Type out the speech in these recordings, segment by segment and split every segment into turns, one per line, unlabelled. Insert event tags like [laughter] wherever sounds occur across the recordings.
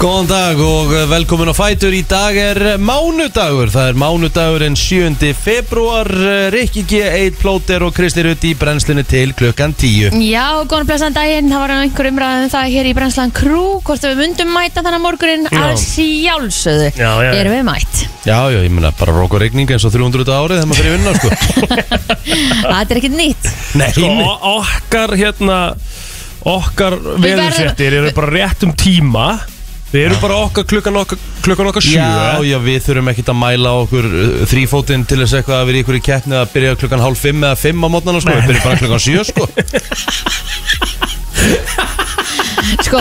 Góðan dag og velkomin á Fætur Í dag er mánudagur Það er mánudagurinn 7. februar Rikki G, Eid Plóter og Kristi Rutt í brennslinu til klukkan 10
Já, góðan blessan daginn, það var einhver umræðum það hér í Brennslan Krú, hvort að við myndum mæta þannig morgunin,
Já.
að sjálfsögðu
Já, já, já.
erum við mætt.
Já, já, ég meina bara rók og regning eins og 300 árið þegar maður fyrir vinna
[laughs]
sko.
Það er ekkert nýtt.
Nei,
Sko, o- okkar hérna okkar veðurfrettir eru bara rétt um tíma við erum bara okkar klukkan okkar klukkan okkar sjö
Já, já, við þurfum ekkit að mæla okkur uh, þrífótinn til þess eitthvað að vera í ykkur í keppni að byrja klukkan hálf fimm eða fimm á mótnana sko,
Nei,
við byrjum bara klukkan sjö sko
Sko,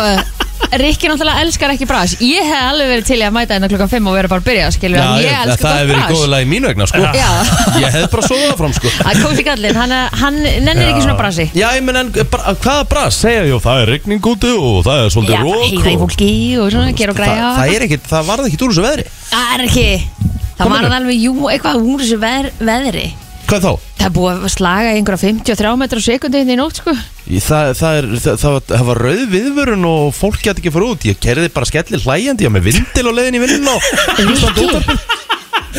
Rikki náttúrulega elskar ekki brás. Ég hef alveg verið til í að mæta hérna klukkan 5 og vera bara að byrja, skilur, en ég
það
elskar
það hefur
það
verið
brás.
góðlega í mín vegna sko
Já.
Ég hef bara svoðað fram sko
Það kom sér gallin, hann, hann nennir ekki svona brasi.
Já, ég menn, en bra- hvaða brast segja ég og það er regning úti og það er
Já,
svolítið
bara
rók
heyra í
og...
fólki og svona, gera og
Þa,
græja.
Sko, það, er ekkit, það varð ekkit úr þessu veðri
Það er ekki, það
Kominu.
var alveg, jú, eitthvað úr þessu veðr, veðri.
Hvað þá?
Það er búið að slaga í einhverja 53 metra á sekundi hérna í nótt, sko.
Í- Það, það, er, það, það, var- það var rauð viðvörun og fólk gæti ekki að fara út Ég kerði bara skellir hlæjandi og með vindil og leiðin í vinnin og
[laughs] Rikki,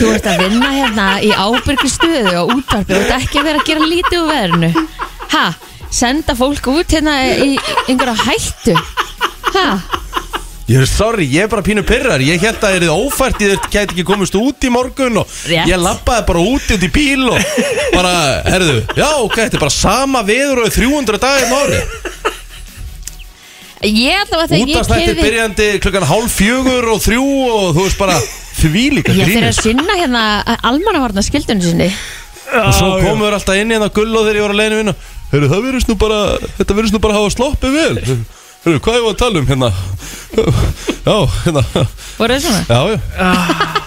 þú ert að vinna hérna í ábyrgu stöðu og útvarpi og þetta ekki að vera að gera lítið úr verðinu ha, senda fólk út hérna í einhverja hættu ha,
Ég er sorry, ég er bara pínu pyrrar Ég held að það er ófært, ég gæti ekki komist út í morgun og
Rétt.
ég lappaði bara út út í bíl og bara, herðu Já, ok, þetta er bara sama veður og í 300 dagir ári
ég allavega þegar ég
Útastættir
keyrði
byrjandi klukkan hálf fjögur og þrjú og þú veist bara því líka
ég fyrir
grínir
að sinna hérna almannavarna skildunni sinni
og svo komum við alltaf inn í það gull og þegar ég var að leiðinu vinna Hörru, það verðist nú bara, þetta verðist nú bara að hafa sloppið vel Hörru, hvað ég var að tala um hérna Já, hérna
voru þið svona?
Já,
[laughs]
já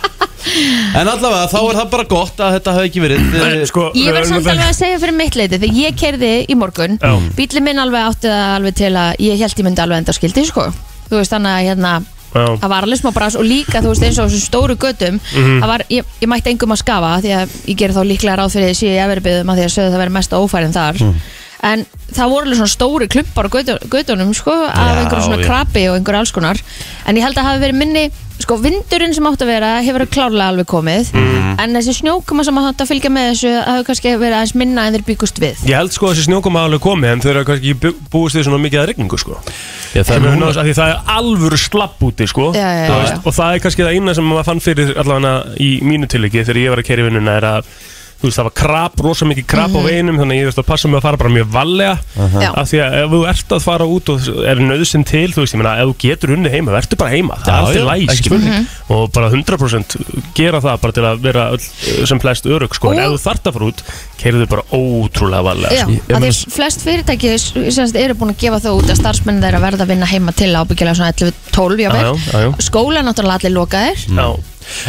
En allavega, þá er það bara gott að þetta hafi ekki verið eh,
sko,
Ég verð samt alveg að segja fyrir mitt leiti þegar ég kerði í morgun
Já.
bílið minn alveg átti það alveg til að ég held ég myndi alveg enda á skildi sko. þú veist þannig að hérna
Já.
það var alveg smá brás og líka þú veist eins og þessum stóru göttum
Mhm.
það var, ég, ég mætti engum að skafa því að ég ger þá líklega ráð fyrir því að sé ég efribyðum að því að sögðu það verið mesta ófærin þar
Mhm.
en það voru alveg svona stóru klumpar á götu- göttunum sko af
Já,
einhverjum svona
já.
krabi og einhverjum alls konar en ég held að hafi verið minni sko vindurinn sem átt að vera hefur klárlega alveg komið
Mhm.
en þessi snjókuma sem átt að fylgja með þessu hafi kannski verið aðeins minna en þeir byggust við
Ég held sko að þessi snjókoma hafi alveg komið en þau eru kannski ekki bu- búist við svona mikið að regningu sko
Já, það
sem
er
er
núna-
náttúrulega því það er alvöru slapp úti sko
Já, já,
Þú
já, já.
og það er kannski það eina sem maður fann fyrir allavega í mínu tilviki þegar ég var að keri vinnuna er að þú veist það var krap, rosa mikið krap
Mhm.
á veginum þannig að ég veist að passa mig að fara bara mjög vallega
Já.
af því að ef þú ert að fara út og er nöðsinn til, þú veist, ég meina ef þú getur unni heima, verður bara heima, það
Já,
er allt í
já,
læg
ekki
skilur.
Mhm.
og bara 100% gera það bara til að vera öll, sem flest örug sko, en
Og-
ef þú þart að fara út, kerðu bara ótrúlega vallega
Já,
sko.
ég- ég
að
meina-
því flest fyrirtæki s- semst, eru búin að gefa þó út að starfsmenn þeirra verða að vinna heima til ábyggilega svona 11-12
Já, já, já.
jafnvel. Skóla náttúrulega allir lokaðir
Já.
Mm.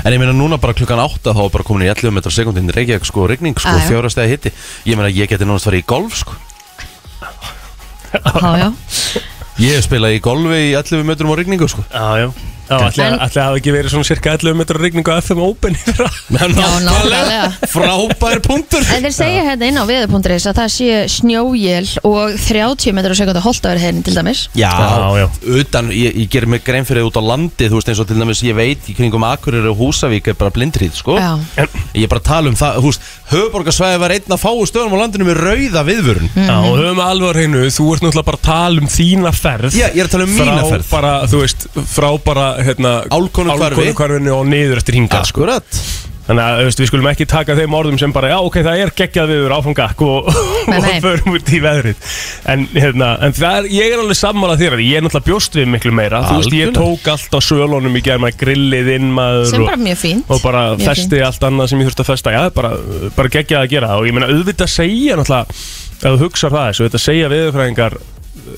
En ég meina núna bara klukkan 8 þá er bara komin í 11 metra sekundin Reykjavík sko, rigning sko,
Já, já.
fjóra stegi hitti Ég meina ég geti náttúrulega farið í golf sko
Já, já
Ég spilaði í golfi í 11 metrum á rigningu sko
Já, já Já, ætli
En-
að það hafi ekki verið svona cirka 11 metrar rigning á FM Open í fyrra
Já, nákvæmlega.
Frábær punktur
En þeir segja hérna inn á veður.is að það sé snjójél og 30 metrar á sekundu holtaverð hérna til dæmis
Já,
Já, já.
utan, ég, ég ger mig grein fyrir út á landi Þú veist eins og til dæmis ég veit í kringum Akureyri og Húsavík er bara blindrýð sko
Já.
En-
Ég er bara að tala um það, þú veist Höfuborgarsvæði var einn að fáu stöðum á landinu með rauða viðvörun
Mhm.
Já, og höfum við alveg á hreinu, þú ert náttúrulega bara að tala um þína ferð
Já, ég er að tala um
Frá
mína ferð.
bara, þú veist, frá bara, hérna
Álfkonuhvarfi.
Álkonuhvarfinu og niður eftir hingað sko.
Akkurat
Þannig að, þú veist, við skulum ekki taka þeim orðum sem bara Já, ok, það er geggjað viður áfram gakk og, [laughs]
Nei,
og
nei.
förum út í veðrið En, hérna, en það er, ég er alveg sammála þér Ég er náttúrulega bjóst við miklu meira Þú veist, ég
Algjörlega.
tók allt á sölunum í germa grillið inn maður
sem
og-
bara mjög fínt
og bara
Mjög
festi allt annað sem ég þurfti að festa já, bara, bara geggja að gera það og ég meina auðvitað segja náttúrulega ef þú hugsar það þessu, auðvitað segja viðurfræðingar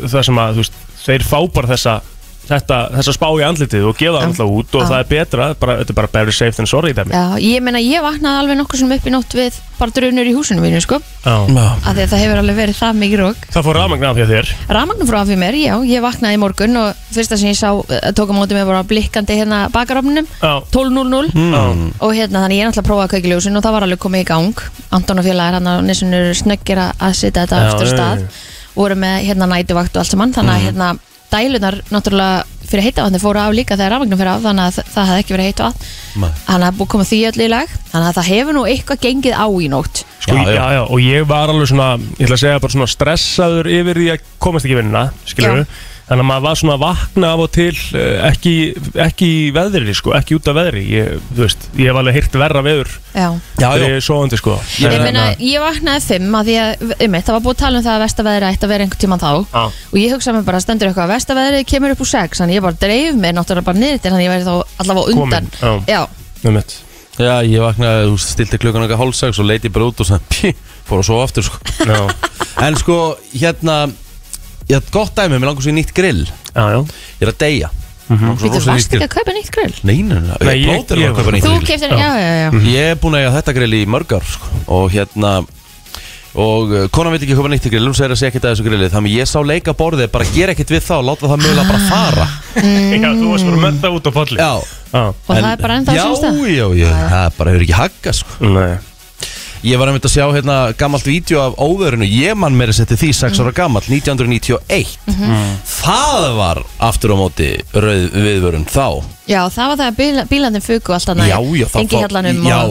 það sem að þú veist, þeir fá bara þessa þetta, þessa spá í andlitið og gefa það
Já.
náttúrulega út og
Já.
það er betra, bara, þetta er bara better safe than sorry dæmi.
Já, ég meina ég vaknaði alveg nokkur sem upp í nótt við bara drunur í húsinu mínu sko
Já.
af því að það hefur alveg verið það mikið rók
það fór rafmagn af því að þér
Rafmagnum frá af mér, já, ég vaknaði í morgun og fyrsta sem ég sá, eh, tók á móti mér bara blikkandi hérna bakarofnum
Já.
12.00
mm.
og hérna þannig ég er náttúrulega að prófa að kveikja ljósin og það var alveg komið í gang Anton og félagar hann á nessun eru snöggir að að setja þetta
Já,
aftur af
já, Mm.
stað
já.
voru með hérna nætuvakt og allt saman þannig að hérna dælunar náttúrulega fyrir heita vatni fóru af líka þegar rafmagnum fyrir af þannig að þa- það hefði ekki verið heita vatn
Nei.
þannig að búið komið því öll í lag þannig að það hefur nú eitthvað gengið á í nótt
Sko,
Já,
já, já.
já.
og ég var alveg svona, ég ætla að segja bara svona stressaður yfir því að komast ekki í vinnuna, skilur Þannig að maður var svona að vakna af og til, eh, ekki, ekki í veðri, sko, ekki út af veðri, ég, þú veist, ég hef alveg hýrt verra veður
Já.
Já,
þegar
já,
ég er svoandi, sko.
Ég
Ég,
Þannig
meina, ég vaknaði fimm að því að, um það var búið að tala um það að vestaveðri ætti að vera einhvern tíman þá
Ah.
Já.
og ég hugsaði mér bara stendur eitthvað að vestaveðri kemur upp úr sex þannig ég bara dreif mig náttúrulega bara niður til þannig ég væri þá allavega á undan
Komin,
já,
Með mitt.
já, ég vaknaði, þú veist, stilti klukkan eitthvað hálfsags og leiti bara út og sann, pí, fór að sofa
[laughs]
aftur, sko.
Já,
En sko, hérna, ég hatt gott dæmi, mér langar svo í nýtt grill.
já, já.
Ég er að deyja.
Mhm.
Mm
býttu varst ekki að kaupa nýtt grill
Nei, nei, nei,
Nei,
nei
ég-
blótir var
ég
að kaupa
var-
nýtt
þú
grill.
keftir, já, já, já,
Ég er búin að eiga þetta grill í mörg ár sko. og hérna og uh, konan veit ekki hvað nýtti grill hún segir að segja ekkert að þessu grilli þannig ég sá leika borðið bara gera ekkert við þá láta það mögulega bara fara
Mm.
Já, þú varst bara með það út á falli.
já
Já.
Ah. og það er bara ennþá Ah,
já,
sem stað
já, já, það bara hefur ekki hagga sko.
Nei.
ég var einmitt að sjá hérna gammalt vídeo af óverinu ég mann meira setti því 6
Mhm.
ára gammalt 1991 það var aftur á móti rauð viðvörun þá
já, það var það að bíl, bílandin fuku og allt annað
já, já, þá
engi hjallanum
já,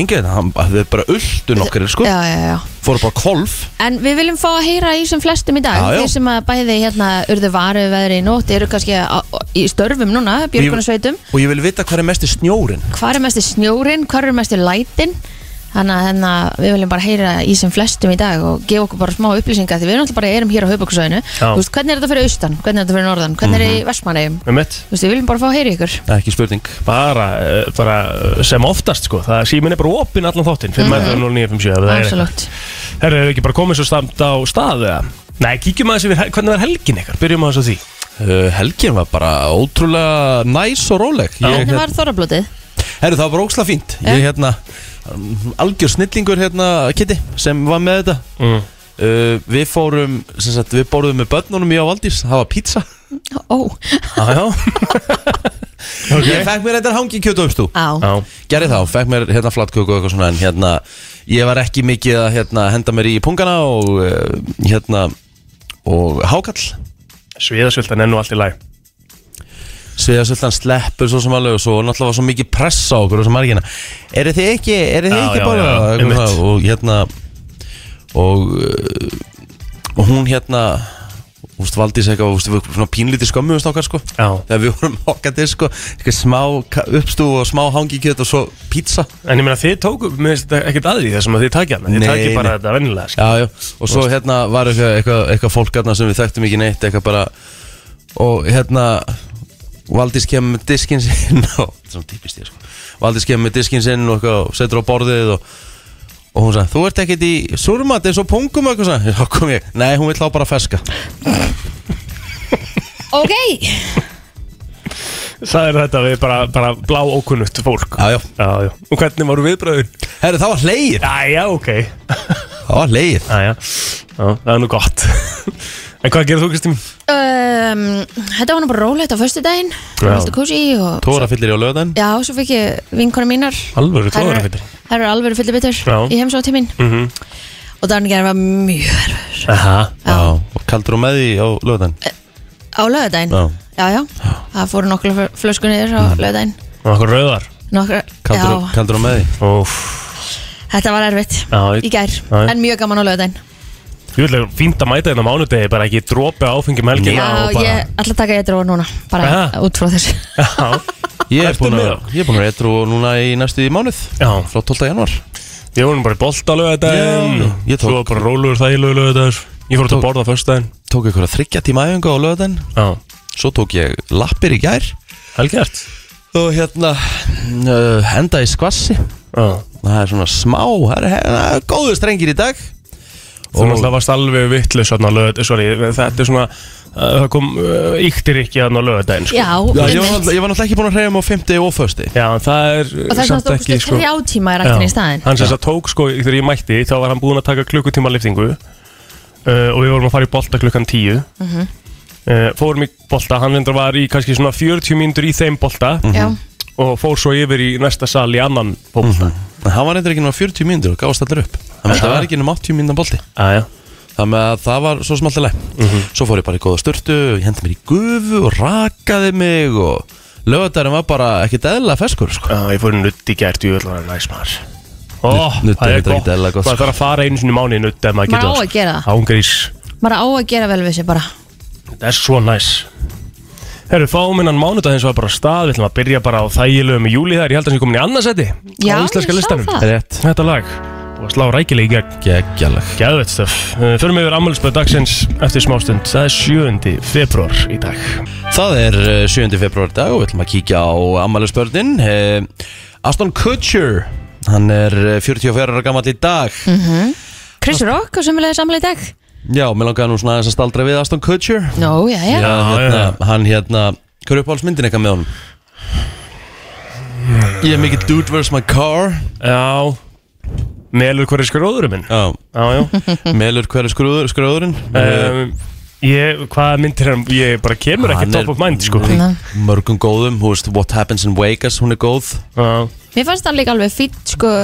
engi hann þau bara uldu nokkri sko,
já, já, já
fóru bara kvolf
En við viljum fá að heyra í sem flestum í dag
Já, já.
Þeir sem að bæði hérna urðu varu veðri í nótt eru kannski á, á, í störfum núna, björgunarsveitum
Og ég vil vita hvað er mest í snjórin
Hvar er mesti snjórin, hvar er mesti lætin Þannig að hérna, við viljum bara heyra í sem flestum í dag og gefa okkur bara smá upplýsingar því við náttúrulega bara erum hér á höfböksvæðinu
Já. Mhm.
Hvernig er þetta fyrir austan, hvernig er þetta fyrir norðan, hvernig er þetta í Vestmanneigum
Með mitt.
Þú veist, við viljum bara fá að heyra í ykkur
Ekki spurning
Bara, eh, bara eh, sem oftast, sko. Það síminn er bara opinn allan þáttinn. 5.09.57. Mm -hmm.
Absolutt
Herru, hefur ekki bara komið svo stamt á stað eða? Nei, kíkjum aðeins yfir hel- hvernig var helgin ykkar, byrjum aðeins á því
uh, Helgin var bara ótrúlega næs og róleg ég,
Hvernig
hérna,
var þorrablótið?
Herru það var bara óksla fínt
Já.
Ég hérna um, Algjör snillingur hérna Kitty sem var með þetta
mm.
uh, Við fórum sem sagt, Við borðum með börnunum í á Valdís Það var pizza
Ó,
Ah, [laughs]
Jájá Ég
okay.
fekk mér þetta hangi kjötu uppstú
á,
Já,
Gerði þá, fekk mér hérna flatköku og eitthvað svona En hérna, ég var ekki mikið að hérna, henda mér í pungana Og uh, hérna Og hákall
sviðasviltan er nú allt í læg
Sviðasöldan sleppur svo sem alveg og svo náttúrulega var svo mikið press á okkur og svo margina eru þið ekki, eru þið
Já,
ekki
já,
bara
já,
eitthvað
einmitt.
það, og hérna og, uh, og hún hérna úst, Valdís eitthvað, úst, við svona pínlítið skömmuðust okkar sko
Já.
þegar við vorum okkar til sko eitthvað smá ka- uppstúf og smá hangikjöt og svo pizza
En ég meina þið tóku, mér finnst þetta ekkert aðri þessum að þið takja hana, þið
Nei,
takja bara
nei.
þetta sko. vennilega skil.
Já, já, og svo hérna var eitthvað, eitthvað, eitthvað fólk hérna sem við þekktum ekki neitt eitthvað bara og hérna Valdís kemur með diskinn sinn [laughs] og svona típist ég sko Valdís kemur með diskinn sinn og, eitthvað, og setur á borðið og, og hún sagði, þú ert ekkert í surmat eins og pungum eitthvað sagði, þá kom ég, nei hún vill á bara feska
ok
Það er þetta við bara, bara blá ókunnutt fólk
Já, já,
já, já. Og hvernig voru viðbröðin?
herru það var hleir
Já, já, ok
það var hleir,
Já, já, já það er nú gott [laughs] En hvað gerir þú, Kristín?
um, Þetta var nú bara rólegt á föstudaginn
Já.
Alltaf kósi og
tóra fyllir í á löðan
Já, svo fikk ég vinkona mínar
Alvöru
Þær eru-
tóðanafittir
Þær eru alveg fyllir bitur
Já.
í heimsóð til mín
mm -hmm.
Og dagningar var mjög erfur
Já, og kaldur hún með því á löðan
Á lögadaginn
Já.
já, já, það fóru nokkla flösku niður á lögadaginn
Og okkur rauðar
Nokkra,
Kaldur,
já,
kaldur hún með því
Óf,
þetta var erfitt
já, ég
Í gær,
já.
en mjög gaman á lögadaginn
Ég vil að fínt að mæta hérna á mánudegi, bara ekki dropi áfengjum helgina
Já,
og bara...
ég ætla að taka eitthvað núna Bara
Aha.
út frá þessu
Já,
Ég er
Ertu
búin
með
að,
það?
ég er búin að retru núna í næstu í mánuð
já,
frá 12. janúar
ég vorum bara í bolt á lögadaginn
Já, ég tók-
Svo bara róluður þægilegu lögadagins Ég fór út
Tók-
að borða á föstudaginn
tók einhverja þryggja tíma æfingu á löðan
Já,
svo tók ég lappir í gær
helgert
og hérna uh, enda í skvassi
Já,
það er svona smá, það er, það er góðu strengir í dag
þú náttúrulega varst alveg vittlis hérna á lögadaginn Sorry, þetta er svona, uh, það kom uh, yktir ekki hérna á lögadaginn sko.
Já,
Já,
einmitt.
ég, var, náttúrulega- ég var náttúrulega ekki búin að hreyja mig á 50 og fösti
Já, en það er uh,
Og þess að
samt
þú
ekki
fórstu
sko
þrjá tíma í
Já,
rættinni í staðinn
Hann sem þess að tók sko, þegar ég mætti, þá var hann búinn að taka klukkutíma liftingu uh, og við vorum að fara í bolta klukkan 10
Mhm.
uh, Fórum í bolta, hann endur var í kannski svona 40 mínútur í þeim bolta
Já,
og fór svo yfir í næsta sal í annan fólkta Ah,
en hann var reyndar ekki nema 40 mínútur og gáðst allir upp þannig að það var ekki nema 80 mínútur bolti
Aja,
Þannig að það var svo sem alltaf leið Svo fór ég bara í góða störtu Ég hendi mér í gufu og rakaði mig Og lögadærum var bara ekkit eðla feskur sko.
Já, ég fór í nutt í gert, ég vil vera næs maður Ó,
Nudd-
það
nudd er
er
ekkert
gott
eðlilega gott,
Maður
sko.
þarf að fara einu sinni í mánu í nutt ef maður
Maður
getur
á að gera það.
Ángrís,
Maður á að gera vel við sér bara
það er svo næs Herru, fáum innan mánudag eins og bara af stað Við ætlum að byrja bara á þægilegum í júli þar Ég held að það sé komin í annarsæti
Já,
á íslenska
ég sá
listanum
það.
Rétt
Þetta lag, og slá rækilega í gegn
Gekkjalag
Gæðvett stöf Förum yfir ammælisböð dagsins eftir smástund Það er 7. februar í dag
Það er eh, 7. februar dag og við ætlum að kíkja á ammælisbörnin eh, Aston Kutcher Hann er eh, 44 ára gammal í dag
Chris Rock á sömulega samlega í dag
Já, mér langaði nú svona aðeins að staldra við Aston Kutcher
Nó, já, já,
Já, hérna, hann hérna Hver er uppáhaldsmyndin eitthvað með honum? Ég er mikið dude versus my car
Já Melur hverju skróðurum minn
Já,
[laughs] Já, já
melur hver er skrúður, skrúðurinn? Eh,
um, Ég, hvað myndir hann Ég bara kemur ekki top of mind sko
í Mörgum góðum, hú veist, What Happens in Vegas, hún er góð
Já,
Mér fannst hann líka alveg fýtt sko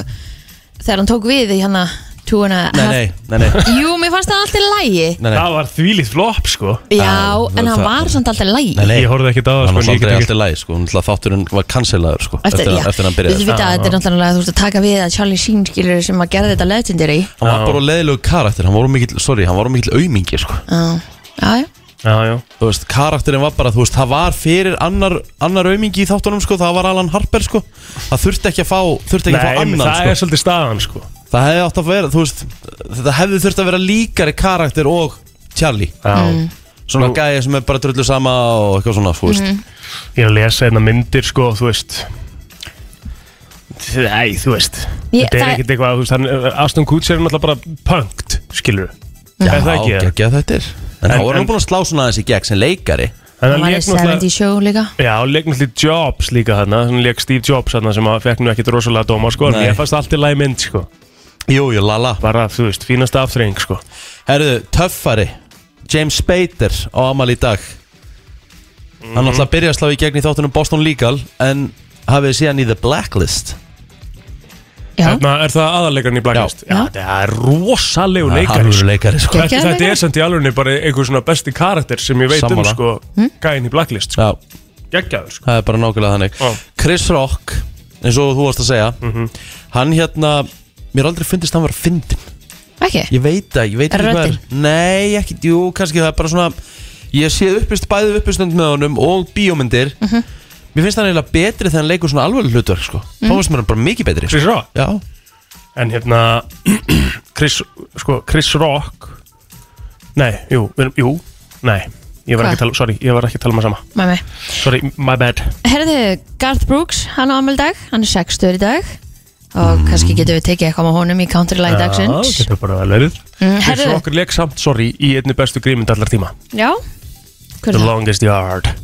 þegar hann tók við í hann að túna
Nei, nei, nei, nei,
Jú, mér fannst hann alltaf lægi
nei, nei.
Það var þvílíkt flop sko
Já,
Já,
en hann
það-
var samt alltaf lægi
Nei, nei.
Ég horfði ekki á það
Hann
sko
var
en ég
aldrei
get
alltaf læg, sko Hún ætla þátturinn var cancelaður, sko
Eftir, já,
eftir hann
Þú
byrjaði Ah,
veit að þetta er náttúrulega, þú veist að taka við að Charlie Sheen skilur sem að gera þetta legendary
Hann var bara leðilegu karakter, hann var of mikill, sorry, hann var of mikill aumingi, sko
Já, já, já
Já, já
Þú veist, karakterin var bara, þú veist, það var fyrir annar, annar aumingi í þáttunum, sko Það var Alan Harper, sko Það þurfti ekki að fá, þurfti ekki að fá
Nei,
annan,
það
sko
er svolítið staðan sko
Það hefði átt að vera, þú veist Þetta hefði þurft að vera líkari karakter og Charlie
Já
Mm.
Svona gæja sem er bara drullu sama og eitthvað svona, þú veist
Mhm. Ég er að lesa hérna myndir sko, þú veist Nei, þú veist
Ég-
Þetta er
það-
ekkert eitthvað, þú veist hann, uh, Aston Kutcher er náttúrulega bara punkt Skilur
Já,
Er það ekki?
geggja þetta er En
En-
þá er
en-
hann búin að slá svona aðeins í gegn sem leikari
Hann
Hann var í
lék
70 show líka
Já, hann leik náttúrulega Jobs líka þarna Hann leik Steve Jobs þarna sem að fekk nú ekkit rosalega dóma sko En
Nei.
ég fannst allt í lagi mynd sko
Jú, jú, lala
Bara, þú veist, fínasta aftreying sko
Herðu, töffari James Spader á Amal í dag Hann
Mhm.
náttúrulega byrjaði að slá í gegn í þáttunum Boston Legal En hafið síðan í The Blacklist
Já,
Þarna er það aðarleikarinn í Blacklist
Já. Já.
það er rosalegu leikari
Harfur
sko.
leikari, sko
Gegn-
Þetta,
Geggjaður
þetta
leikari.
er samt í alveg bara einhver svona besti karakter sem ég veit um
Sammála.
sko
Hm?
Gæinn í Blacklist sko
Já,
Geggjaður sko
það er bara nákvæmlega þannig
Já. Mhm.
Chris Rock, eins og þú varst að segja Hann hérna Mér aldrei fundist hann vera fyndin
ekki
Ég veit það, ég veit
Er
ekki hvað er Nei, ekki, jú, kannski það er bara svona Ég sé uppist, bæði uppistönd með honum og bíómyndir Mér finnst hann eiginlega betri þegar hann leikur svona alveg hlutverk sko. Þá finnst mér hann bara mikið betri sko.
Chris Rock
Já,
En hérna [clears throat] Chris, sko, Chris Rock Nei, jú, við erum- jú Nei, ég var
Hva?
ekki að tala, sorry, ég var ekki að tala maður sama
Með mig
Sorry, my bad
Herðu, Garth Brooks, hann á ammæli í dag, hann er 60 í dag og kannski getum við tekið eitthvað með honum í Counterline dagsins
getur bara vel verið
Mm,
Chris
Herðu,
Rock er leik samt, sorry, í einni bestu grímynd allar tíma
já Hver
The
er það?
Longest Yard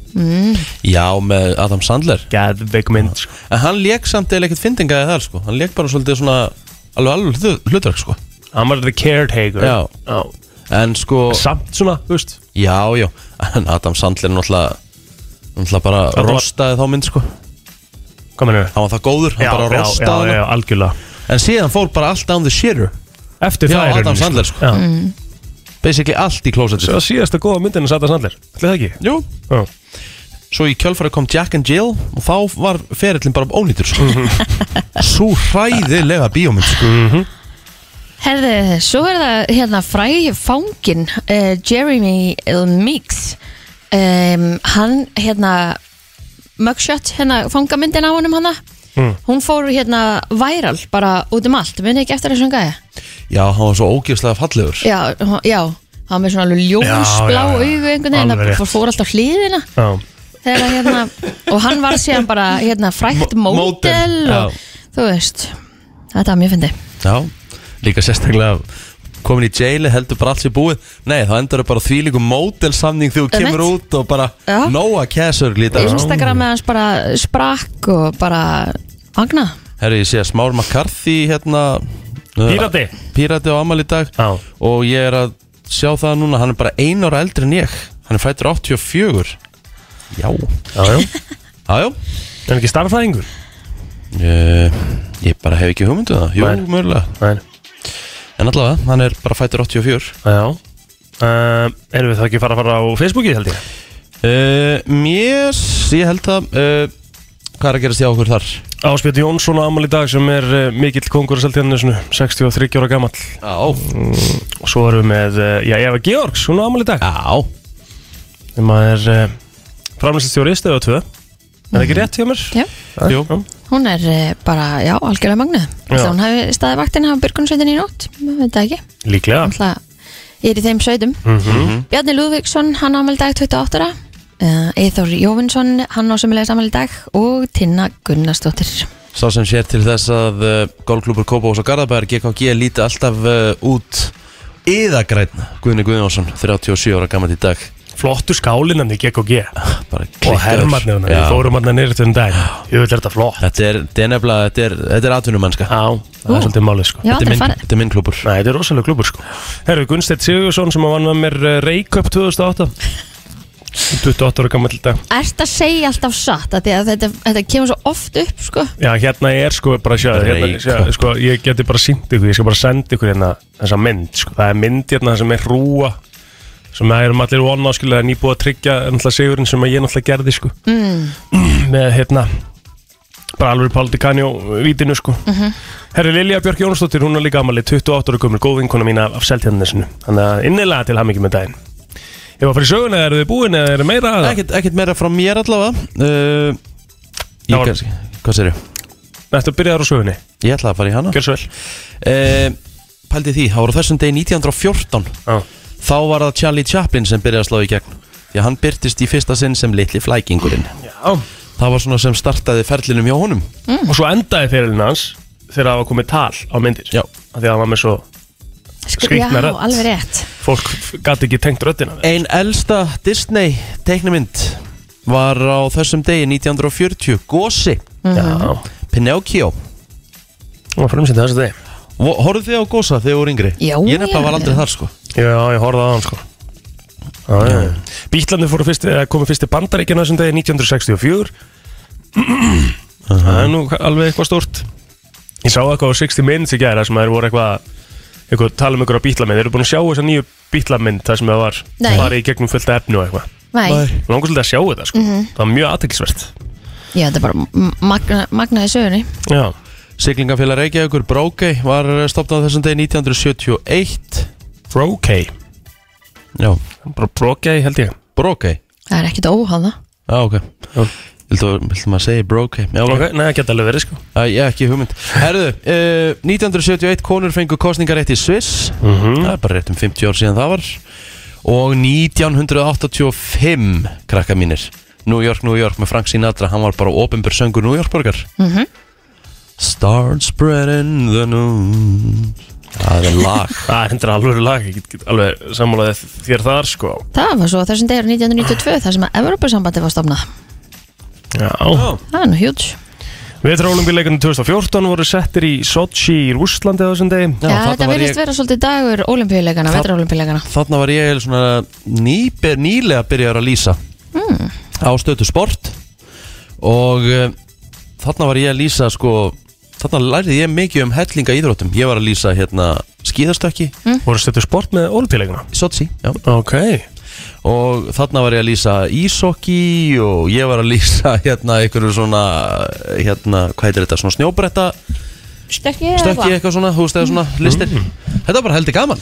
Já með Adam Sandler
Gæðveik mynd sko.
En hann leik samt eða ekkert fyndingaði þar sko. Hann leik bara svolítið svona alveg alveg hlutu- hlutverk sko.
Hann var the caretaker
Já.
Já.
En sko,
Samt svona, þú veist
já, já En Adam Sandler náttúrulega Náttúrulega bara
var-
rostaði þá mynd sko.
Hvað mennur?
Hann var það góður, hann bara
já,
rostaði hana.
já, já, algjörlega
En síðan fór bara allt down the shitter
Eftir
Já,
það er
Adam
rauninni,
Sandler, sko.
Já.
Mm.
Basically allt í klósetið
Það var síðasta góða myndin að Adam Sandler Ætli Það ekki?
Jú,
Já.
Svo í kjölfæri kom Jack and Jill og þá var ferillin bara ónýtur
[laughs]
sko. Svo hræðilega bíómynd sko.
Herðu, svo er það hérna frægi fangin uh, Jeremy L. Meeks um, hann hérna mugshot, hérna fangamyndin á honum hana
Hmm.
hún fór hérna væral bara út um allt, muni ekki eftir þessum gæja
Já, hann var svo ógeðslega fallegur
Já, hún- já, hann var með svona alveg ljósblá
Já, já, já.
augu einhvern veginn,
Alveg
það
rétt.
fór, fór alltaf hliðina
Já.
þegar að hérna, og hann var síðan bara hérna frækt
Mo-
mótel
módel,
og þú veist þetta var mjög fyndi
Já, líka sérstaklega komin í jaili, heldur bara allt sér búið Nei, þá endur þau bara þvílíku mótelsamning þegar þú
Einmitt.
kemur út og bara
Já.
Nóa Kessur líta
Instagram með hans bara sprakk og bara magna
Herri, ég sé að Smár McCarthy hérna uh,
Pírati
Pírati á Amal í dag
Já.
Og ég er að sjá það núna, hann er bara ein ára eldri en ég Hann er fættur 84 Já,
Já, já [laughs]
já, já
Er hann ekki starfræðingur?
Ég, ég bara hef ekki hugmyndu það Jú,
Nei.
mögulega
Nei
En en allavega, hann er bara fættur 84
Já um, Erum við þá ekki að fara að fara á Facebookið held ég?
uh, Mér, ég held það uh, Hvað er að gerast hjá okkur þar?
Áspjöld Jónsson á amal í dag sem er uh, mikill kongur að seltjarnisnu 63 ára gamall
Já,
og svo erum við með, uh, já, Eva Georgs hún á amal í dag
já
sem að er uh, framlýsastjóri í stöðu 2 Er það ekki rétt hjá mér?
Já.
Jú.
Hún er eh, bara, já, algjörlega magna
Já.
Hún hafi staðið vaktina á byrgunsveitin í nótt Við veit það ekki,
Líklega
alltaf ég er í þeim sveitum
mm -hmm.
Bjarni Lúðvíksson, hann ámæli dag 28 ára uh, Eithor Jóvinsson, hann á sömulegis ámæli dag og Tinna Gunnarsdóttir
Sá sem sér til þess að uh, golfklubur Kópavós og Garðabæðar GKG líti alltaf uh, út yðagræn Guðni Guðjónsson, 37 ára gammalt í dag
Flottu skálinan í GKG
bara
og
klikkaður.
hermarnirna,
Já.
við fórum hann nýrið til dag Jú, þetta er þetta flott
Þetta er, þetta er nefnilega, þetta er, þetta er atvinnumannska
Já, það
Ú.
er svolítið málið sko
Já,
Þetta er
þetta er
minn,
farið
þetta er minn klubur
Nei, þetta er rosalega klubur sko Herru, Gunnstedt Sigurðsson sem að vann með mér eh, Reykjöp 2008 28 ára gammal dag
Ert að segja alltaf satt að að þetta, þetta kemur svo oft upp sko.
Já, hérna er sko bara sjáðu hérna,
Reykjöp.
sjáðu, sko, Ég geti bara sínt ykkur, ég skal bara senda ykkur hérna þessa mynd sko. Það er mynd hérna sem er rúa sem það erum allir von áskilega en ég búið að tryggja náttúrulega sigurinn sem að ég náttúrulega gerði sko mm. [clears throat] með hérna bara alveg Paldikanjó vítinu sko Herri Lilja Björk Jónsdóttir, hún er líka amalið 28 ára gömur góð vinkona mína af seltjarnesinu þannig að innilega til hamingi með daginn Ef að fyrir söguna, eru þið búin eða eru meira að
Ekkert, ekkert meira frá mér allavega uh, Ég
Já,
kannski, hvað sér ég?
Þetta byrjaður á sögunni,
Ég ætlaði að fara í hana
gjör svo vel
uh, Pældi því, það voru þessum degi 1914
Já.
Þá var það Charlie Chaplin sem byrjaði að slá í gegn Því að hann byrtist í fyrsta sinn sem litli flækingurinn
Já.
Það var svona sem startaði ferlinum hjá honum
og svo endaði fyrirlin hans þegar það var komið tal á myndir
Já.
af því að það var með svo
Sk- Já,
Skrýtna rödd.
alveg rétt
fólk gæti ekki tengt röddina við.
Ein elsta Disney teiknumynd var á þessum degi 1940 Gosi,
já,
Pinocchio
það Mhm. var fremsýnt þessu degi
Horfðu þið á Gosa þegar þú voru yngri?
Já,
Ég nefnilega
já,
var aldrei
já.
þar sko
já, ég horfði á hann sko Bítlandi fóru fyrst, eða komu fyrst til bandaríkina þessum degi 1964 það er nú alveg eitthvað stórt ég sá eitthvað á 60 mynd í gæra sem þeir voru eitthvað eitthvað tala um ykkur á bítlamynd þeir eru búin að sjá þessa nýju bítlamynd þar sem það var
Nei.
farið í gegnum fullt af efni og eitthvað
Nei,
langar svolítið að sjá þetta sko það var mjög aðteklisvert
já, þetta er bara m- magna, magnaði sögunni
já
Siglingafélag Reykjavíkur Brókei var stopnað á þessum degi 1971
Brokey
Já,
Bara Brokey held ég
Brókei
Það er ekkit óháða
Já, ok
Já.
Viltu viltu maður segja Brókei? Já, ok
okay. Nei, það geta alveg verið sko
Æ, ég hef ekki hugmynd Herðu, uh, 1971 konur fengu kostningarétt í Sviss Það er bara rétt um 50 ár síðan það var Og 1985 krakka mínir New York, New York með Frank Sinatra Hann var bara ofinbjör söngur New York borgar mm
Mhm.
Start spreading the news Það er lag
Það er hendur alveg lag Ég get, get alveg sammálaðið þér þar sko
Það var svo á þessum degur 1992 þar sem að Evropasambandi var stofnað
Já
Það er nú hjúts
Vetrarólumbíleikarnir 2014 voru settir í Sochi í Rússlandi á þessum degi
Já,
þarna
þetta
var
verðist
ég-
vera svolítið dagur olimpíuleikana,
Það-
vetraolimpíuleikana
Þarna var ég svona nýber, nýlega byrjar að lýsa á stötu sport og uh, þarna var ég að lýsa sko, þarna lærði ég mikið um hellinga íþróttum, ég var að lýsa hérna skíðastökki,
Voru settur sport með olimpíuleikarna
sotsi já.
Ok
og þarna var ég að lýsa ísokki og ég var að lýsa [laughs] hérna einhverju svona hérna, hvað heitir þetta, svona snjóbretta
Stökki
stökki eitthvað svona, þú veist eða svona listir þetta var bara heldig gaman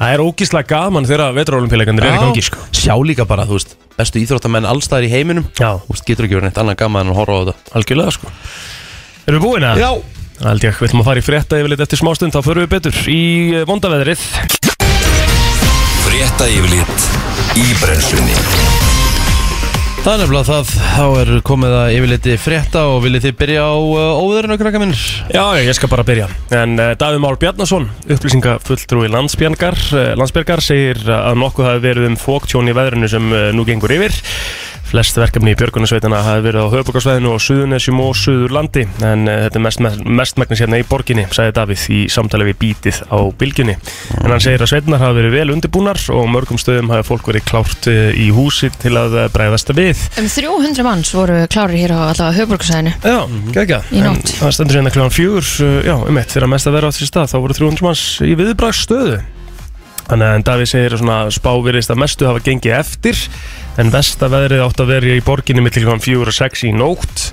Það er ógíslega gaman þegar vetrarólumbíleikarnir er í gangi sko
sjá líka bara, þú veist, bestu íþróttamenn allstaðar í heiminum
Já,
Þú veist, getur ekki verið neitt annað gaman en að horfa á þetta
algjörlega sko Erum við búin að?
Já
Það held ég, við ætlum að fara í frétta yfirleitt eftir smástund, þá förum við betur í eh, vonda veðrið.
Frétta yfirlit í brennslunni
Það er nefnilega það, þá er komið að yfirleiti frétta og viljið þið byrja á uh, óðurinn og krakka minn
Já, já, ég skal bara byrja. En uh, Davíð Már Bjarnason, upplýsingafulltrúi landsbjargar, uh, landsbjargar segir að nokkuð hafi verið um fóktjón í veðrinu sem uh, nú eh, gengur yfir. Flest verkefni í björgunarsveitina hafi verið á höfubokarsvæðinu og suðunesjum og suðurlandi en uh, þetta er mest, mestmæknis hérna í borginni, sagði Davíð í samtali við bítið á bylginni. En hann segir að sveitinar hafi verið vel undirbúnar og á mörgum stöðum hafi fólk verið klárt uh, í húsi til að eh, bregðast við.
Um 300 manns voru klárir hér á allavega höfburgsæðinu
Já, geggjað.
Í
En
nótt.
Það stendur hérna kljóðan fjögur, uh, já, um eitt, þegar mest að vera á því stað, þá voru 300 manns í viðbragstöðu. Þannig að en Davíð segir að svona spávirðist að mestu hafa gengið eftir, en vestaveðrið átt að vera í borginni millir kljóðan fjögur og sex í nótt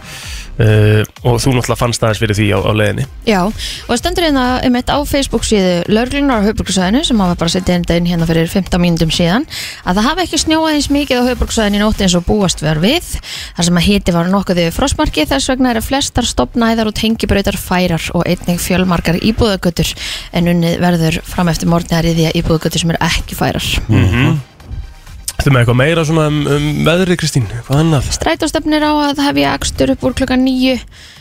uh, og þú náttúrulega fannst aðeins fyrir því á, á leiðinni.
Já, og það stendur hérna um eitt á Facebook síðu Lörglunar á höfburgsæðinu sem hafa bara setið þetta inn hérna fyrir 15 mínútum síðan að það hafi ekki snjóað eins mikið á höfburgsæðinu í nótt eins og búast var við þar sem að hiti var nokkuð yfir frostmarki þess vegna eru flestar stopnæðar og tengibrautar færar og einnig fjölmargar íbúðagötur en unnið verður fram eftir morgni að riðja íbúðagötur sem eru ekki færar
Þetta með eitthvað meira svona um, um veðrið, Kristín, hvað annað?
Strætóstefnir á að hefja akstur upp úr klukkan nýju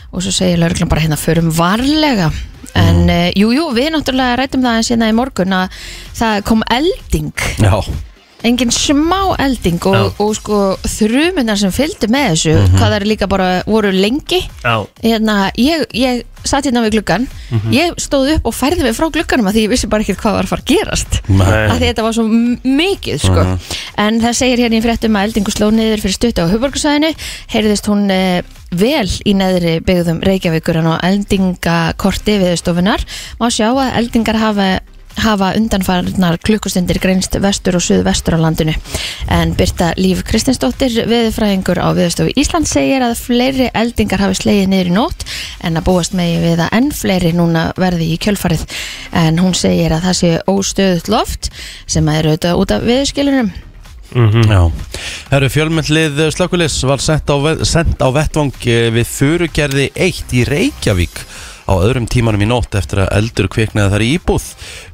og svo segir lauruglan bara hérna förum varlega en eh, jú, jú, við náttúrulega rætum það eins hérna í morgun að það kom elding
Já,
engin smá elding og, og, sko þrumunar sem fylgdu með þessu hvað það er líka bara voru lengi
Já.
hérna, ég, ég satt hérna við gluggan ég stóð upp og færði mig frá glugganum að því ég vissi bara ekki hvað var að fara að gerast
Nei.
að því þetta var svo m- mikið sko. en það segir hérna í fréttum að eldingu sló niður fyrir stuttu á hugborgarsæðinu heyrðist hún eh, vel í neðri byggðum Reykjavíkur en á eldingakorti viðstofunar má sjá að eldingar hafa hafa undanfarnar klukkustundir greinst vestur og suð vestur á landinu en Birta Líf Kristinsdóttir viðfræðingur á viðstofu Ísland segir að fleiri eldingar hafi slegið niður í nótt en að búast megi við að enn fleiri núna verði í kjölfarið en hún segir að það sé óstöðut loft sem að er auðvitað út af viðskilunum
Mhm.
já Herru, fjölmyndlið Slökkulis var sent á, ve- sent á vettvang eh, við Furugerði 1 í Reykjavík á öðrum tímanum í nótt eftir að eldur kviknaði þar í íbúð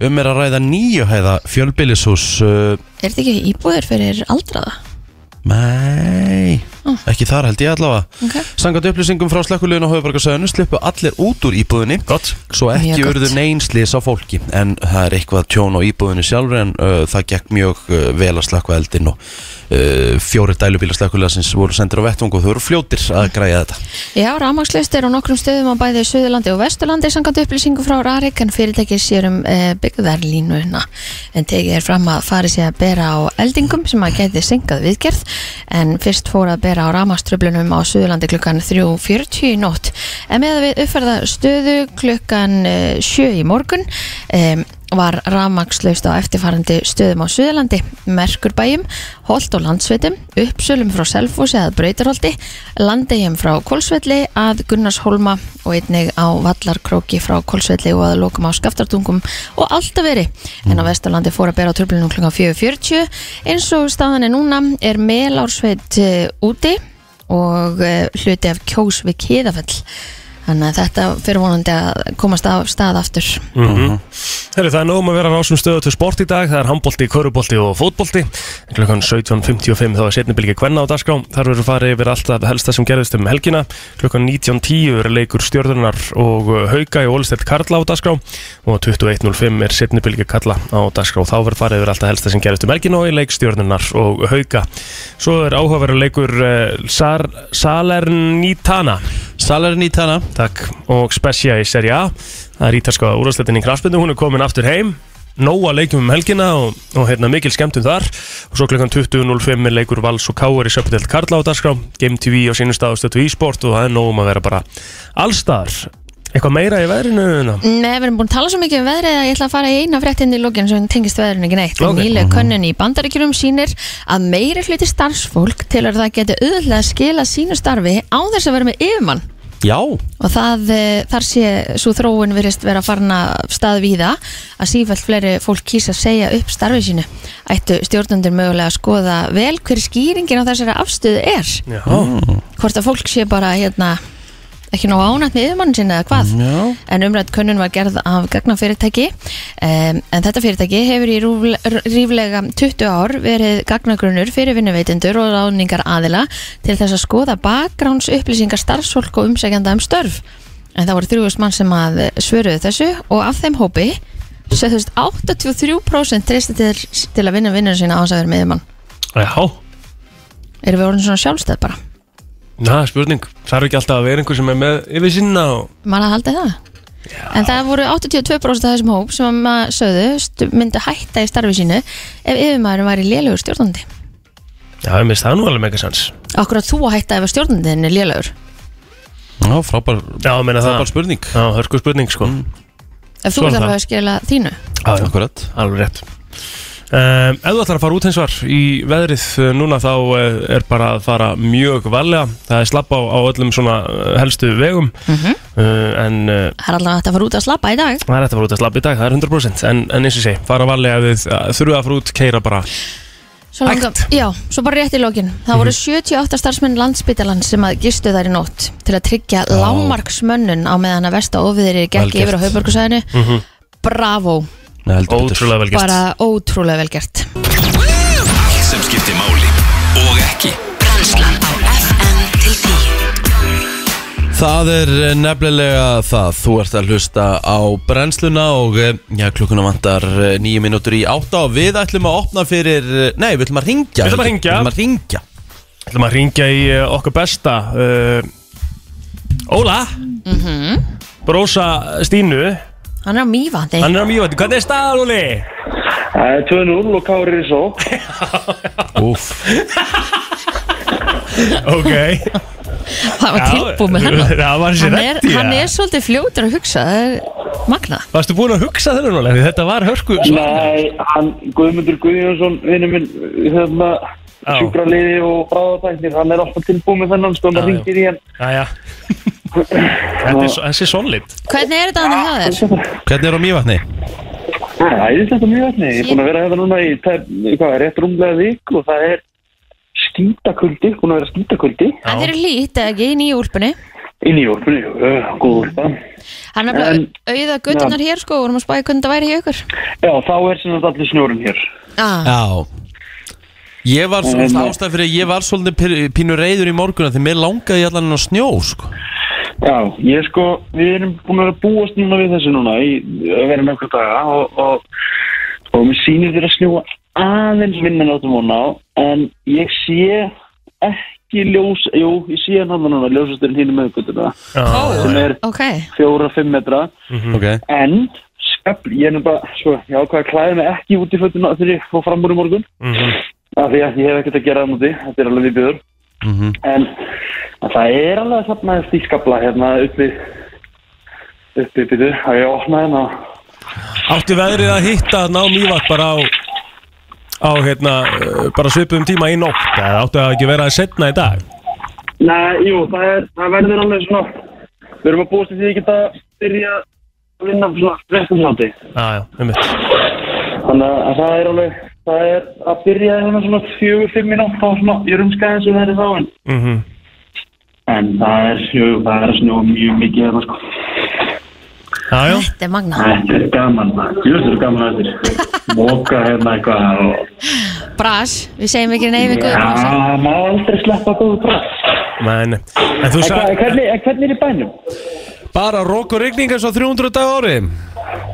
um er að ræða nýju hæða fjölbýlishús uh,
Er þetta ekki íbúðir fyrir aldraða?
Nei,
Ah.
Mm.
ekki þar held ég allavega
Okay.
Sangat upplýsingum frá slökkulegin á höfubarkasöðinu sluppu allir út úr íbúðinni
Gott.
Svo ekki
Mjög gott.
urðu neinslis á fólki En það er eitthvað tjón á íbúðinu sjálfur En uh, það gekk mjög uh, vel að slökka eldin Og uh, fjóri dælubíla slökkulegasins voru sendir á vettvang Og þau voru fljótir að græja þetta
Já, rámakslust er á nokkrum stöðum á bæði Suðurlandi og Vesturlandi samkvæmt upplýsingu frá Rarik en fyrirtækið sér um e, byggðarlínuna en tekið er fram að farið sé að bera á eldingum sem að geti syngað viðgerð en fyrst fór að bera á rámaströflunum á Suðurlandi klukkan 3.40 í nótt en með við uppferða stöðu klukkan e, 7 í morgun e, var rafmakslaust á eftirfarandi stöðum á Suðalandi, Merkurbæjum, Holt og Landsveitum, Uppsölum frá Selfossi að Brautarholti, Landegjum frá Kolsvelli að Gunnarshólma og einnig á Vallarkróki frá Kolsvelli og að lokum á Skaftartungum og Altaveri. En á Vesturlandi fór að bera á tröflunum kl. 4.40 eins og staðan er núna er Melársveit eh, úti og eh, hluti af Kjós við Kiðafell. Þannig að þetta fyrir vonandi að komast af stað aftur.
Mm Heri, það er nóg um að vera á rásum stöðu til sport í dag, það er handbólti, körubolti og fótbolti En klukkan 17.55 þá er setnibylgi kvenna á dagskrá, þar verður farið yfir allt af helsta sem gerðist um helgina klukkan 19.10 er leikur stjörðunar og uh, hauka í ólistelt karla á dagskrá og 21.05 er setnibylgi kalla á dagskrá, þá verður farið yfir allt af helsta sem gerðist um helgina og í leik stjörðunar og hauka Svo er áhugaverður leikur uh, Sar Salernitana
Salarinn í tana
Takk, og Spezia í Serie A Það er ítalska úrvarsleitin í kraftbyndu Hún er komin aftur heim Nóa leikum um helgina og, og hérna mikil skemmtum þar og svo klukkan 20.05 er leikur Vals og Káar í Söpudelt Karla á dagskrá Game TV á sínum stað og stötu e-sport og það er nóg um að vera bara allstar Eitthvað meira í veðrinu núna?
Nei, við erum búin að tala svo mikið um veðrið að ég ætla að fara í eina fréttin í lókin sem tengist veðrinu ekki neitt.
Ok.
Okay. Nýlega könnun í bandaríkjurum sýnir að meiri hluti starfsfólk til að það geti auðvitað að skila sínu starfi á þess að vera með yfirmann
Já,
og það, eh, þar sé svo þróun virðist vera farin að stað víða að sífælt fleiri fólk kýsa að segja upp starfi sínu. Ættu stjórnundur mögulega að skoða vel hver skýringin á þessari afstöðu er.
Já,
Hvort að fólk sé bara hérna ekki nóg ánætt með yfirmann sinna eða hvað?
já
en umrætt könnun var gerð af gagnafyrirtæki um, en þetta fyrirtæki hefur í rúfle- r- ríflega 20 ár verið gagnagrunnur fyrir vinnuveitendur og ráningar aðila til þess að skoða bakgráns upplýsingar starfsfólk og umsækjanda um störf en það voru þrjúðust mann sem að svöruðu þessu og af þeim hópi sögðust 83% treysti til, til að vinna vinnur sína á þess að vera meðumann
já
Erum við orðin svona sjálfstæð bara?
Na, spurning, þarf ekki alltaf að vera einhver sem er með yfir sinna og
Man að halda það En það voru 82% af þessum hóp sem að maður sögðu stu- myndu hætta í starfi sínu ef yfirmaðurinn væri lélugur stjórnandi
Já, ég minnst það nú alveg mega sans
Akkur að þú að hætta ef að stjórnandinn er lélugur
Já, frábær,
Já, ég meina
frábær
það
spurning
Já, hörku spurning, sko
Ef þú
Svo er
ert
það.
alveg að skila þínu
Já, já,
Akkurat
alveg rétt um, Ef þú ætlar að fara út hins var í veðrið uh, núna þá uh, er bara að fara mjög varlega Það er slapp á, á öllum svona uh, helstu vegum uh, En uh,
Það er allavega hægt að fara út að slappa í dag
það er hægt að fara út að slappa í dag, það er 100% En, en eins og sé, fara varlega ef þið uh, þurfa að fara út, keira bara
Svo langa, já, svo bara rétt í lokin. Það voru 78 starfsmenn landsbytalans sem að gistu þær í nótt til að tryggja lágmarksmönnun á meðan að vesta ofiðir
Vel
gekk
gert.
yfir á haugbörgusæðinu. Bravo,
Nei, heldur betur.
Ótrúlega vel gert
bara ótrúlega vel gert.
Allt sem skiptir máli og ekki
Brennslan á FM til 10
Það er eh, nefnilega það, þú ert að hlusta á brennsluna og eh, já, klukkuna vantar nýju mínútur í átta og við ætlum að opna fyrir, eh, nei, við ætlum að ringja
Við ætlum að hringja.
Við ætlum að ringja
Það ætlum að ringja í eh, okkar besta uh, Óla
Mhm.
Brósa Stínu
Hann er á mývandi.
Hann er á mývætti, hvernig er staðan Óli?
[laughs]
Það er 2-0 og Kári er í sók.
Úf,
Ok
það var tilbúið með hennar.
Það var sér
Hann er,
rétt í
hann
það.
er svolítið fljótur að hugsa, það er magna.
Varstu búin að hugsa þennan Óla? Því Þetta var hörku
Nei, hann Guðmundur Guðjónsson, vinnu minn, hérna,
Já.
sjúkraliði og bráðatæknir, hann er alltaf tilbúið með þennan, sko,
Já,
hann ringir í hann.
Jæja Þetta er svo- Þessi er solid
Hvernig er þetta hann hjá þér?
hvernig er á mývatni?
Það er æðislegt og mjög vatni. Ég er búin að vera hérna núna í, tæp- í hvað, rétt rúmlega vik og það er skítakuldi, búin að vera skítakuldi
Hann er lít, eða ekki, í nýju úlpunni.
inn í jórpunni, góð úrpa.
Hann er bara
En-
auða göttunar hér sko, vorum að spæði hvernig það væri hjá ykkur.
Já, þá er sem sagt allir snjórun hér.
Ah.
Já Ég var
Nei,
svolítið
nei.
ástæð fyrir að ég var svolítið pyr- pínu reyður í morgun af því mér langaði í allan en á snjó sko.
Já, ég sko, við erum búin að vera að búast núna við þessu núna í að vera nokkur daga og, og, og mér sýnir þér að snjúa aðeins minna en áttum vona á en ég sé ekki ljós, jú, ég sé hann hann núna ljósasturinn hínum meðgötuna sem er
Ok,
4-5 metra
Mm.
Ok,
en skafl, ég er nú bara, svo, ég ákvað að klæða mig ekki út í fötuna þegar ég fór fram úr í morgun af því að ég hef ekkert að gera það múti, þetta er alveg viðbjöður
Mhm.
en en það er alveg að safna í skabla hérna uppi uppi byrju, að ég opna hérna
Áttu veðrið að hitta ná mývætt bara á á hérna eh, bara svipum tíma í nótt eða áttu að ekki vera að setna í dag
Nei, jú, það, er, það verður alveg svona við erum að búast til því að geta byrja að vinna svona frektum sátti
Já, já, einmitt
þannig að það er alveg það er að byrja hérna svona fjögur, fimm mínútt þá svona, ég rumskaði sem það er þá en,
Mhm.
en það er, jú, það er snjó mjög mikið hérna sko
Já, já
þetta er magna.
Þetta er gaman, jú, þetta er gaman að þessu móka hérna eitthvað og
Bras, við sko. segjum ekki neyfi
Já,
Guðbrands
maður má aldrei sleppa góðu brás.
Nei, nei. En þú sagði
Hvernig, en hvernig er í bænum?
bara rók og rigning eins og 300 dag á ári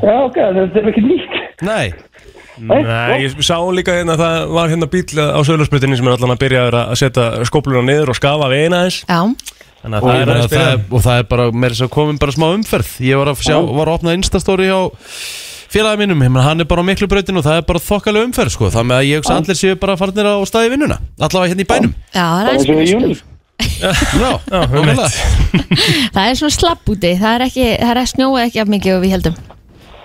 Já, ok, þetta er ekki nýtt.
Nei,
Nei, ég sá líka hérna að það var hérna bíl á söglarsbrutinni sem er allan að byrja að setja skópluna niður og skafa við eina eins
Já,
Þannig að
og,
það er
það
aðeins
það
byrja
er, og það er bara með þess að komin bara smá umferð ég var að, sjá, var að opna instastóri hjá félagi mínum, Ég meina, hann er bara á miklu breytin og það er bara þokkalega umferð sko. það með að ég hugsa að allir séu bara farnir á staði vinnuna allavega hérna í bænum
já, það er
Það er svo í júni.
aðeins
Já, nákvæmlega.
Það er svona slapp úti, það er ekki, það er snjóið ekki af mikið og við heldum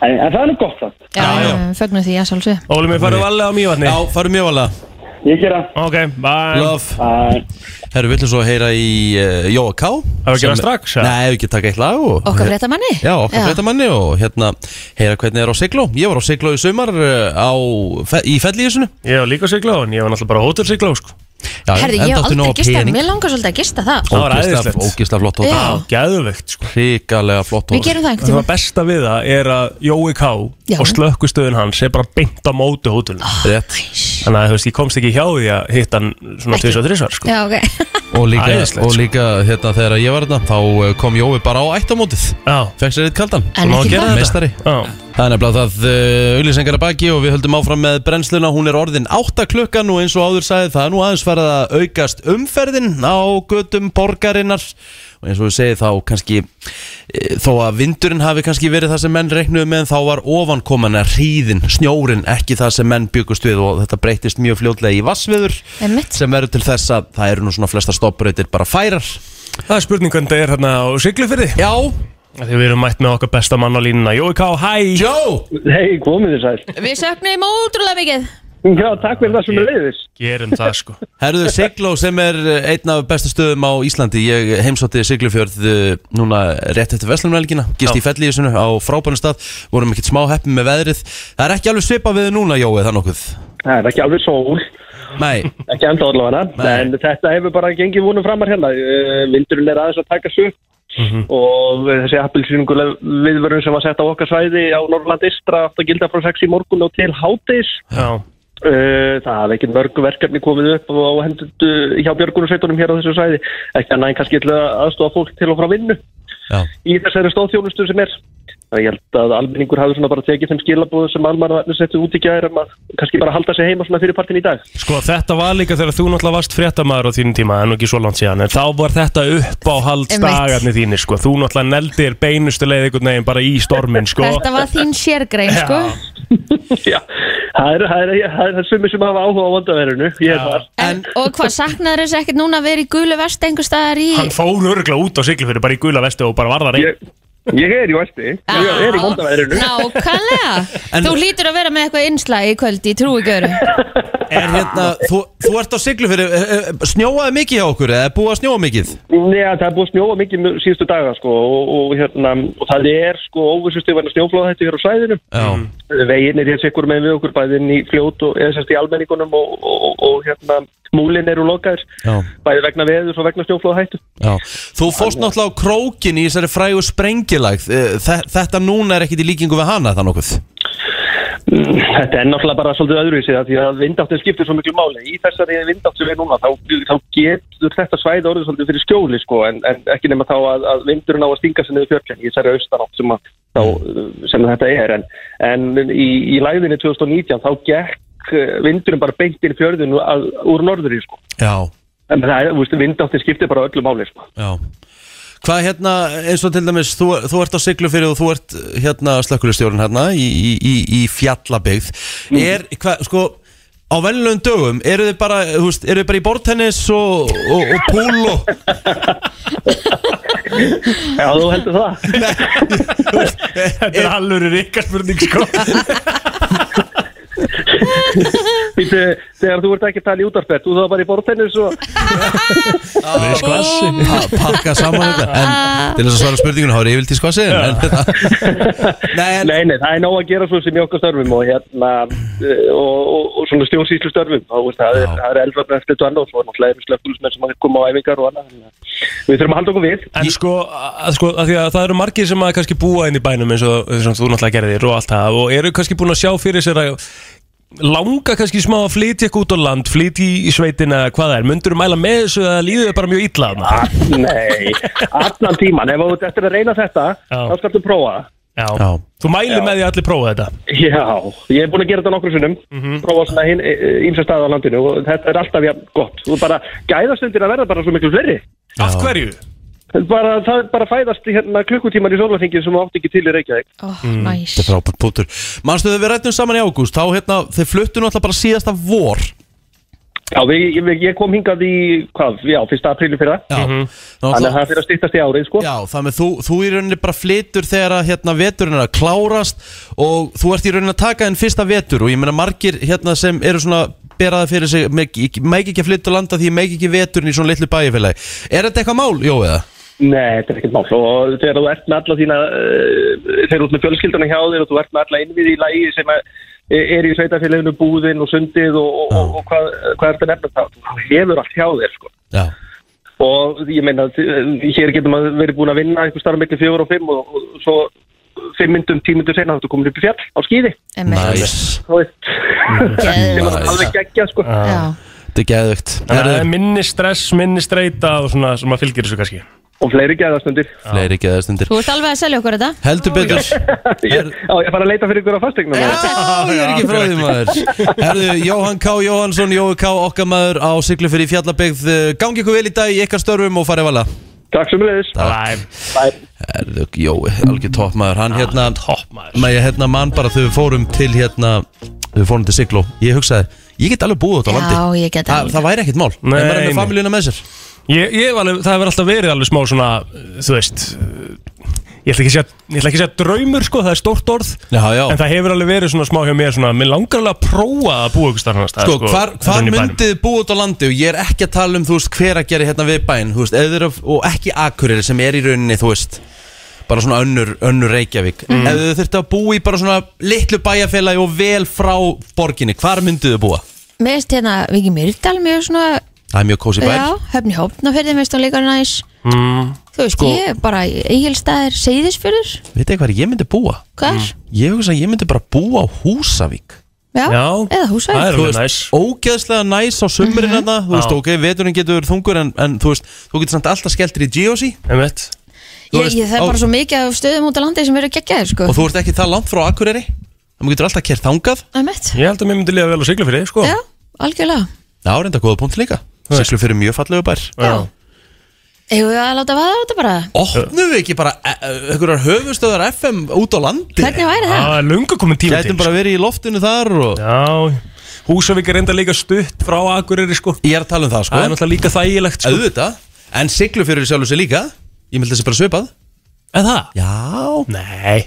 En, en það er nú gott það.
Já,
Já, já.
já. fögnum því, já, sjálfsög
Óli, mér farið valega á mývarni
Já, farum mjög alveg
Ég gera.
Ok, bye
Love
Æ,
Herru, við ætlum svo að heyra í uh, Jóa K
við að gera
Sem-
strax, eða?
Nei, við getum taka eitt lag og,
Okkar fréttamanni
Já, okkar fréttamanni og hérna heyra hvernig er á Sigló Ég var á Sigló í sumar eh, á, fe- í fellíðisunu
Ég var líka siglá, en ég var náttúrulega bara hótelsiglá sko.
Herði, ég hef aldrei gista, mér langar svolítið að gista það
Það var æðislegt.
Ógislega flott
Já.
hótel
Gæðuveikt sko.
Ríkalega flott
Eh, Við gerum það
Það
einhvern
var besta við það er að Jói K
Já. Ah.
og slökkustöðun hans er bara beint á móti hótelun
Rétt
tíma
Þannig að þú veist, ég komst ekki hjá því að hitta hann svona
Ekki.
tvis og þrisvar sko.
Já, ok [laughs]
Og líka,
Æðislegt,
og
sko.
líka hérna, þegar ég var hérna Þá eh, kom Jói bara á ættamótið
Já,
Fekk sér eitt kaldan
En
má
ekki
gera
það
Meistari
já
Það er nefnilega það uh, auðlýsingar að baki og við höldum áfram með brennsluna, hún er orðin 8 klukkan og eins og áður sagði það er nú aðeins farið að aukast umferðin á gödum borgarinnar og eins og við segið þá kannski eh, þó að vindurinn hafi kannski verið það sem menn reiknuðu með þá var ofankoman að hríðin, snjórin ekki það sem menn byggust við og þetta breytist mjög fljótlega í vassviður
Einmitt.
sem verður til þess að það eru nú svona flesta stopbreytir bara færar
Það er spurning hvernig það er hérna á Siglufyrði
Já,
Þegar við erum mætt með okkar besta mann á línuna Jói K, hæ
Jó!
Hei, komið þið sæl
Við söknum ótrúlega mikið
Já, takk fyrir það sem er leiðis
Gerum það sko
Herðu Sigló sem er eh, einn af bestu stöðum á Íslandi Ég heimsótti Siglufjörð uh, núna rétt eftir Vestlumvelgina Gist
Já.
í fellíðisunu á frábænum stað Vorum ekkert smá heppin með veðrið Það er ekki alveg svipa við núna Jói það nokkuð
Það er ekki alveg sól
Nei,
Ekki enda allavega
Nei.
En þetta hefur bara gengið vonum framar hérna Eh, Vindurinn er aðeins að taka svo Og eh, þessi appilsýninguleg viðvörun sem var sett á okkar svæði á Norrland Istra átt að gilda frá 6 í morgun og til hátis
Já,
Uh, það hafa ekkert mörg verkefni komið upp og hendur hjá björgunarsveitunum hér á þessu sæði ekki að næn kannski ætla að aðstofa fólk til og frá vinnu
já,
í þessari stóðþjónustu sem er það ég held að almenningur hafi svona bara tekið þeim skilabóðu sem almanna settu út í gæri um að kannski bara halda sig heima svona fyrir partin í dag
sko þetta var líka þegar þú náttúrulega varst fréttamaður á þínum tíma, en nú ekki svo langt síðan en þá var þetta upp á haldsdagarnir þínir sko, þú náttúrulega neldir beinustu leið einhvern veginn bara í stormin sko
Þetta var þín sérgrein sko
Já, það er, það er, það er, það er sumir sem hafa áhuga á vandaverinu ég er þar
en, Og hvað saknaður þess ekkert núna að vera í gulu vest einhver staðar í
Hann fór örgla út á Siglufjörðu bara í gula vestu og bara var það reynd
ég, ég er í vesti ég er í vandaverinu
Nákvæmlega
En-
Þú lítur að vera með eitthvað innslag í kvöld í trúigöru
er hérna Þú, þú ert á Siglufjörð Snjóaði mikið hjá okkur eða er búið að snjóa mikið
Nei, það er búið að snjóa mikið mjög síðustu daga sko, og, og, hérna, og það er sko, óvissustu verðin snjóflóða þetta hér á svæðinu
Já,
veginn er hér sikkur með við okkur bæðin í fljót og eða sérst í almenningunum og, og, og, og hérna, múlin eru lokaðir
Já.
bæði vegna veður og vegna snjóflóða hættu
já Þú fórst náttúrulega á krókin í þessari frægu sprengilag Þetta núna er ekkit í líkingu við hana það nokkuð
Þetta er náttúrulega bara svolítið öðruvísi af því að vindáttin skiptir svo miklu máli í þessari vindátt sem er núna þá, þá getur þetta svæði orðið svolítið fyrir skjóli sko, en, en ekki nema þá að, að vindurinn á að stinga sig niður fjörkjan í þessari austanátt sem, að, þá, uh, sem þetta er en, en í, í læðinni 2019 þá gekk uh, vindurinn bara beint inn í fjörðinu að, úr norðri sko.
Já,
en það er, þú veist, vindáttin skiptir bara öllu máli sko.
Já Hvað hérna, eins og til dæmis, þú, þú ert á Siglufyrði og þú ert hérna slökkulistjórun hérna í, í, í, í fjallabygð Er, hvað, sko, á venlunum dögum, eru þið bara, þú veist, eru þið bara í bortennis og, og, og púl [laughs] og
Já, þú heldur það
Þetta er alveg ríkar spurning sko
Býtu, Þegar þú ert ekki að tala í útarferð þú þá bara í bortennis og
Skvassi
[laughs] pa, pakka saman þetta
Ah,
En til þess að svara spurningunum, þá er yfirlt í skoðsinn en, Nei, en,
Nei, nei, það er nóg að gera svo sem í okkar störfum og hérna eh, og, og, og svona stjórnsýslu störfum og veist, það, er,
Já.
það er elva brennslið og annað og svo er náttúrulega erum slökkulismenn sem að koma á æfingar og annað þannig að Við þurfum að halda okkur við
En sko, að, sko að því að það eru margir sem að kannski búa inn í bænum eins og eins og þú náttúrulega gerðir og allt það og eru kannski búin að sjá fyrir sér að langa kannski smá að flytja eitthvað út á land, flytja í- í sveitina, hvað það er, myndur mæla með þessu að líðu þau bara mjög illa að maður?
Nei, allan tíman ef þú ert eftir að reyna þetta
Já.
þá skaltu prófa
Já.
Já.
Þú mælir með því að allir prófa þetta.
Já, ég hef búin að gera þetta nokkru sinnum prófa svona hinn ímsa staði á landinu og þetta er alltaf jafn gott þú bara gæðast undir að verða bara svo miklu fleiri
Af hverju?
bara, það er bara fæðast í, hérna, klukkutíman í sólarþingin sem þú átt ekki til í Reykjavík
oh, Næs
þetta er frábært pútur Manstu þau við rættum saman í ágúst, þá hérna, þau fluttu náttúrulega bara síðasta vor
Já, við, ég, ég kom hingað í, hvað, já, fyrsta aprílu fyrir það.
Já,
Þannig að það fyrir að stýttast í árið, sko.
Já, þannig að þú, þú í rauninni bara flytur þegar að hérna veturinn er að klárast og þú ert í rauninni að taka þinn fyrsta vetur og ég meina margir hérna sem eru svona beraða fyrir sig, meik meik ekki að flytta og landa því ég meik ekki veturinn í svona litlu bæjarfélagi Er þetta eitthvað mál, Jó, eða?
Nei, þetta er ekkert mál. Og þegar þú ert með alla þína, uh, þegar þú ert með fjölskyldunum hjá þér og þú ert með alla innviði í lægi sem að, eh, er í sveitafélaginu búðin og sundið og, og, og, og hvað, hvað er þetta nefnir það? Þú hefur allt hjá þér, sko.
Já,
Og ég meina, eh, hér getum að verið búin að vinna einhver starf miklu fjögur og fimm og, og, svo fimm myndum, tíu myndum senna þá þú komin upp í fjall á skýði.
næs
Þú veist, [laughs] Sem er alveg geggjað, sko.
Já
Þetta er geðvögt
Þannig að það er minni stress, minni streyta og svona sem að fylgir þessu kannski.
og fleiri gæðastundir
fleiri geðastundir
Þú ert alveg að selja okkur þetta
heldur betur
Ég- [laughs] Já, ég fara að leita fyrir ykkur á fasteigna
Já, ég er ekki frá því maður Herðu, Jóhann K. Jóhansson, Jói K. okkamaður á siglu fyrir fjallabegð Gangi ykkur vel í dag í ykkar störfum og farið vala
Takk sem leiðis
Herðu, Jói, algjör topp maður Hann hérna,
Topp maður
maður hérna mann bara þegar við fórum til hérna Við fórum til siglu, ég hugsaði Ég get alveg búið út á landi
Já, ég get
Þa,
alveg.
Það væri ekkert mál, en
Nei,
maður er
nei.
með familjuna með sér
Ég, ég hef alveg, það hefur alltaf verið alveg smá svona, þú veist Ég ætla ekki að segja, ég ætla ekki að segja draumur sko, það er stórt orð
Já, já,
En það hefur alveg verið svona smá hjá mér svona Mér langar alveg að prófa að búa ykkur starfnast
Sko, hvar, hvar myndið þið búið út á landi og ég er ekki að tala um, þú veist, hver að gera hérna við bæn, þú veist, eður af, og ekki Akureyri sem er í rauninni, þú veist, bara svona önnur, önnur Reykjavík. Mm. Ef þið þurftu að búa í bara svona litlu bæjarfélagi og vel frá borginni, hvar myndið þið búa?
Mér veist hérna Viki Myrdal mjög svona
Það er mjög kósi bær.
Já, höfni hópna fyrir mér stóð líka næs
Mm.
Þú veist, ég bara Egilstaðir Seyðisfjörður
Veit þið hvað ég myndi búa?
Hvar?
Ég hugsa að ég myndi bara búa á Húsavík.
Já,
Já.
eða
Það
húsvæð
er
Þú veist,
alveg næs
ógeðslega næs á sumurinn mm þú veist,
Já.
ok, veturinn getur þungur en, en þú veist, þú getur samt alltaf skeltir í Geosi
Einmitt.
þú
Ég,
veist,
ég þarf
á-
bara svo mikið af stöðum út á landi sem eru geggjaðir sko
og þú ert ekki það langt frá Akureyri, þannig getur alltaf kert þangað
Það er mitt
Ég held að mér myndi liða vel á sigla fyrir sko.
Já, algjörlega
Já, reynda góða punkt líka
Þú veist.
Siglu fyrir mjög fallegu bær
Já. Eigum við að láta vaða á þetta bara?
Opnum við ekki bara e- e- einhverjar höfustöðar FM út á landi
Hvernig væri
Ah.
það?
Það er lunga komin tíma til
Gætum bara verið í loftinu þar og
Já, Húsavík er enda líka stutt frá Akureyri sko
Ég er að tala um það
Það er
sko
náttúrulega líka þægilegt sko
Auðvitað En siglu fyrir sjálfur sér líka Ég myndi þessi bara svipað
Er það?
Já
Nei,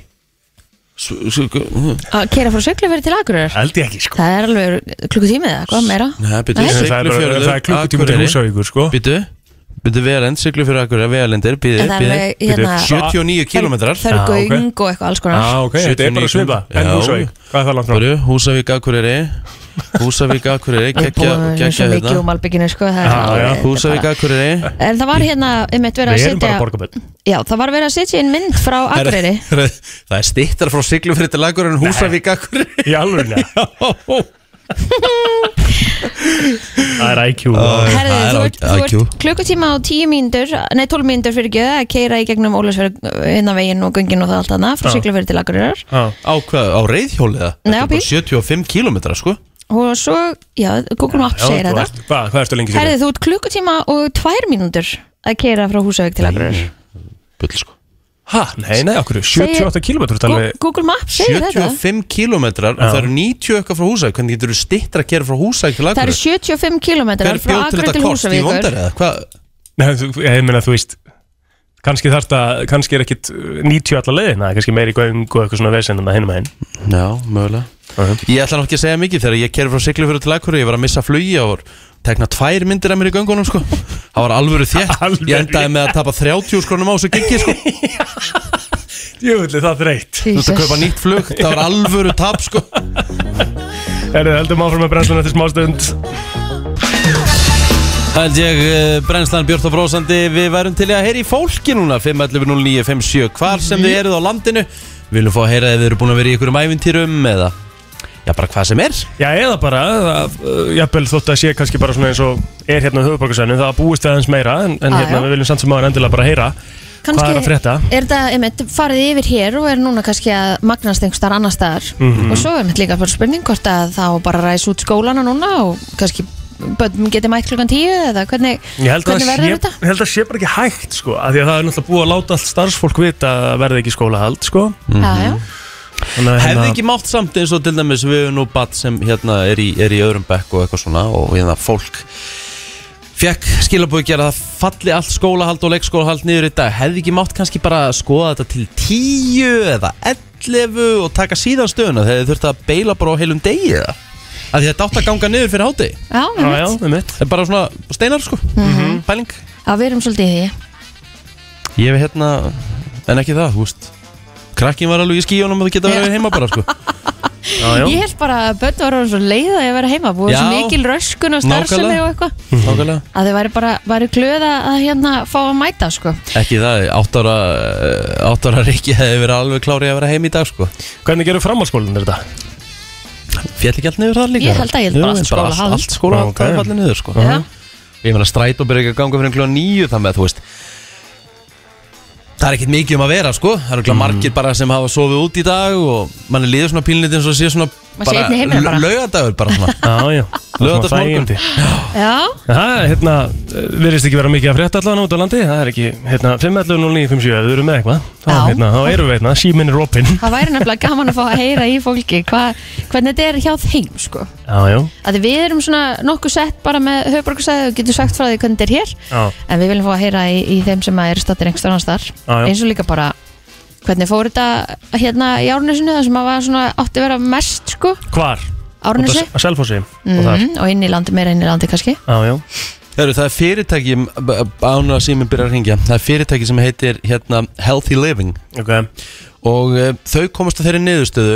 s- s- gu- mm.
Að kera frá sögluferi til Akureyrar?
held ég ekki sko
Það er alveg klukkutími eða hvað meira?
Nei, býtu
Nei.
Það er, bara, það er klukkutíma til Húsavíkur sko
Býtu Býtu vegarend Siglu fyrir Akureyri Vegarendir Býtu
En það er alveg, hérna
79 kílómetrar Ah,
Það
Já,
eru
ok.
göng og eitthvað alls konar
Já, Ah, ok, þetta er bara
79
svipa En
Já.
Húsavík, hvað er það langt frá?
Börju, Húsavík Akureyri Húsavík Akureyri
Við
Kekja
búum við svo
Kekja
mikið um
hérna
albygginu sko það er
Já,
alveg-
já,
þetta er
Húsavík
bara-
Akureyri
En það var hérna, einmitt verið að
Við erum bara
setja
borgarböld
Já, það var verið að setja inn mynd frá Akureyri
[laughs] Það er- Það er stittar frá Siglufjörði til Akureyri en Húsavík Akureyri [laughs]
Í alveg, það er IQ
Æ.
Herðu,
það er
þú
á-
ert, þú
IQ.
ert klukkutíma og tíu mínútur Nei, tólf mínútur fyrir gjöð að keira í gegnum Ólasverð hérna veginn og göngin og það allt annað frá
Já.
Siglufjörði til Akureyrar
Á hvað, á reyðhjóliða?
Nei, á bíl.
75 km sko
og svo, já, Google Maps segir þetta
Hvað, hvað erstu lengi sér?
Herði, þú ert klukkutíma og tvær mínútur að keira frá Húsavík til Akureyrar
Bull sko
Hæ, nei, nei, okkur, 78 km
Gú-
talveg
Google Maps segir þetta
75 km og það eru 90 eitthvað frá Húsavík Hvernig getur þú stittar að gera frá Húsavík til
Það eru
Akureyri?
75 kilometrar
Hver
frá
bjóð til
Akureyri
þetta
til
kost í
Húsavíkur
vondar eða? Hvað?
Nei, þú, ég meina, þú veist kannski þarf það, kannski er ekkit uh, 90 allar leiðin, það er kannski meiri göng og eitthvað svona vesinn en það hinum að hinn
Já, mögulega Ég ætla nokki að segja mikið þegar ég kerði frá Siglufjörðu til Akureyri Ég var að missa flugi og var tekna tvær myndir af mér í göngunum sko Það var alvöru [laughs] þétt
Alvöru.
Ég endaði með að tapa 30 skrónum á þessu giggi sko Þú
Jú, það er þreytt
veist að kaupa nýtt flug, það var alvöru tap sko
Herðu, heldum áfram með brennslun eftir smástund
Held ég, eh, brennslan Björn og Brósandi, við værum til í að heyra í fólki núna 511-0957, hvar sem þið eruð á landinu Við viljum fá að heyra ef þið eru búin að vera í einhverjum ævintýrum eða Já, bara hvað sem er
Já, eða bara, það, uh, jafnvel þótt að sé kannski bara svona eins og er hérna á höfuborgarsæðinu, það búist aðeins meira en, en
Já,
hérna
já.
við viljum samt sem áður endilega bara heyra
Kannski
Hvað er að frétta?
Er það, einmitt, farið yfir hér og er núna kannski að magnast einhver starf annar staðar
Mhm.
og svo er mitt líka bara spurning hvort að þá bara ræs út skólana núna og kannski börnum geti mætt klukkan tíu eða hvernig,
Ég held að,
hvernig
það
verður
sé,
þetta?
ég held að sé bara ekki hægt sko, af því að það er náttúrulega búið að láta allt starfsfólk vita að það verði ekki skólahald sko.
Já, já.
Þannig að hérna-
Hefði ekki mátt samt eins og til dæmis við erum nú batt sem hérna er í, er í öðrum bekk og eitthvað svona og hérna fólk fekk skilabúið gera það falli allt skólahald og leikskólahald niður í dag Hefði ekki mátt kannski bara skoða þetta til 10 eða 11 og taka síðan stöðuna þegar þið þurfti að beila bara á heilum degi eða að því þetta átt að ganga niður fyrir háti
Já,
Já,
einmitt.
já, með mitt
Það er bara svona steinar sko mm Pæling
Já, við erum svolítið í því
Ég hef hérna En ekki það, þú veist Krakkin var alveg í skíunum og það geta verið heima bara sko
Já, já,
Ég held bara að börn var orðin svo leið að ég vera heima búið
Já.
svo mikil röskun og starfsemi
Nákvæmlega.
og eitthvað
Nákvæmlega
að þau væri bara væri glöða að hérna fá að mæta sko
Ekki það, átt ára eh, Átt ára Rikki hefði verið alveg klári að vera heima í dag sko
Hvernig gerur framhalskólan þetta?
Fjall ekki allt niður þar líka
Ég held að ég held bara allt skólahald.
Allt, allt skóla
Ok.
okay. fallið niður sko
Já.
Ég meina strætó byrja ekki að ganga fyrir einhverjum kljóða nýju Það með þú veist Það er ekkert mikið um að vera sko Það eru mm. margir bara sem hafa sofið út í dag og manni líður svona pínlítið eins og sé svona
Maður sé einn í heiminum bara.
Laugadagur bara
[laughs]
svona
Já, já
Laugardagsmorgun.
Þægindi.
Já,
Það er hérna, virðist ekki vera mikið að frétta allan út á landi Það er ekki, hérna, 5.11.09.57 Þau eru með eitthvað Þá,
Já.
hérna, þá eru við hérna, síminn er opinn
[laughs] það væri nefnilega gaman að fá að heyra í fólki hva, hvernig þetta er hjá þeim sko.
Já, já,
að við erum svona nokkuð sett bara með höfbruksæði og getum sagt frá því hvernig þetta er hér
já,
en við viljum fá að heyra í, í þeim sem er stattir einhver annars þar
já.
eins og líka bara hvernig fór þetta hérna í árnusinu það sem að var svona átti að vera mest sko
hvar?
árnusi
Út Að Selfossi
mm
og þar.
og inn í landi, meira inn í landi kannski
Já, já,
Heru, Það er fyrirtæki án að síminn byrja að hringja Það er fyrirtæki sem heitir hérna, Healthy Living
ok
og e, þau komast að þeirri niðurstöðu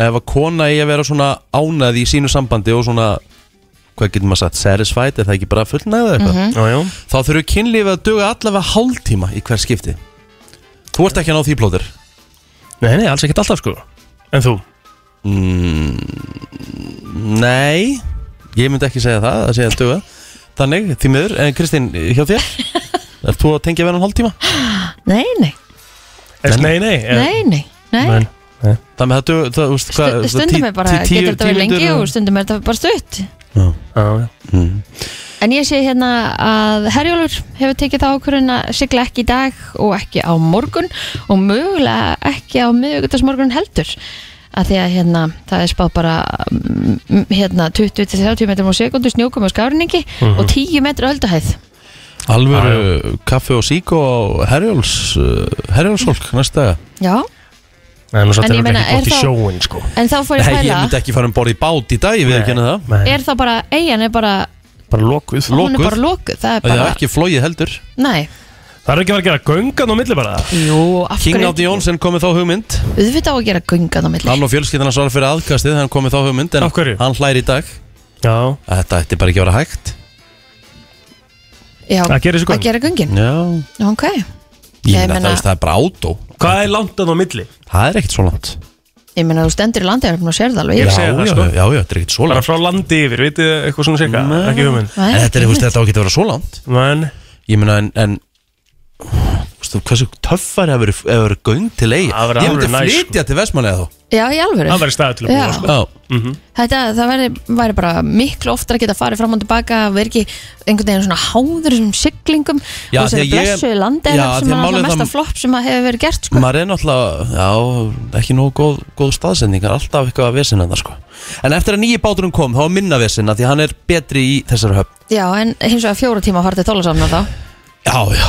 ef að kona eigi að vera svona ánæði í sínu sambandi og svona hvað getur maður sagt, satisfied, er það ekki bara fullnæðið eitthvað
Mhm.
Já, já,
þá þurfum kynlífið að duga allavega hálftíma í hver skipti Þú ert ekki að ná því plóður
nei, nei, alls ekkert alltaf sko En þú?
Mm, Nei, ég myndi ekki segja það, það segja að duga Þannig, því miður, en Kristín, hjá
[laughs]
þér Er þú að tengja verðan hálftíma?
nei, nei,
Nei, nei, nei, eh,
nei, nei, nei.
nei.
Þannig að það duga, það, þú veist, hvað
Stu-
það
stundum
tí-
er bara,
tí- tíu-
getur þetta verið
tíu
lengi
mínútur
og stundum er þetta bara stutt
Já, já,
en ég sé hérna að Herjólfur hefur tekið það ákvörðun að sigla ekki í dag og ekki á morgun og mögulega ekki á miðugutasmorgun heldur að því að hérna, það er spáð bara mm, hérna 20-30 metrum á sekundu snjókum og skárinningi og
Mhm.
10 metru ölduhæð
Alvöru kaffe og sík og herjóls
eh,
herjólsólk næsta daga
já,
Nei, nú
En
satt er
ég
þetta
meina,
ekki
er
gott í
þá-
sjóin sko
en þá fór ég að
Nei, ég
pæla
myndi ekki fara um borð í bát í dag, ég veið ekki henni það
Nei,
er þá bara, eigin er bara
bara lokuð
hún er
Lokuð.
bara lokuð, það er
Það er
bara
ekki flóið heldur
nei,
Það er ekki að vera að gera göngan á milli bara
jú, af
King
hverju
Átni Jónsson komið þá hugmynd
auðvitað á að gera gungan á milli
Hann og fjölskyldan hans var fyrir aðkastið, hann komið þá hugmynd En
Af hverju?
hann hlær í dag
Já,
að Þetta ætti bara ekki að vera hægt
já,
að gera þessu
að
göng
gera gungin
Já
ok,
Ég
Ég
meina
meina-
það, veist, það er bara átó
Hvað er langt að á milli?
Það er ekkert svo langt
ég meina þú stendur í landið og sér það alveg
Ég
Já,
Ég-
segi það,
já,
sko.
já, já, þetta er ekkert svo
Bara
langt
frá landi yfir, vitið þið eitthvað svona seka?
Nei.
Ekki hugmynd
En
Nei,
þetta er, þú veist, þetta á ekki að vera svo langt
Men,
Ég meina, en, en þú veist, Hversu töffar hefur verið göng til eigi
Það verður
Ég myndi
alveg næs, sko.
flytja til Vestmanlega þó
[laughs] Já, í alvöru
það væri staðið til að
Já.
búa sko.
Já,
Þetta, það væri, væri bara miklu oftar að geta farið fram og tilbaka að vera ekki einhvern veginn svona háður þessum siglingum
Já,
og
því
þessari
að ég-
blessuðu landi
Já,
sem
því að
að
málið
það
er
mesta
það-
flopp sem að hefur verið gert sko.
maður er náttúrulega, já, ekki nógu góð, góð staðsendingar, alltaf eitthvað að vesina það sko. En eftir að nýji báturinn kom, þá var minna vesina því hann er betri í þessari höfn.
Já, en hins vegar fjóra tíma að fara til þólasamna þá
Já, já,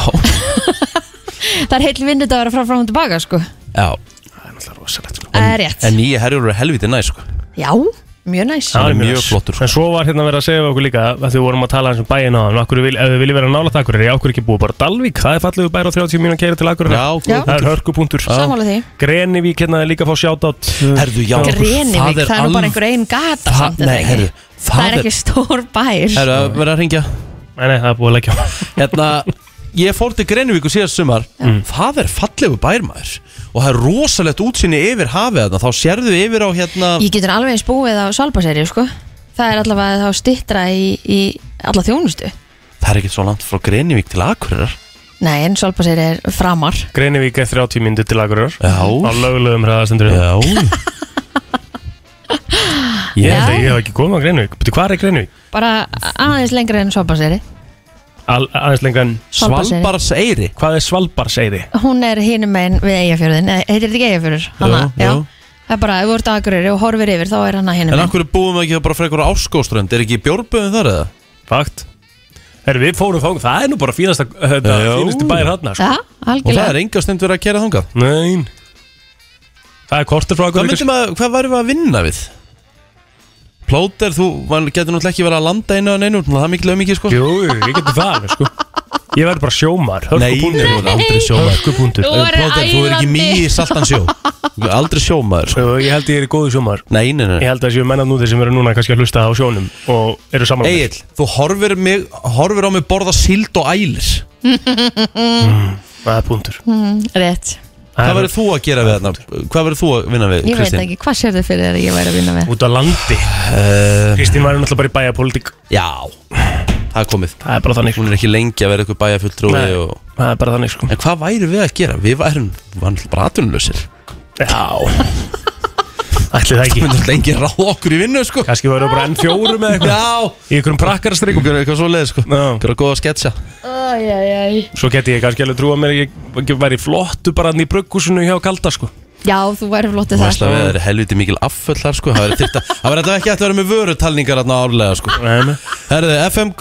Það er heil vinnut að vera frá fram og tilbaka sko.
já.
Það er náttúrulega rosalegt sko.
Það er rétt
En nýji herjur er helviti næ, sko.
Já, mjög næs
Já.
Það
er
er
mjög
næs.
flottur, sko.
En svo var hérna verið að segja við okkur líka að því við vorum að tala um eins og bæin á hann Ef þið viljið vera nála takkur er ég ákvör ekki búið bara Dalvík Það er fallegu bæra á 30 mínúna keira til akkur
Já, góð
Já.
Það er hörkupunktur
Sammála því
Grenivík hérna er líka að fá uh, sjátátt
Herðu, já.
Grenivík,
Það er
það er nú bara
alv-
einhver einn gata
Það-
samt, er
nei,
ekki?
heyrðu, það
Það er
er-
ekki stór bær
Herru, að vera að ringja.
Nei, nei, það er búið að leggja á.
Hérna, ég fór til Grenivíku síðast sumar.
Mm.
Það er fallegu bærmaður. Og það er rosalegt útsinni yfir hafið þarna. Þá sérðu yfir á hérna...
Ég getur alveg eins búið á Svalbaseri sko. Það er allavega þá stittra í, í alla þjónustu
Það er ekkert svo langt frá Grenivík til Akureyrar.
Nei, en Svalbaseri er framar
Grenivík er 30 mínúti til akkur Á
Já.
lögulegum hraðastendur hérna.
Já.
Ég held að ég hef ekki komið á Grenivík Beti, hvað er Grenivík?
Bara aðeins lengra en Svalbaseri
Al, aðeins lengan
[laughs] Svalbarðseyri.
Svalbarseyri.
Hvað er Svalbarseiði?
Hún er hinum megin við Eyjafjörðin Nei, heitir þetta ekki Eyjafjörður? Hanna,
Jú, jú.
Það er bara, ef þú ert aðgurur og horfir yfir þá er hann að hinum
En
megin
okkur búum við ekki bara frekar á Áskóströnd Er ekki bjórböðum þar eða?
Fakt Herru, við fórum þang, það er nú bara fínasta, þetta,
Já.
fínasti bæir hann sko.
Já,
Og það
algjörlega
er enga stund verið að kera þangað
Nein Það er kortur frá
Hvað,
okkur
myndum að, hvað værum við að vinna við? Plóter, þú man- getur náttúrulega ekki verið að landa einu en einu Það er mikil auðmikið sko
Jú, jú, ég getur það alveg, sko Ég verður bara sjómar
Nei, þú
Hörkupúntur
er aldrei sjómaður
Hörkupúntur
Þú verður
Plóter, þú er ekki
ælandi.
mýi saltan sjó Þú er Aldrei sjómaður sko.
Ég held ég er í góðu sjómar
Nei, nei, nei
Ég held að þessi menn að núti sem eru núna kannski að hlusta á sjónum og eru saman
Egil, þú horfir, mig, horfir á mig borða sild og ælis
Það er púntur
Rétt
Hmm. Hvað verður þú að gera við þarna? Hvað verður þú að vinna við,
Ég veit
Kristín?
ekki, hvað sér þau fyrir þér að ég væri að vinna með?
Út á landi
Uh,
Kristín var náttúrulega bara í bæjarpolítik
já, það er komið
Það er bara þannig sko.
Hún er ekki lengi að vera eitthvað bæjarfulltrúi
Nei.
og...
það er bara þannig sko
En hvað væri við að gera? Við værum vann bara atunlösir
Já Ætli það
Við
ekki
myndum lengi ráð okkur í vinnu sko
Kannski verður bara enn fjórum eða eitthvað
Já
Í einhverjum prakkarastrykum
Við erum eitthvað svo leið sko Við
Já.
erum góð að sketsa
Svo geti ég kannski alveg trúa mér að Ég ég væri flottu bara hann í brugghúsinu hjá Kalda sko
Já, þú væri flottið
Væsla
það
við erum helviti mikil afföll þar sko Það verður þyrft að- það verður þetta ekki ætla að vera með vörutalningar þarna árlega sko
Nei, nei.
Herðu, FM,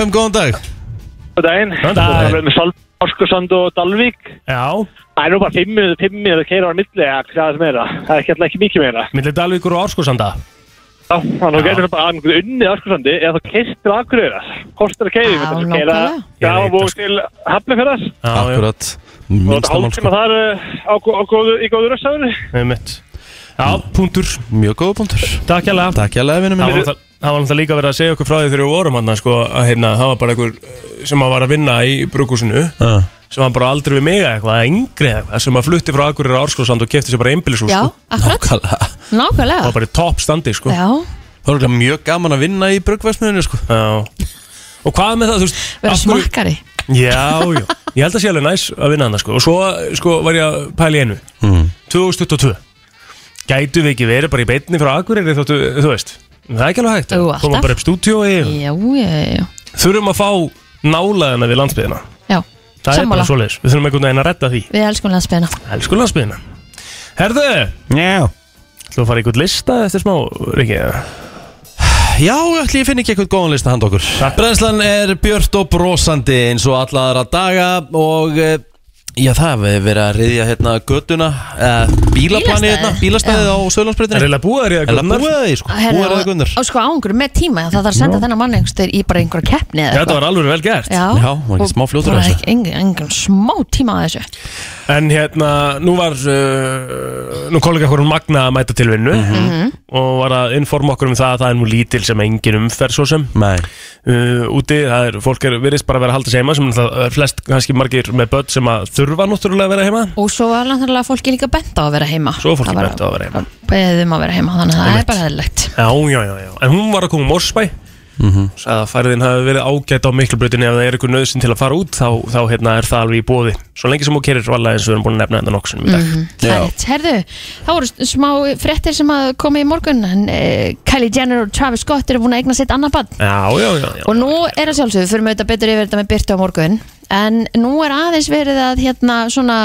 FM góðan dag
Góðan daginn.
Góðan dag.
Við erum með Sal- Áskursand og Dalvík.
Já,
Það er nú bara fimm miður, fimm miður að keira á milli að hvað er meira. Það er ekki alltaf ekki mikið meira.
millir Dalvíkur og Árskursanda
Já, þannig
Já.
að getur bara annað unnið Áskursandi eða þá keistir Akureyrar. Kostar að keira,
Já,
við þessum keira
nákvæmlega.
Ég veit
gaf
það,
og til Hafnafjörðars.
Akkurat
Og þetta
Minnsta mál
hálftíma
sko
þar uh, á, gó- á góðu, í góðu rössáður.
Já, punktur,
Mjög góða punktur
takk hjá
Takk ég alveg vinnu
Það
minn
var náttúrulega- það var náttúrulega líka verið að segja okkur frá því þegar við vorum hann sko, að hérna, það var bara einhver eh, sem að var að vinna í brugghúsinu
Ah.
sem var bara aldrei við mig eða eitthvað, eða yngri eða eitthvað sem að flutti frá Akureyri Árskóðsand og kefti sér bara einbílisús
Já,
sko.
akkurat,
Nákvæmlega
það var
nákvæmlega
bara í topp standi sko.
Já,
Það var örugglega mjög gaman að vinna í brugvæsmiðinu sko
Já. og hvað með það þú veist
vera
af hverju-
smakkari
Já, já, ég held að sé alveg næs að vinna hann sko. og svo sko, var ég að pæla í einu 2022 gætu við ekki verið bara í beinni frá Akureyri þóttu, þú veist, það er ekki alveg hægt
Jú, alltaf.
koma bara upp stúdíói
Já, já, já,
þurfum að fá nálaðina við landsbyðina
já
það er
Sammála,
bara svoleiðis, við þurfum einhvern veginn að redda því
við elskum landsbyðina
elsku landsbyðina Herðu,
Já
ætlum við að fara í einhvern lista eftir smá, Riki
Já, ætli ég finn ekki eitthvað góðan lista handa okkur
Takk.
Brennslan er björt og brosandi eins og alla aðra daga og eh, já, það er verið að reyðja hérna göttuna eh, bílaplani hérna,
Bílastæðið.
bílastæðið á
Það er
Söðlandsbreytinni
eiginlega búið að ríða
Eða búið að því, sko, búið að því gunnar
á sko ángur með tíma það þarf að senda þennan mann einhvers þegar í bara einhverja keppni eða
Þetta var alveg vel gert
Já,
Já, var ekki
og
smá fljótur að
var
þessu.
ekki engin, engin smá tíma að þessu
En hérna, nú var uh, nú kollega okkur um Magna að mæta til vinnu
Mhm.
og var að informa okkur um það að það er nú lítil sem engin umferð svo sem
Nei,
uh, úti, það er, fólk er virðist bara að vera að halda sig heima sem það er flest kannski margir með börn sem að þurfa náttúrulega að vera heima
og svo var náttúrulega fólki líka bent á að vera heima
Svo var fólki
Það var-
bent á að vera heima.
beðið um að vera heima, þannig að það
Einmitt.
er bara eðlilegt
Já, já, já, já, en hún var að koma um Mórsbæ sagði að færðin hafi verið ágætt á miklubrutinu ef það er eitthvað nöðsinn til að fara út þá, þá hérna er það alveg í bóði svo lengi sem hún kerir varlega eins og við erum búin að nefna þetta nokksunum í dag
Mm, Það
Já.
er rétt. Herðu, það voru smá fréttir sem að komi í morgun en, uh, Kylie Jenner og Travis Scott eru búin að eigna sitt annað badn
Já, já, já, já
og nú er að sjálfsögðu, fyrir mig auðvitað betur yfir þetta með Byrtu á morgun en nú er aðeins verið að hérna svona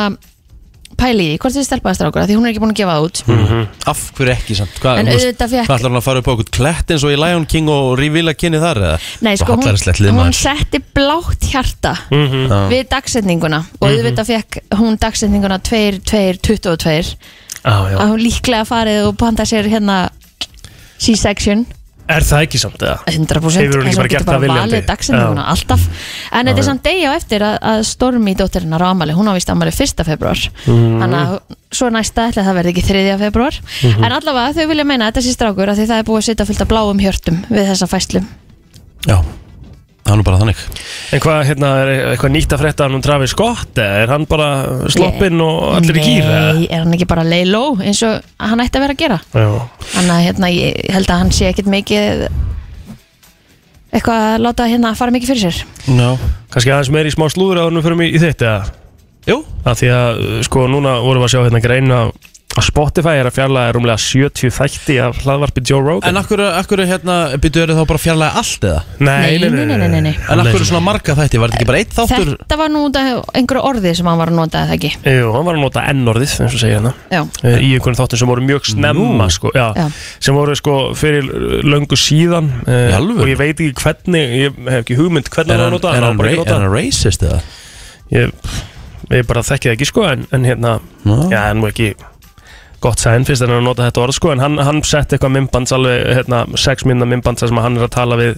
pæli í hvort þið stelpaðast rákur því hún er ekki búin að gefa það út
Hm. Mhm.
af hverju ekki samt Hva,
En
þú veist,
auðvitað fékk-
Hvað ætlar hann að fara upp á okkur klett eins og í Lion King og revíla kynni þar eða?
Nei, sko, hún, hún
hún
setti blátt hjarta
Mhm.
við dagsetninguna og auðvitað fekk hún dagsetninguna 2, 2, 22
Já, já.
að hún líklega farið og panta sér hérna C-section
Er það ekki samt eða?
100%
Hefur hún
eins og
ekki
getur
bara gert það viljandi?
valið dagsetninguna
Já.
alltaf en þetta er samt degi á eftir að, að Stormi dóttirinnar á amali, hún á vist amali 1. februar
Mhm.
þannig að svo næsta ætla að það verði ekki 3. februar
Mhm.
en allavega þau vilja meina að þetta sé strákur að því það er búið að setja fullt af bláum hjörtum við þessa fæslu
Já, það er nú bara þannig
En hvað, hérna, er eitthvað nýtt að frétta hann um Travis Scott? eða Er hann bara sloppinn og allir í gýra?
Nei, er hann ekki bara lay low eins og hann ætti að vera að gera
Já,
Þannig að hérna, ég held að hann sé ekkit mikið eitthvað að láta hérna fara mikið fyrir sér
Já,
kannski aðeins meir í smá slúður að hann fyrir mig í þitt, eða?
Jú.
Að því að, uh, sko, núna vorum við að sjá hérna grein að að Spotify er að fjalla rúmlega 70 þætti af hlaðvarpi Joe Rogan.
en af hverju, af hverju hérna byrju eru þá bara fjarlæga allt eða?
Nei, nei, nei, nei, nei.
En af hverju svona marga þætti, var þetta ekki bara eitt þáttur?
Þetta var nú út af einhverju orði sem hann var að nota eða ekki
Jú, hann var að nota N-orðið, eins og segja hérna,
Já,
eh, í einhvern þáttum sem voru mjög snemma, sko, já,
Já.
sem voru, sko, fyrir löngu síðan eh,
Í alvöru?
og ég veit ekki hvernig, ég hef ekki hugmynd hvernig
Er
hann
hann,
nota,
er
á
hann,
bara
ra
ekki
er
notað.
hann racist eða?
ég, ég bara þekki það ekki sko en, en hérna,
Ná.
já, en nú ekki gott sæðin fyrst en að nota þetta orð sko en hann, hann sett eitthvað myndbands alveg hérna, sex minna myndbands þar sem hann er að tala við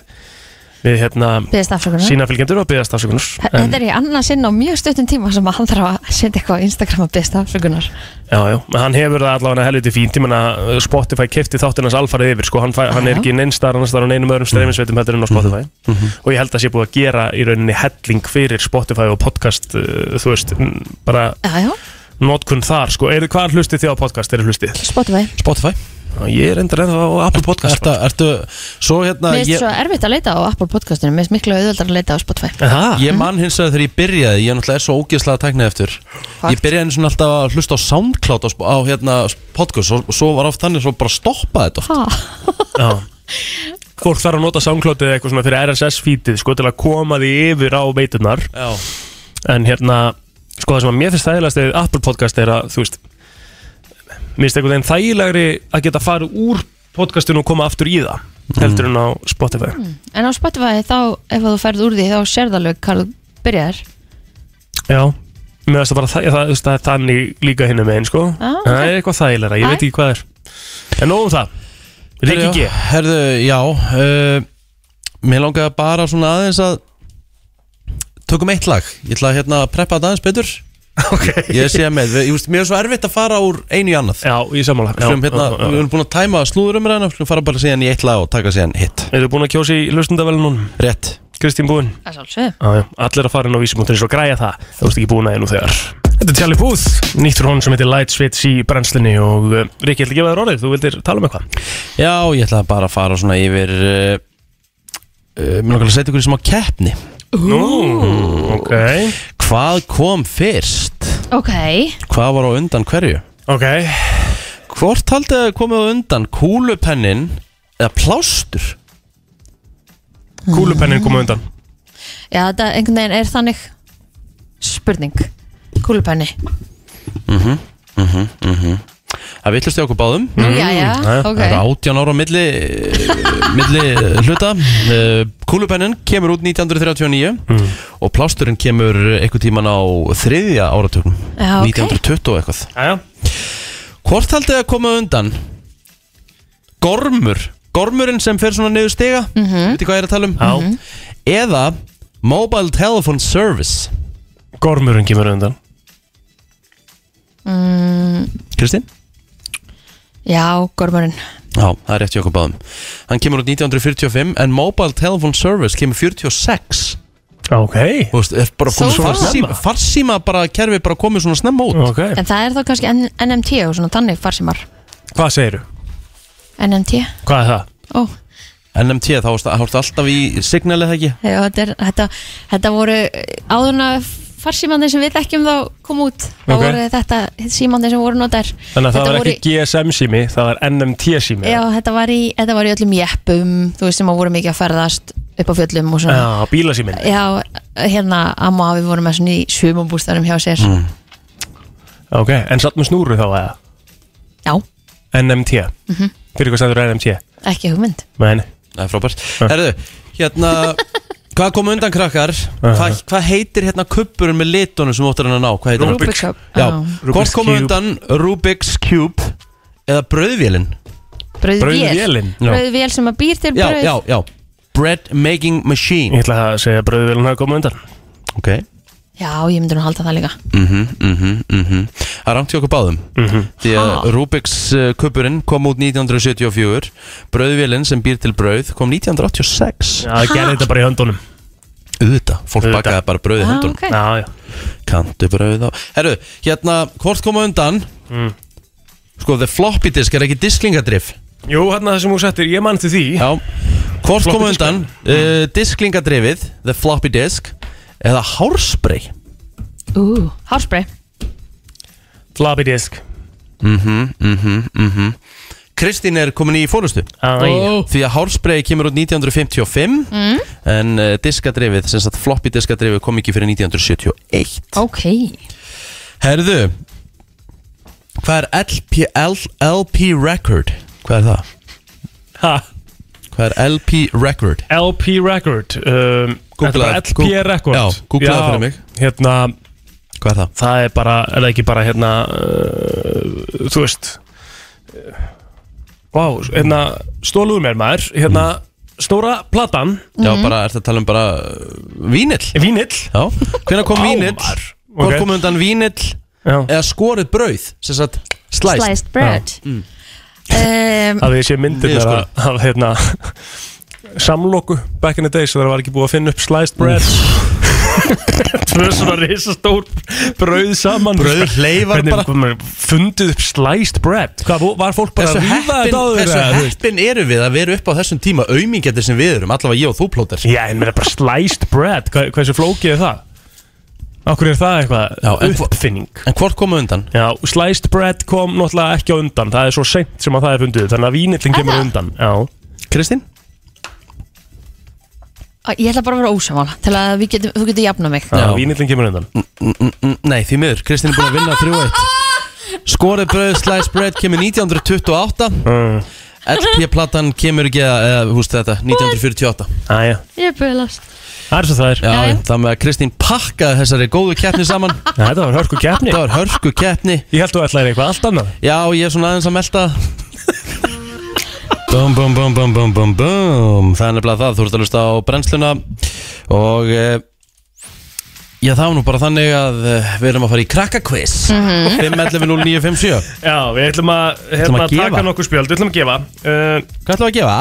við hérna
byggðist afsökunar
sína fylgjendur og byggðast afsökunus
Þetta er í annað sinn á mjög stuttum tíma sem að hann þarf að setja eitthvað á Instagram að byggðist afsökunar
já, já, en hann hefur það allavega helviti fínt ég menna Spotify kefti þáttinans alfarið yfir sko, hann, fæ, hann er
Já.
ekki neinstar annars þar á neinum öðrum streyfinsveitum heldur en á Spotify og ég held að sé búið að gera í rauninni helling fyrir Spotify og podcast uh, þú veist, n- bara
Já, já,
notkun þar sko, er, hvað hlustið þið á podcast, er hlustið?
Spotify
Spotify
Sko, Ég er endur ennþá á Apple Podcast
Ertu, ertu, svo hérna
Mér finnst
ég,
svo erfitt að leita á Apple podcastinu Mér finnst miklu auðveldar að leita á Spotify
Það?
ég man hins vegar þegar ég byrjaði Ég er náttúrulega er svo ógeðslega tæknið eftir Ég
Fakt.
byrjaði eins og alltaf að hlusta á SoundCloud á, sp- á hérna podcast og svo var oft þannig svo bara stoppaði þetta oft.
Ha,
Já Fólk þarf að nota SoundCloud eða eitthvað svona fyrir RSS feedið sko til að koma því yfir á veiturnar
Já,
en hérna sko það sem að mér finnst þægilegast eða Apple Podcast er að þú veist mér finnst einhvern veginn þægilegri að geta farið úr podcastinu og koma aftur í það
Mm.
heldur en á Spotify
En á Spotify þá, ef þú ferð úr því þá sér það alveg hvað þú byrjar
Já Mér finnst það bara það, það, það er þannig líka hinn með einn sko
Ah, ok.
Það er eitthvað þægilegra, ég veit ekki hvað það er En nóðum það Ríkki G
Herðu, já [laughs] uh, Mér langaði bara svona aðeins að Tökum eitt lag Ég ætla að hérna preppa þetta aðeins betur
okay.
Ég sé með, við- ég, veist, mér er svo erfitt að fara úr einu í annað
Já, ég sammála Já,
Skulum hérna,
já, já.
við erum búin að tæma slúðurumræðina Skulum fara bara síðan í eitt lag og taka síðan hitt
Eru búin að kjósa í lausnendavælunum?
Rétt
Kristín búinn?
Það er svolítið
Já, já, allir að fara inn á vísum.is og græja það Þú ert ekki búin að einu þegar Þetta er Tjalli Búð, nýtt frá honum sem heitir Light Switch í brennslinni og uh, Ríkki, ég ætla að gefa þér orðið, þú vildir tala um eitthvað
Já, ég ætla bara að fara svona yfir uh, uh, Mér langar að setja ykkur í smá keppni
Nú, ok
Hvað kom fyrst?
Ok,
Hvað var á undan hverju?
Ok,
Hvort haldið að komið á undan kúlupennin eða plástur?
kúlupennin kom á undan
já þetta einhvern veginn er þannig Spurning Kúlupenni
Það villust ég okkur báðum
Mm,
Nú, já, já, ok
Það er 18 ára á
[laughs]
milli, eh, milli hluta Eh, Kúlupennin kemur út 1939 og plásturinn kemur eitthvað tíman á þriðja áratökum
Já, ok.
1920 og eitthvað
Jæja,
Hvort haldið þið að koma undan? Gormur Gormurinn sem fer svona niður stiga mm
Mhm.
-hmm. Viti hvað ég er að tala um
já,
Eða Mobile Telephone Service
gormurinn kemur á undan
Kristín?
Já, gormurinn
Já, það er rétt hjá okkur báðum Hann kemur út 1945 en Mobile Telephone Service kemur 46
Ok,
Þú veist, er bara komið
Svo
svona
snemma.
farsíma, farsíma bara kerfi bara komið svona snemma út
ok
En það er þá kannski N NMT og svona þannig farsimar
Hvað segiru?
NMT,
Hvað er það?
ó
NMT, þá ertu þá ertu alltaf í signalið það ekki
Já, þetta, er, þetta, þetta voru áðurna farsímandi sem við þekkjum þá kom út þá
Ok.
voru þetta símandi sem voru notar
Þannig að það
Þetta
var ekki
voru,
GSM sími, það var NMT sími
Já, þetta var, í, þetta var í öllum jeppum þú veist sem að voru mikið að ferðast upp á fjöllum og svona
Já, bílasímin
Já, hérna amma við vorum með svona í sumumbústæðum hjá sér
Mm. Ok, en satt með snúru þá eða?
Já,
NMT
Mhm.
Fyrir hvað stendur NMT?
ekki hugmynd
Nei, nei.
Það er frábært Herðu, hérna Hvað kom undan krakkar? Hvað hva heitir hérna kubburinn með litunum sem óttar hann að ná? Hvað heitir hann?
Rubik's Cube.
Já,
Já.
hvort
Rubik's
kom
Cube.
undan Rubik's Cube eða brauðvélinn?
Brauðvél
Brauðvélin?
Brauðvél sem að býr til
Já,
brauð
já, já Bread Making Machine
Ég ætla að segja að bröðvélun hafa komið undan
Ok
Já, ég myndi nú halda það líka
Mhm, mhm, mhm Það rangt hjá okkur báðum Því að Rubik's eh, kubburinn kom út 1974 Brauðvélinn sem býr til brauð kom 1986
Já, það gerði þetta bara í höndunum
Auðvitað, fólk
Auðvitað.
bakaði bara brauð í
Ah,
hendunum
ok.
Já, já
Kantu brauð á Herru, hérna, hvort koma undan
Mm.
Sko, the floppy disk er ekki disklingadrif
Jú, hérna það sem þú settir, ég mann til því
Já Hvort
Floppy
koma
disk,
undan uh, Disklingadrifið, the floppy disk Eða hárspray
Ú, hárspray
Floppy disk
Mm, mhm. Kristín er komin í fórustu
Æ,
Því að hárspray kemur út 1955 En uh, diskadrifið, sem sagt floppy diskadrifið kom ekki fyrir 1971
Ok
Herðu Hvað er LP, L, LP record? Hvað er það?
ha,
Hvað er LP record?
LP record um,
Googlaðu-
þetta er bara LP
Goog-
record
Já, googlaðu fyrir mig.
Hérna,
Hvað er það?
það er bara, er það ekki bara hérna uh, Þú veist uh, Vá, hérna, stóluðu mér maður Hérna,
Mm.
stóra platan
Já, bara, ert að tala um bara uh, vínill
Vínill
Já, hvenær kom vínill?
maður.
Hvort
Ok.
kom undan vínill
Já,
eða skorið brauð sem sagt slæst
Sliced bread um,
að því sé myndir
Niður
mér
sko.
að, að hérna samloku back in the days þegar það var ekki búið að finna upp sliced bread [laughs] tvö svona risastór brauð saman
Brauð hleifar
Hvernig
bara.
maður fundið upp sliced bread hvað vo- var fólk bara
Þessu
að ríða
heppin,
þetta áður
þessu
eða, þú veist?
heppin eru við að vera upp á þessum tíma aumingjættir sem við erum, allavega ég og þú plóter
já en mér er bara sliced bread hvað, hversu flókið er það okkur er það
Já, en
eitthvað
hva-
uppfinning
En hvort komu undan?
já sliced bread kom náttúrulega ekki á undan það er svo seint sem að það er fundið upp, þannig að vínillin kemur á undan já
Kristín?
Æ, Ég ætla bara að vera ósamála til að við getum, þú getur jafna mig
Já, vínillin kemur undan
Mm, Nei, því miður, Kristín er búin að vinna 3-1 Skorið bröð, slice bread kemur 1928
Mm.
LP-platan kemur ekki að, eða, húst þetta, 1948
Æja,
Ég er byrðast
það er svo það er
Já,
Já, já.
það með að Kristín pakkaði þessari góðu keppni saman
Já, Þetta var hörku keppni
Það var hörku keppni
Ég held að þú ætlaði eitthvað allt annað
Já, ég er svona aðeins að melta [laughs] Bum, bum, bum, bum, bum, bum, bum Það er nefnilega það, þú ert að lusta á brennsluna Og e, Já, það var nú bara þannig að e, Við erum að fara í krakkakviss 5.11.09.57
Já, við ætlum að,
ætlum
hérna,
að gefa.
taka nokkuð spjöld Við ætlum að gefa uh,
Hvað ætlum við að gefa?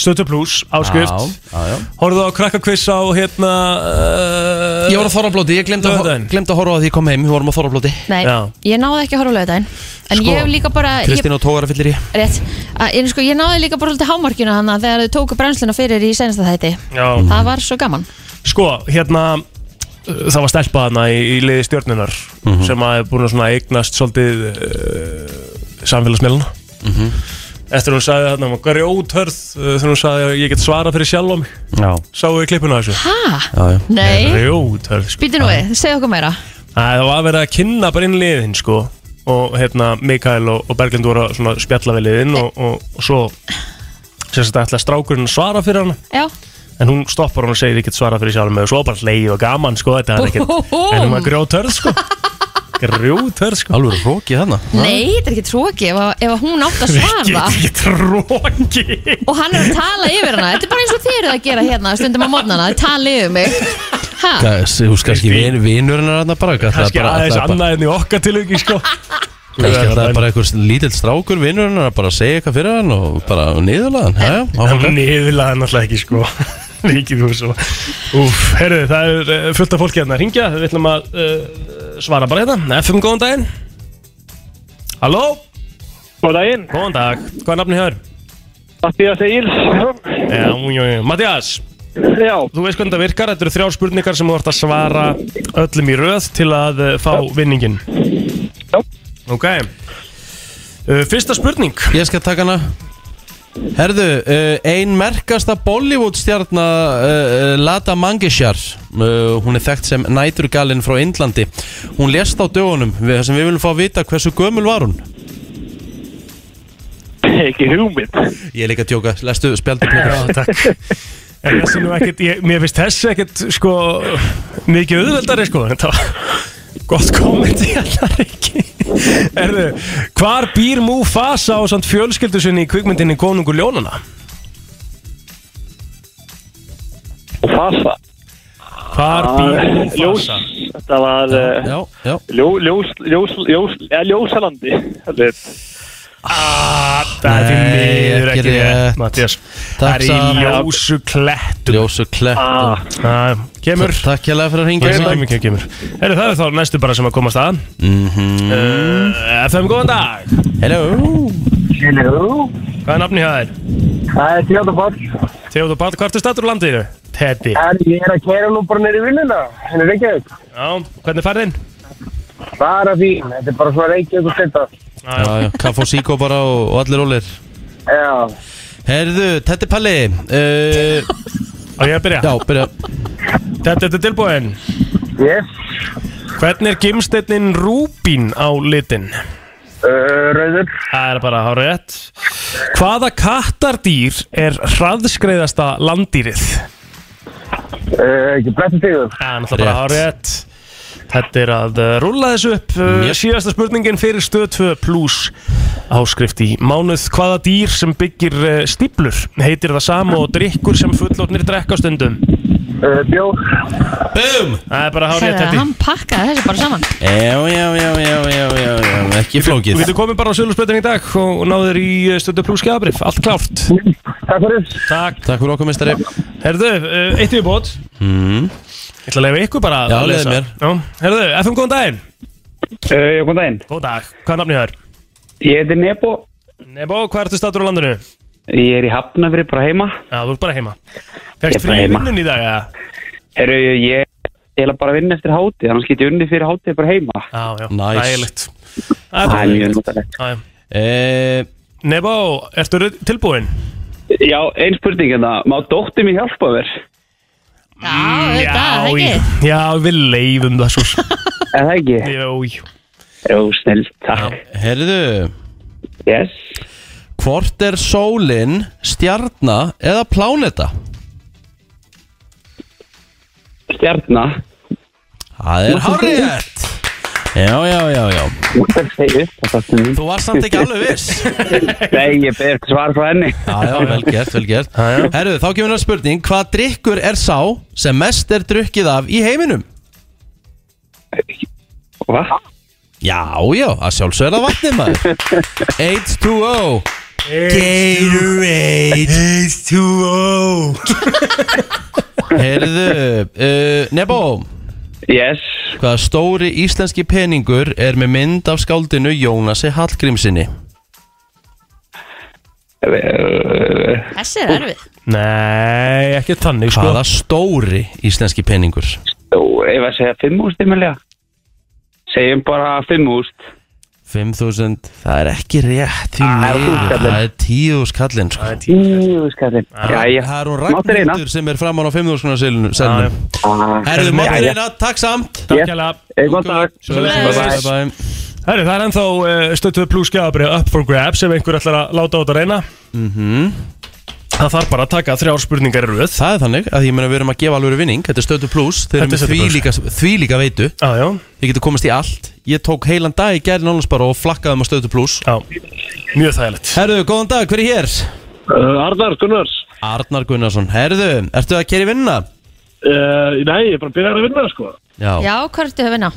Stötu pluss, áskrift
Já, já, já
Horfðu á krakkakviss á hérna uh,
Ég var á Þorrablóti, ég glemd að,
Laugardaginn.
glemd að horfa á því ég kom heim Við vorum á Þorrablóti
Nei,
Já.
ég náði ekki að horfa á lögudaginn En ég hef líka bara ég,
Kristín og Tóra fyllir í
rétt, að, ég, sko, ég náði líka bara svolítið hámarkinu hana Þegar þau tóku brennsluna fyrir í senasta þætti
Já,
Það var svo gaman
sko, hérna uh, Það var stelpa hana í, í liði stjörnunar
Mhm.
Sem að er búin að svona eignast svolítið uh, Samfélagsmiðluna
Mhm.
Eftir hún sagði þarna, hún var grjóthörð uh, Þegar hún sagði að ég get svara fyrir sjálf á mig
Já,
Sáu við klippuna af þessu
Ha?
já, já
Nei,
Grjóthörð, sko
býtu nú við, segðu okkur meira
Æ, Það var að vera að kynna bara inn liðin sko og hérna Mikael og, og Berglind voru að svona spjalla við liðin og, og, og svo sem sagt ætla strákurinn að svara fyrir hann
Já,
en hún stoppar hann og segir ég get svara fyrir sjálf með og svo bara leið og gaman sko þetta er ekkert
Búm.
en hún var grjótörð sko grjótörð sko
Alveg rókið þarna
nei, þetta er ekki tróki ef, að- ef að hún átt að svara
ekki tróki
Og hann er að tala yfir hana Þetta er bara eins og þið eru að gera hérna stundum á mótnana Þið tala yfir mig Ha?
Þú veist kannski
Kristín.
vin- vinurinn er þarna bara
kannski
bara,
aðeins annað en í okkar tilöki sko
Kannski að það er bara einhver lítill strákur vinnurinn að bara segja eitthvað fyrir hann og bara niðurlaðan Já, já, áfram
Hann niðurlaði náttúrulega ekki sko [laughs] Mikið þú svo Úf, herru, það er eh, fullt af fólki hérna að ringja Við ætlum að uh, svara bara hérna FM, góðan daginn Halló,
Góð daginn,
góðan dag Hvað er nafnið hér?
Mattias Egil
Já, jú, jú, Mattias
Já,
Þú veist hvernig það virkar, þetta eru þrjár spurningar sem þú ert að svara öllum í röð til að eh, fá vinningin
Já.
Ok uh, Fyrsta spurning
Ég skal taka hana Herðu, uh, ein merkasta Bollywood stjarna uh, uh, Lata Mangishar uh, Hún er þekkt sem næturgalinn frá Indlandi Hún lést á dögunum við, þar sem við viljum fá að vita hversu gömul var hún
[laughs] ekki hugmynd
Ég er líka að tjóka, lestu spjaldi
Já, takk En þessi nú ekkert, ég, mér finnst þessi ekkert sko, mikið auðveldari sko, en það var gott komment í allar ekki Erðu, hvar býr Mufasa á samt fjölskyldu sinni í kvikmyndinni Konungur Ljónana?
Og fasa
Hvar býr
Ljós,
Mufasa?
þetta var eh,
Já, já
Ljó, ljós, ljós, ljós, eh, ljósalandi Þetta er-
Ah, það er því
Nei,
miður
ekki
ekki
rétt.
rétt, Mattias Það
Takk
er í
Sara.
ljósu klettum
Ljósu klett
Ah,
Ah, Kemur
Takk hérlega fyrir að
Kemur,
ringa
kemur, kemur, kemur. Heyrðu, það er þá næstu bara sem að komast að uh, FM, góðan dag
Hello
Hello,
Hvað er nafni hjá þér?
það er Tjóta Páll.
Þegar þú bara, hvert er statur úr landiðinu? Teddy
En ég er að kæra nú bara neyri vinnuna, henni Reykjavík.
Já, hvernig færðin?
Bara fín, þetta er bara svona Reykjavík og stenda.
Já, já, kaff og síkó bara og, og allir ólir
Já,
Herðu, Tetti Palli uh,
Og ég að byrja
Já, byrja
Teddy, þetta er tilbúin
yes,
Hvernig er gimsteinnin rúbín á litin?
uh, Rauður,
Það er bara hár rétt Hvaða kattardýr er hraðskreiðasta landýrið?
uh, ekki brettu tíður.
Það er náttúrulega bara
Rétt.
hár rétt Þetta er að uh, rúlla þessu upp uh,
Yep.
Síðasta spurningin fyrir stöð 2 pluss áskrift í mánuð Hvaða dýr sem byggir uh, stíplur heitir það sama og drikkur sem fullornir drekka á stundum?
Uh, bjór,
Bum
Það er bara hár rétt
Sagði að
Teddy
hann pakkaði þessu bara saman
Já, já, já, já, já, já, já. ekki flókið
Þú getur komið bara á sölusbreytin í dag og náður í eh, stundu pluss skjábrif, allt klárt
Takk fyrir.
Takk
Takk fyrir okkur mistari
Herðu, eh, eitt viðbót mm. Ég ætla að leifa ykkur bara
Já,
að
leyfðu
lesa.
mér.
Já. Herðu, FM, góðan daginn
Uh, Jókon daginn.
Góðan dag, hvað er nafnið þér?
Ég heiti Nebo.
Nebo, hvað ertu statur á landinu?
Ég er í Hafnafri bara heima.
Já, þú ert bara heima
Ég
Fegst
er bara
frí
heima.
vinnun í dag, eða?
Eru ég ég er bara að vinna eftir háti, þannig get ég unni fyrir háti bara heima.
Já, já,
Nice.
nægilegt
Það er mjög notalegt.
Eh,
Nebo, ertu tilbúin?
Já, einn spurning en það, má dóttir mín hjálpa mér?
Já, þetta, ekki
ég- já, við leifum það sko. svo
Er það ekki?
Jó, jú
Jó, snill, takk.
Herðu
Yes.
Hvort er sólin, stjarna eða pláneta?
Stjarna.
Það er hárétt Já, já, já, já
Það er segið.
Þú varst samt ekki alveg viss
[laughs] Nei, ég beðið eftir svar frá henni.
Já, já, vel gert, vel gert Herðu, þá kemur það spurning Hvað drikkur er sá sem mest er drukkið af í heiminum?
Hva?
Já, já, að sjálfsögða vatnið maður
[laughs]
H2O Gatorade [laughs] H2O Herðu, uh, Nebo
Yes.
Hvaða stóri íslenski peningur er með mynd af skáldinu Jónasi Hallgrímsinni?
Uh,
Þessi er erfið
Nei, ekki tannig, sko
Hvaða stóri íslenski peningur?
Þú, ef að segja fimm úrst yfirlega. Segjum bara fimm úrst.
5.000 Það er ekki rétt því miður
þúskallinn.
Það er 10.000 kallinn sko.
Jú, skallin. Jæja.
Það er hún
Máttu reyna.
Ragnhildur sem er framann á 5.000
Já, já.
selnum Herðu, máttu reyna, takk samt
Takk
Yes.
hérlega
Góðan dag.
Bye
Bye-bye.
bye
Herri, það er ennþá uh, stöttuð pluss skjáðabrið up for grabs ef einhver ætlar að láta á þetta reyna mm
Mhm.
Það þarf bara að taka þrjár spurningar í röð
Það er þannig að ég meina við erum að gefa alveg vinning Þetta er stötu pluss, þeir eru
Þetta er
með
Stötu
því
plús.
líka, því líka veitu
Já, já,
Þið getur komist í allt Ég tók heilan dag í gerðin álans bara og flakkaði um að stötu pluss
já, mjög þægilegt
Herðu, góðan dag, hver er hér?
Uh, Arnar Gunnars
Arnar Gunnarsson, herðu, ertu að keri vinna?
uh, Nei, ég er bara byrjar að vinna sko
Já.
Já, hvað ertu að vinna?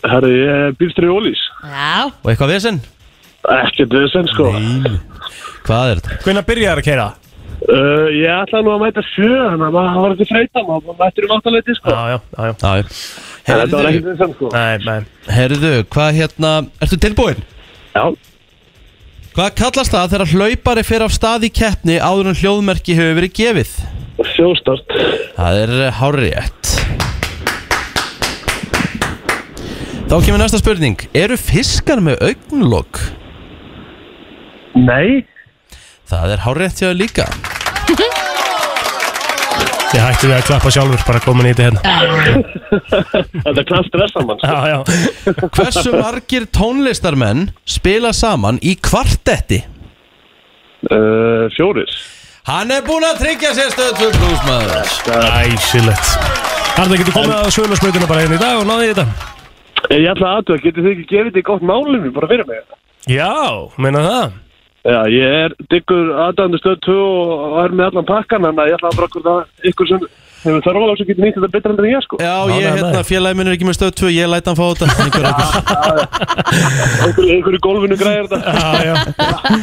Herri, ég er bílstri í Ólís
Já,
Og eitthvað vesinn?
Ekkert vesen sko
Hvað er þetta?
Hvenær byrjar að keira?
uh, Ég ætla nú að mæta sjö Þannig að maður var ekki freyta Maður mættur um áttaleiti sko
Já, já, já, já
Já, já.
Eh, Þetta var
Herðu,
ekkert vesen sko
Nei, nei
herðu, hvað hérna, ertu tilbúinn?
Já
Hvað kallast það þegar hlaupari fer af stað í keppni áður en hljóðmerki hefur verið gefið?
Sjóstart
Það er hárétt. Þá kemur næsta spurning. Eru fiskar með augnlokk?
Nei
Það er hárétt hjá þér líka.
Ég hætti við að klappa sjálfur, bara komin í þetta hérna
Þetta er knall stressa mann sko.
Já, já
Hversu margir tónlistarmenn spila saman í kvartetti?
uh, Fjóris
Hann er búinn að tryggja sér stöð 2 pluss maður.
Æsilegt Arnar, getur komið að svöðlarsmöytuna bara hérna í dag og náði í þetta
Eh, Ég ætla aðtöða, getur þið ekki gefið þig gott málumni bara fyrir mig
Já, meina það
Já, ég er diggur aðdæmdu stöð 2 og er með allan pakkan en ég ætla að bara okkur það ykkur sem hefur þarf alveg sem getur nýtt þetta betra enn ég sko
Já,
Já,
ég
nei,
hérna,
nei.
félagi minn er ekki með stöð 2, ég læt hann fá þetta. Einhver, einhver.
ykkur, ykkur í gólfinu
[laughs]
græðir þetta
Já, já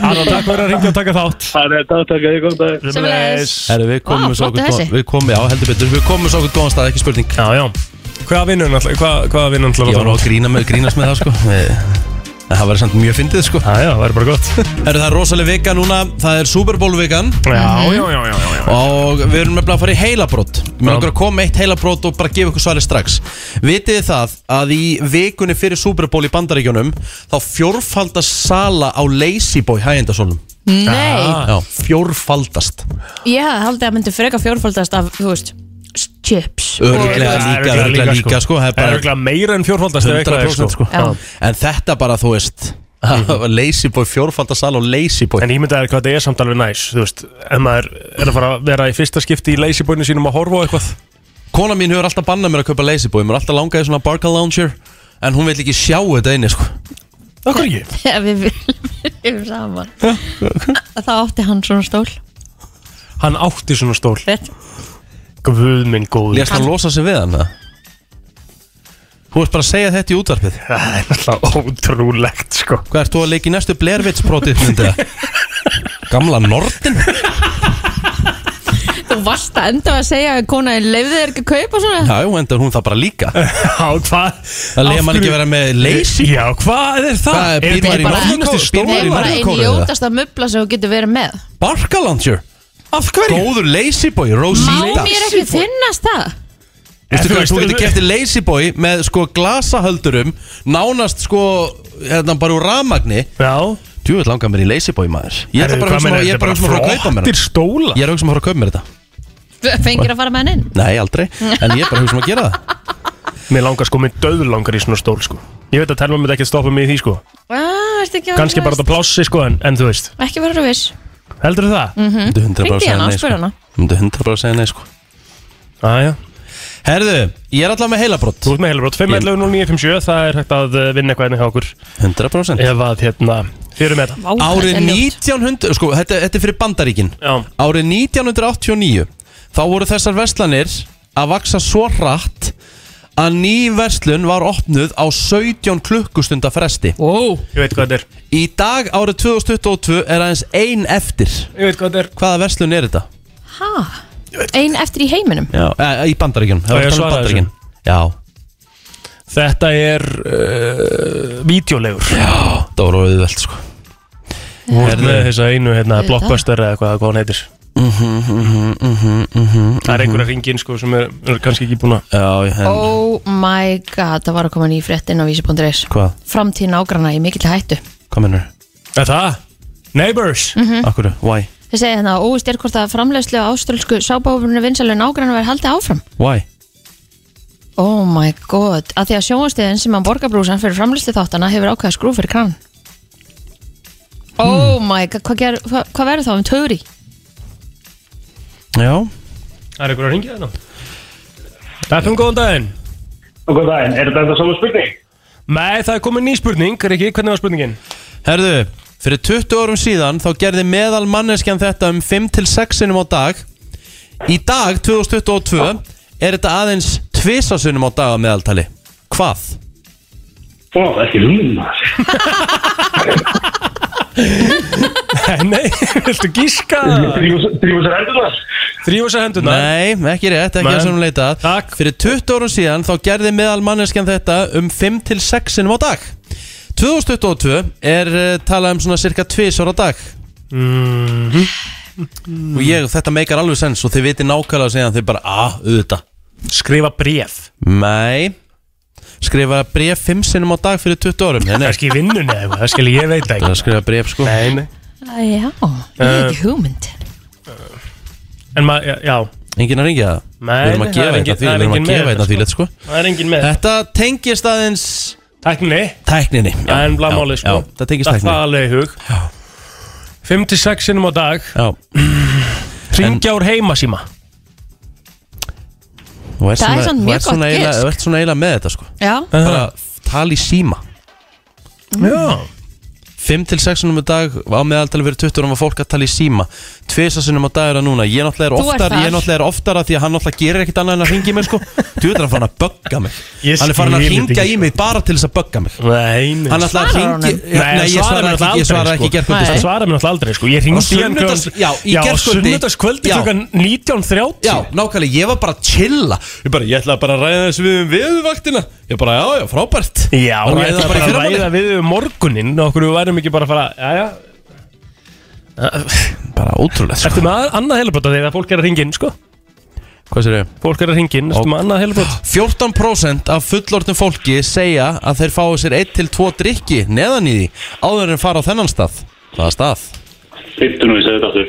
Arnar, takk fyrir að ringja og taka þátt
Það er dagtaka, ég kom dag
Sömuleiðis.
Herru, við komum
Vá,
svo okkur
flottur
góðan-
þessi.
Við komum, já, heldur betur Við komum svo okkur góðan stað, ekki spurning
Já, já Hvað vinnur hann alltaf, hvað, hvað vinnur hann alltaf
Ég var nú að grína með, grínast með það, sko Við- En það var samt mjög fyndið, sko
Já, já, það er bara gott
Herru, það er rosalega vika núna Það er Super Bowl vikan
Já, já, já, já, já.
Og við erum nefnilega að fara í heilabrót Mér
Já.
langar að koma með eitt heilabrót og bara gefa ykkur svarið strax Vitið þið það að í vikunni fyrir Super Bowl í bandaríkjunum Þá fjórfaldast sala á Lazy Boy hægjendasólum
nei
Ah.
Já, fjórfaldast
Ég hafði haldið að myndi freka fjórfaldast af, þú veist s- Chips
Örglega
Það er
líka,
örugglega
örglega líka, sko Það er bara
örugglega meira en fjórfaldast ef eitthvað er,
100% sko.
Já.
En þetta bara, þú veist [laughs] Lazyboy, fjórfaldasal og Lazyboy
Mm. En ég myndi að hvað þetta er samt alveg næs Þú veist, ef maður er að fara að vera í fyrsta skipti í leysibóinu sínum að horfa á eitthvað
Kona mín hefur alltaf bannað mér að kaupa Lazyboy Mér er alltaf langaði svona barca lounger En hún vil ekki sjá þetta einni sko.
Það er ekki
[laughs] Þegar við viljum yfir saman Þá átti hann svona stól
Hann átti svona stól
Rétt.
Guð minn góður
Lest hann losa sig við hann eða? Þú ert bara að segja þetta í útvarpið
Það er náttúrulega ótrúlegt
[laughs]
sko
Hvað ert þú að leika í næstu blervitsbrotið myndið? Gamla nortin
Þú varst að enda að segja að konaðin leifði þér ekki að kaupa svona
Já, enda hún það bara líka
Já, hvað
Það leiði mann ekki vera með leys
Já, hvað er það?
Hvað er, býr
þetta
maður í
ekki bara-
Norðurkóru?
einasti stór-
Býr maður
Ég
í
var einn
Norður-Kóreu,
ljótasta mubla sem þú getur verið með
Barkalandsjör Af hverju? Góður lazyboy,
Má
Rosita
mér ekki þinnast það?
Veistu
En
hvað,
veist,
þú getur kæftið lazyboy með sko glasahöldurum Nánast sko, hérna bara úr rafmagni
Já
Þú veit langar mér í lazyboy maður Ég er
Herru,
bara að
hvað
hugsa um
meinar,
að- ég
þetta
er bara að hugsa um að fara að kaupa mér
flottir
hann.
stóla
Ég er að hugsa um að fara að kaupa mér þetta
Fengir að fara með hann inn?
Nei, aldrei En ég er bara að hugsa um að gera það
Mér langar sko, mér döður langar í svona stól sko Ég veit að telma mér ekki að stoppa mig í því sko
Ah, ertu ekki að vera
Ganski bara þetta plássi sko en, en þú veist
Ekki vera viss
Heldur það? Mm.
Þú hundra bara
Hringdu í hana,
að
spyr
segja
hana.
nei sko. Þú myndir hundra bara að segja nei sko
Æja
Herðu, ég er allavega með heilabrott
Ah, Þú ert með heilabrót 5.11.09.57 Það er hægt að eh, vinna eitthvað ennig hjá okkur
100%
Ef að hérna Þið eru með þetta
Vá,
Árið
þetta er ljótt.
1900, sko, þetta, þetta er fyrir bandaríkin
Já
Árið 1989 Þá voru þessar verslanir að vaksa svo hratt að ný verslun var opnuð á 17 klukkustunda fresti
Wow Ég veit hvað þetta er
Í dag árið 2022 er aðeins ein eftir
Ég veit hvað þetta er
Hvaða verslun er þetta?
Ha? Ein eftir í heiminum
Já, e, í bandaríkjunum Það
Á ég
var
að
talað um
svara
bandaríkjun Já,
Þetta er uh, Vídeolegur
það voru auðvelt sko
Vort með þessa einu hérna Blockbuster eða hvað, hvað hann heitir Mhm, Það er einhverja ringin sko sem er, er kannski ekki búin að
Já, en
Oh my god, það var að koma ný frétt inn á vísi.is
hvað?
Framtíð nágrana í mikill hættu
Hvað mennur?
Er það? Neighbors
Mm. Akkur, why?
Þið segja hérna, óvist er hvort að framleiðslu á áströlsku sábáfurinu vinsælu nágrana verði haldið áfram
Why?
Oh my god, að því að sjónastöðin sem að borgarbrúsan fyrir framlýsli þáttana hefur ákveða skrú fyrir krann Oh my god, hvað, ger, hva, hvað verður þá um tögri?
Já
Það er einhverja ringið hérna Þetta um góðan daginn
Og hvað það er, er þetta enda saman spurning?
Nei, það er komin ný spurning, Riki, hvernig var spurningin? [laughs]
Herðu, fyrir 20 árum síðan þá gerði meðal manneskjan þetta um 5-6 sinum á dag Í dag, 2022, er þetta aðeins tvisa sinum á dag að meðaltali Hvað?
Ó, ekki lúna
Nei, viltu gíska?
Drífum sér endurnar
Þrjóðu sér hendunar
Nei, ekki rétt, ekki
Nei.
þessum leitað
Takk.
Fyrir 20 árum síðan þá gerði meðal manneskjan þetta um 5-6 sinum á dag 2022 er eh, talað um svona cirka tvisar á dag
Mhm.
Og ég, þetta meikar alveg sens og þið viti nákvæmlega síðan þið bara, ah, auðvitað
Skrifa bref
Nei Skrifa bref 5 sinnum á dag fyrir 20 árum Nei,
Það
nei
er ekki í vinnunni eða eitthvað, það skil ég veit
Það er
ekki
að skrifa bref sko
Nei, nei
Já, ég er
Eh,
ekki hugmynd
En maður, já, já,
Enginn að ringja það
Nei,
Við erum að
það
gefa
er
þetta því Við erum
engin- það er engin
að gefa
með
þetta
þetta,
því lett sko
það er enginn með
Þetta tengist aðeins
Tækni,
Tækninni já,
það er ennblá
já,
máli sko
já, Það tengist
Það er
tækninni
alveg í hug 5-6 sinnum á dag
Já,
Ringja úr heimasíma
þú ert
Það er
svona-
samt
þú
mjög
ert svona
gott
eiginlega-
gisk.
Þú ert svona eiginlega með þetta sko
Já,
Bara tal í síma
Já
5 til 6 sinum á dag á meðaltali fyrir 20 árum var fólk að tala í síma 2 sinum á dag er það núna ég náttúrulega er
Þú ert
oftar,
þar.
ég náttúrulega er oftar að því að hann náttúrulega gerir ekkit annað en að ringi mig
[laughs]
sko þú veit að hann farin að bögga mig
Ég
hann er farin að
skil
ringja í
þetta ekki, sko.
mig bara til þess að bögga mig
Nei, nei
hann ætlaði að
Svarar
ringi
honum?
nei, nei ég svara ekki, ég svara ekki gerkvöldi
Ég
sko.
svara mér náttúrulega aldrei sko Ég
Á
ringdi
sunnudags- já, í gærkvöldi.
sunnudagskvöldi
Já.
klukkan 19.30
já, nákvæmlega, ég var bara að chilla ég, bara, ég ætlaði bara að ræða þessu við um viðvaktina ég bara, já, já, frábært
Já,
Bara
ég
ræða bara í
ætla bara að
fyrramálið.
ræða við um morguninn og okkur við værum ekki bara að fara Jæja,
bara ótrúlega,
ertu
sko.
með að- annað heilabóta þegar fólk er að ringin, sko
hvað sér ég?
Fólk er að ringin, ertu með annað heilabót
14% af fullorðnum fólki segja að þeir fái sér 1-2 drikki neðan í því áður en fara á þennan stað Hvaða stað?
Hittu nú, ég segi um þetta aftur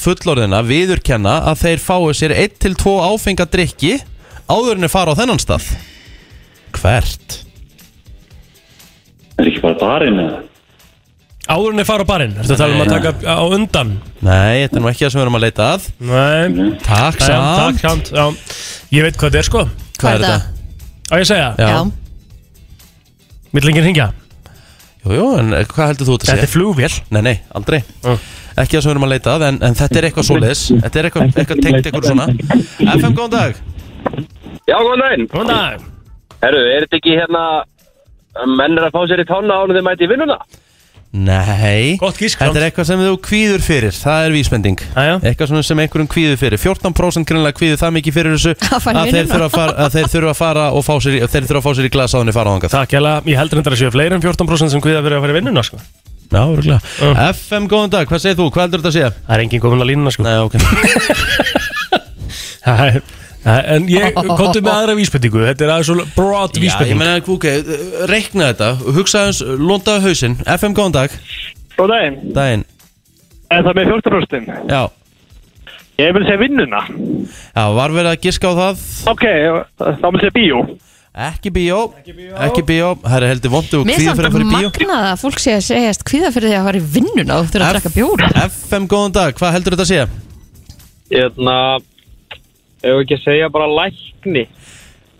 14% fullorðina viðurkenna að þeir fái sér 1-2 áfenga drikki áður en þeir fara á þennan stað Hvert?
Er ekki bara barinn eða?
Áður en þið fara á barinn, ertu að tala um að taka á undan
Nei, þetta er nú ekki það sem við erum að leita að
Nei,
Takk
Jæja, takk
samt
samt já. Ég veit hvað þetta er, sko
Hvað er þetta?
Á ég að segja,
Já.
já,
vill enginn ringja
Jú, jú, en hvað heldur þú þetta að
Þetta er
segja?
flugvél
Nei, nei, aldrei
Mm.
Ekki það sem við erum að leita að, en, en þetta er eitthvað svoleiðis Þetta er eitthvað, eitthvað tengt eitthvað svona FM, góðan dag
Já, góðan daginn
Góðan dag
Herru, er þetta ekki hérna menn er að fá sér í tánna ánum þeir mæti í vinnuna?
Nei
Gott gísk,
Þetta
Frans.
er eitthvað sem þú kvíður fyrir Það er vísbending
Jæja.
Eitthvað svona sem einhverjum kvíður fyrir 14% grunlega kvíður það mikið fyrir þessu
Að fara í
að þeir,
vinnuna.
þurfa að, fara, að þeir þurfa að fara og fá sér í, þeir þurfa að fá sér í glasa á henni fara á þangað
Takk hella, ég heldur þetta að séu fleiri en 14% sem kviða fyrir að fara í vinnuna sko.
Já, örugglega. FM, góðan dag, hvað segir þú? Hvað heldur þetta að segja?
Það er engin komin að línuna sko.
Nei, [laughs] ok
Æ, æ, En ég komdu með aðra vísbendingu Þetta er aðeins svo broad
Já, ég
vísbending
meina, ok, reikna þetta Hugsa hans, lóndaðu hausinn FM, góðan dag
Góð daginn,
Daginn,
er það með 14%?
já
Ég vil segja vinnuna
Já, var verið að giska á það
Ok, þá vil segja bíó
Ekki bíó Ekki bíó Það er heldur vondu og
Mér
kvíður fyrir að
samt að
fara í bíó
magna það að fólk sé að segjast kvíða fyrir því að fara í vinnuna og þurfa að drekka bjóra
FM, góðan dag, hvað heldur þetta að segja?
Hérna, ef ekki að segja bara lækni.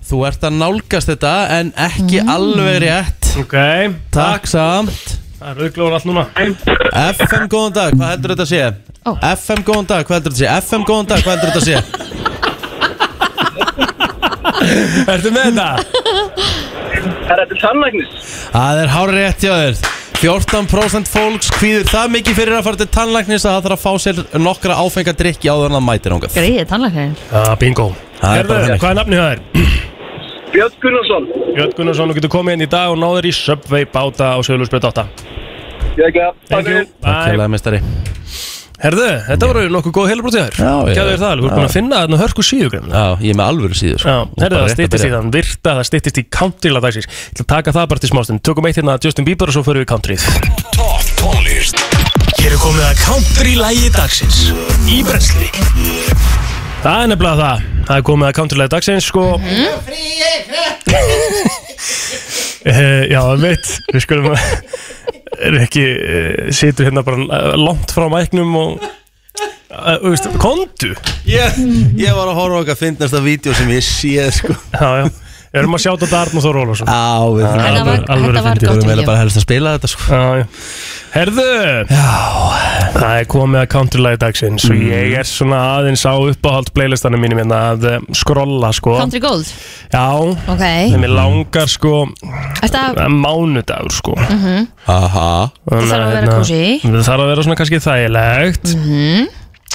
Þú ert að nálgast þetta en ekki
Mm.
alveg rétt
Ok,
Takk samt
það er auðglóður allt núna
FM góðan dag, hvað heldur þetta að sé?
Ó.
FM góðan dag, hvað heldur þetta að sé? FM góðan dag, hvað heldur þetta að sé?
Ertu með þetta?
Er þetta sannlæknis?
Það er hár rétt hjá þér 14% fólks kvíður það mikið fyrir að fara til tannlæknis að það þarf að fá sér nokkra áfenga drikki áður en það mætir ánga
Greið tannlæknir
Já, bingo
Það er
Herðu,
bara þannig.
Hvað er nafnið það er?
Björn Gunnarsson
Björn Gunnarsson, þú getur komið inn í dag og náður í Subway báta á Sjöðlusbreyt 8
Ég ekki að
Thank you
Takk
Bye.
hérlega mestari
Herðu, þetta voru nokkuð góð heilabrótið þér
Já, já.
Gæðu þér það, alveg, þú ert búin að finna þarna hörku síðu greinilega.
Já, ég er með alvöru síður sko.
Já, herðu, það styttist í þann virta, það styttist í countryla dagsins Ég ætla að taka það bara til smástund Tökum eitt hérna að Justin Bieber og svo förum við í countryð
Top tónlist Hér er komið að country-lægi dagsins Í brensli
Það er nefnilega það Það er komið að countrylæði dagsins sko [laughs] Eh, Já, veit Við skulum að er ekki, eh, situr hérna bara eh, langt frá mæknum og eh, þú veist, kondu
ég, [laughs] ég var að horfa okkar að finnast að vídeo sem ég sé sko Ah.
Já, já, við erum að sjáta þetta Arn og Þór Ólafsson
Á, við þurfum
Þetta var,
Alvöru- alvöru
þetta var
fyndið.
gott
Við erum
vídeo.
bara helst að spila þetta sko
Já, já Herðu, já. það er komið að countrylæði dagsins og ég er svona aðeins á uppáhald playlistanum mínum hérna að eh, skrolla sko
Country Gold
Já,
Ok
þeim er langar sko
Þetta
Það er mánudagur sko
Aha
Þannig
Mhm. þarf að vera
hérna,
kósí. Mhm.
Það þarf að vera svona kannski þægilegt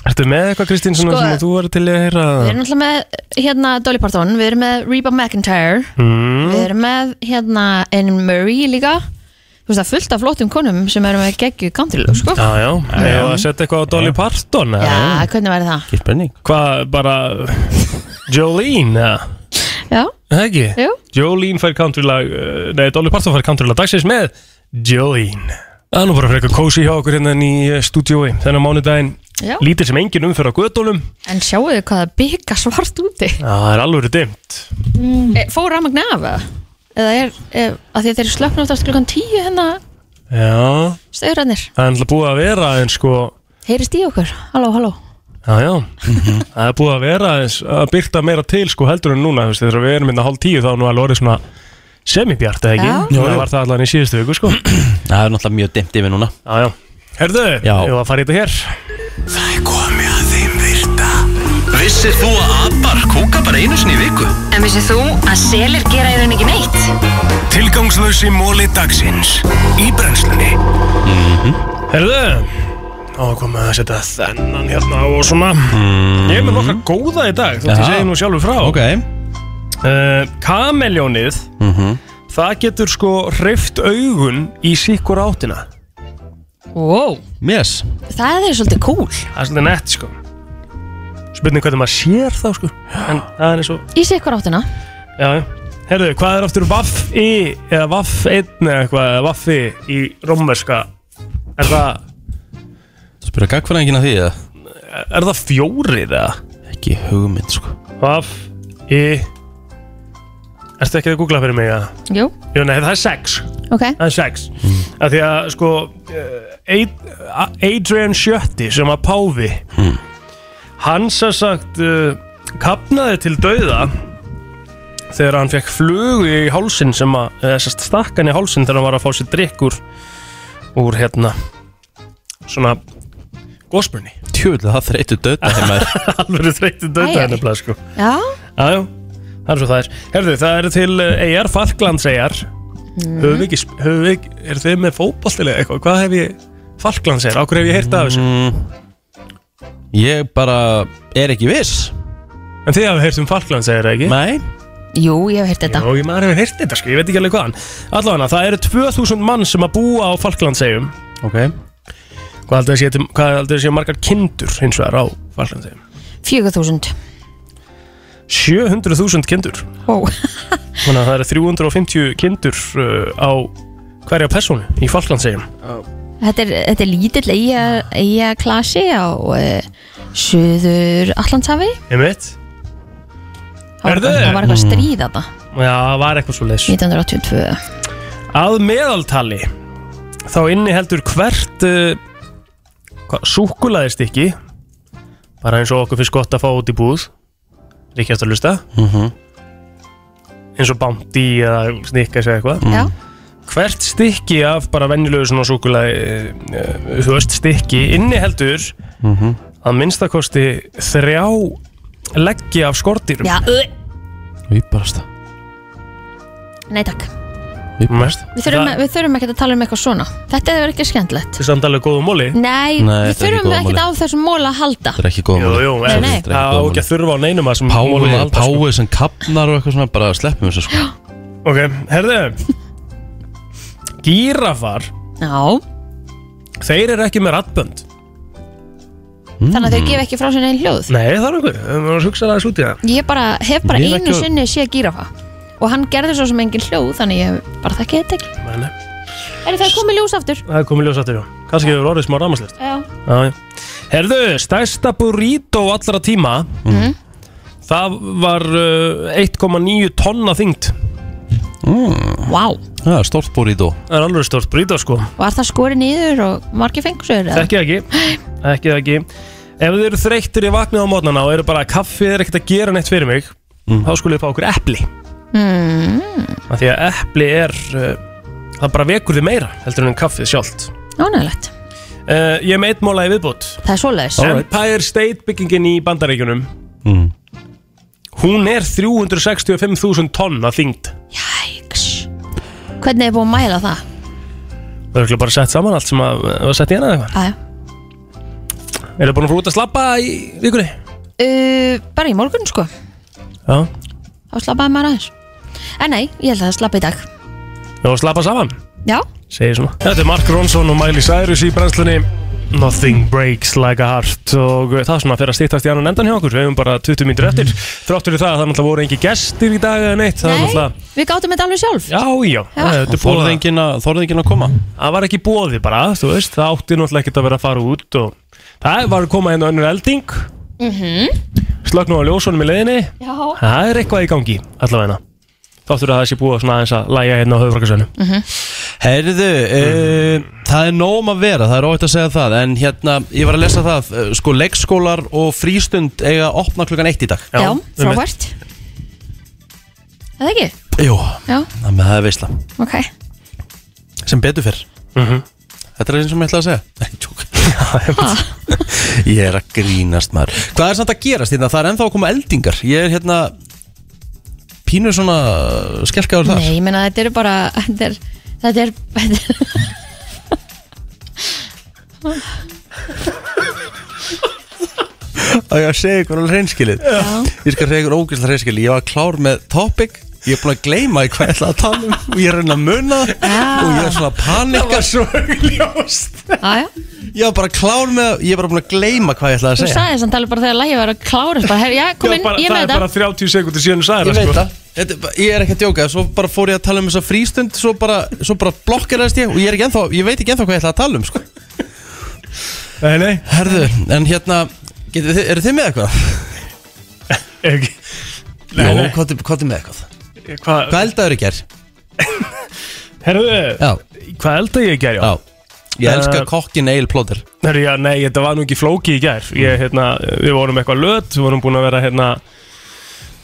Ertu með eitthvað Kristín svona
Sko-
sem að þú verður til í að heyra
Við erum alltaf með hérna Dolly Parton, við erum með Reba McIntyre,
Hmm?
Mhm.
við erum með hérna Anne Marie líka. Þú veist það er fullt af flottum konum sem eru með geggju countrylög, sko.
Já, já, eða að setja eitthvað á Dolly Parton eða?
Já, hvernig væri það?
Ekki spenning
Hvað, bara Jolene, eða?
Já,
Er það ekki?
jú.
Jolene fær countrylag eh, Nei, Dolly Parton fær countrylag dagsins með Jolene Það er nú bara frekar kósi hjá okkur hérna í eh, stúdíói Þennan mánudaginn
Já.
Lítið sem engin umferð á gödólum
En sjáu þið hvað það byggja svart úti.
Það er alveg dimmt
E, fór rafmagn af eða? Eða er, e, að því að þeir slöknu oftast klukkan tíu hérna
Já,
stöðurannir.
það er alltaf búið að vera en sko
Heyrist í okkur? Halló, halló.
Já, já, [laughs] það er búið að vera aðeins að byrta meira til sko heldur en núna þú veist, þegar við erum inn að hálf tíu þá er nú alveg orðið svona semibjart eða ekki,
Já.
það var það allan í síðustu viku sko Já,
Það er náttúrulega mjög dimmt yfir núna
já, herðu,
Já.
ég var að fara í þetta hér
Það er komið að þeim virta Vissir þú að abar kúka bara einu sinni í viku?
En vissið þú að selir gera í raun ekki neitt?
Tilgangslösi móli dagsins Í brennslunni
Herðu, þá er komið að setja þennan hérna og svona Ég er með nokkra góða í dag, þú veist ég
Já.
segi nú sjálfur frá
Ok
uh, Kameljónið, það getur sko hreift augun í síkur áttina
Wow.
Yes
Það er svolítið cool.
Það er svolítið nett sko Spurning hvernig maður sér þá sko En það er eins og
Í sig ykkur áttina.
Já, já Herðu, hvað er aftur vaff í Eða vaff einn eða eitthvað Eða vaffi í rómverska Er það,
Þú spyrir gagfræðingina því eða?
er það fjórið eða?
Ekki hugmynd sko
Vaff í Ertu ekki að googla fyrir mig eða?
Jú,
Jú, nei, það er sex
ok.
Það er sex Af Því að sko eh, Ad- Adrian Sjötti sem var páfi Hann sem sagt uh, Kapnaði til dauða Þegar hann fekk flugu í hálsin sem að, eða þessast stakkan í hálsin þegar hann var að fá sér drikk úr úr hérna svona gósbrunni
[laughs] Tjúlega það þreytur döta heim að
alveg þreytið
Æ, æ.
döða henni blað sko
Já,
Jájú, Það er svo það er. Herðu, það eru til eh, eyjar, Falklandseyjar. Höfum við ekki, sp- höfum við ekki, eru þið með fótballtilega eitthvað? Hvað hef ég, Falklandseyjar, ákveð hef ég heyrt af þessu?
Ég bara er ekki viss
En þið hafið heyrt um Falklandseyjar, ekki?
Nei
Jú, ég hef heyrt þetta
Jó, ég maður hefur heyrt þetta, sko, ég veit ekki alveg hvaðan. Allavega, það eru 2000 mann sem að búa á Falklandseyjum.
Ok
Hvað heldur þessi, hvað heldur þessi margar kindur hins vegar á Falklandseyjum?
4000
700.000 kindur.
Ó,
Þannig að það eru 350 kindur uh, á hverja persónu í Falklandseyjum.
þetta er, þetta er lítill eiga, eiga klasi á uh, Suður Allandshafi
Einmitt.
Það var
Herðu.
eitthvað- það var eitthvað stríð þetta
Já, það var eitthvað svo leys.
1982
Að meðaltali þá inniheldur hvert uh, súkulaðist ekki bara eins og okkur finnst gott að fá út í búð ríkjast að lusta eins og bandi eða snikkas eða eitthvað
Já,
hvert stykki af bara venjulegu svona súkulaði uh, þú veist stykki inniheldur að minnstakosti þrjá leggji af skordýrum
já uh,
Við barast það
Nei takk
Mest.
Við þurfum,
Það-
við þurfum ekki að tala um eitthvað svona Þetta er ekki skemmtilegt
Þetta er samt alveg góðum móli
Nei,
Nei, við
þetta er ekki
þurfum
góða
ekki á þessum móla að halda
Það er ekki góð
Jú,
mál.
jú,
Nei,
en
nei.
Það er
það á
ekki
ekki
góð
að þurfa á neinum að sem mólum að
Pái,
halda, sko.
pái sem kapnar og eitthvað svona Bara sleppum þessu sko
Ok, herðu Gírafar
Já,
Þeir eru ekki með rattbönd
þannig
Mm.
að þau gefa ekki frá sér einn hljóð
Nei, það er okkur, við erum að hugsa aðeins út í það
Ég bara hef bara
Ég er
einu
ekki-
sinni séð gírafa Og hann gerði svo sem engin hljóð Þannig ég bara þekki þetta ekki
Nei, nei,
Er það komið ljós aftur?
það er komið ljós aftur já Kanski hefur orðið smá rámaslegt
Já
Herðu, stærsta burrito allra tíma
Mhm.
Það var uh, 1,9 tonna þyngd
Vá,
Það er stórt búr í dó
Það er alveg stórt burrito sko
var það skorið niður og margir fengur sér eða?
Ekki það ekki, ekki það ekki Ef þið eru þreyttir í vaknið á mótnana og eru bara kaffið er ekkert að gera neitt fyrir mig þá skulið fá okkur epli
mm,
Af Því að epli er uh, það bara vekur þið meira heldur en kaffið sjálft
Ánægilegt,
uh, Ég er með eitt móla í viðbútt
það er svoleiðis
Empire State byggingin í Bandaríkjunum
Mm.
Hún er 365.000 tonn að þyngd
Jæks Hvernig er búið að mæla það?
Það er örugglega bara sett saman allt sem að, að setja hérna eða eitthvað
Aðja
Er það búin að fór út að slappa í vikunni?
uh, Bara í morgun sko
Já,
Þá slappaði maður aðeins En nei, ég held að það slappa í dag
það var að slappa saman
Já,
segir svona Þetta er Mark Ronson og Miley Cyrus í brennslunni Nothing breaks like a heart og eh, það er svona fyrir að stýttast í annan endan hjá okkur við hefum bara 20
Mhm.
mínútur eftir þráttur við það að það náttúrulega voru engi gestir í dag eða neitt það er
nei,
náttúrulega
við gátum þetta alveg sjálf
Já, já, það er búið að-
Þorðingin að þorðingin að koma
það var ekki bóði bara, þú veist, það átti náttúrulega ekkert að vera að fara út og það var að koma hérna önnur elding mm -hmm. Slöknu á ljósunum í leiðinni
Mhm. Já,
Það er eitthvað í gangi, allavegna Þáttur að það sé búið að svona aðeins að læja hérna á höfufrakarsönu
Mhm.
[laughs]
Herðu, uh, það er nóg um að vera, það er óvægt að segja það En hérna, ég var að lesa það eh, Sko, leikskólar og frístund eiga að opna klukkan eitt í dag
já, frávært Eða ekki?
Jú,
Já,
þannig að það er veisla
ok
Sem betur fyrr
Mhm.
Þetta er eins og mér ætlaði að segja Nei, tjók [laughs] Ég er að grínast maður Hvað er samt að gerast hérna? Það er ennþá að koma eldingar Ég er hérna Pínu svona skelkaður þar
Nei, ég meina þetta eru bara Þetta er, þetta er, þetta er [laughs]
að ég að segja ykkur alveg hreinskilið ég skal segja ykkur ógeðslega hreinskilið ég var klár með topic ég er búin að gleyma í hvað ég ætla að tala um og ég er að reyna að muna og ég er svona að panika
Svo augljóst
Aja,
ég var bara klár með ég er bara búin að gleyma hvað ég ætla að
þú
segja
sagði þess að tala bara þegar lægið var að klára bara, her, Já, kom
Já,
inn,
bara,
ég er
það
með
er bara
þetta
30 sekundir síðan þú sagði
ég veit
það sko.
það Þetta er bara- ég er ekki að djóka svo bara fór ég að tala um þessa frístund svo bara, svo bara blokkeraðist ég og ég, er ekki ennþá, ég veit ekki ennþá hvað ég ætla að tala um sko.
Nei, nei,
herðu, en hérna getið þið, eru þið með eitthvað?
ekki
Jó,
nei.
hvað er- hvað er með eitthvað?
Hvað
hvað eldaður ég ger?
Herðu,
Já,
hvað elda ég í gær, já?
já ég elska
Eh,
kokkin Eil Plóter
Herðu, já, nei, þetta var nú ekki flóki í gær ég, hérna, Við vorum eitthvað löt, við vorum búin að vera hérna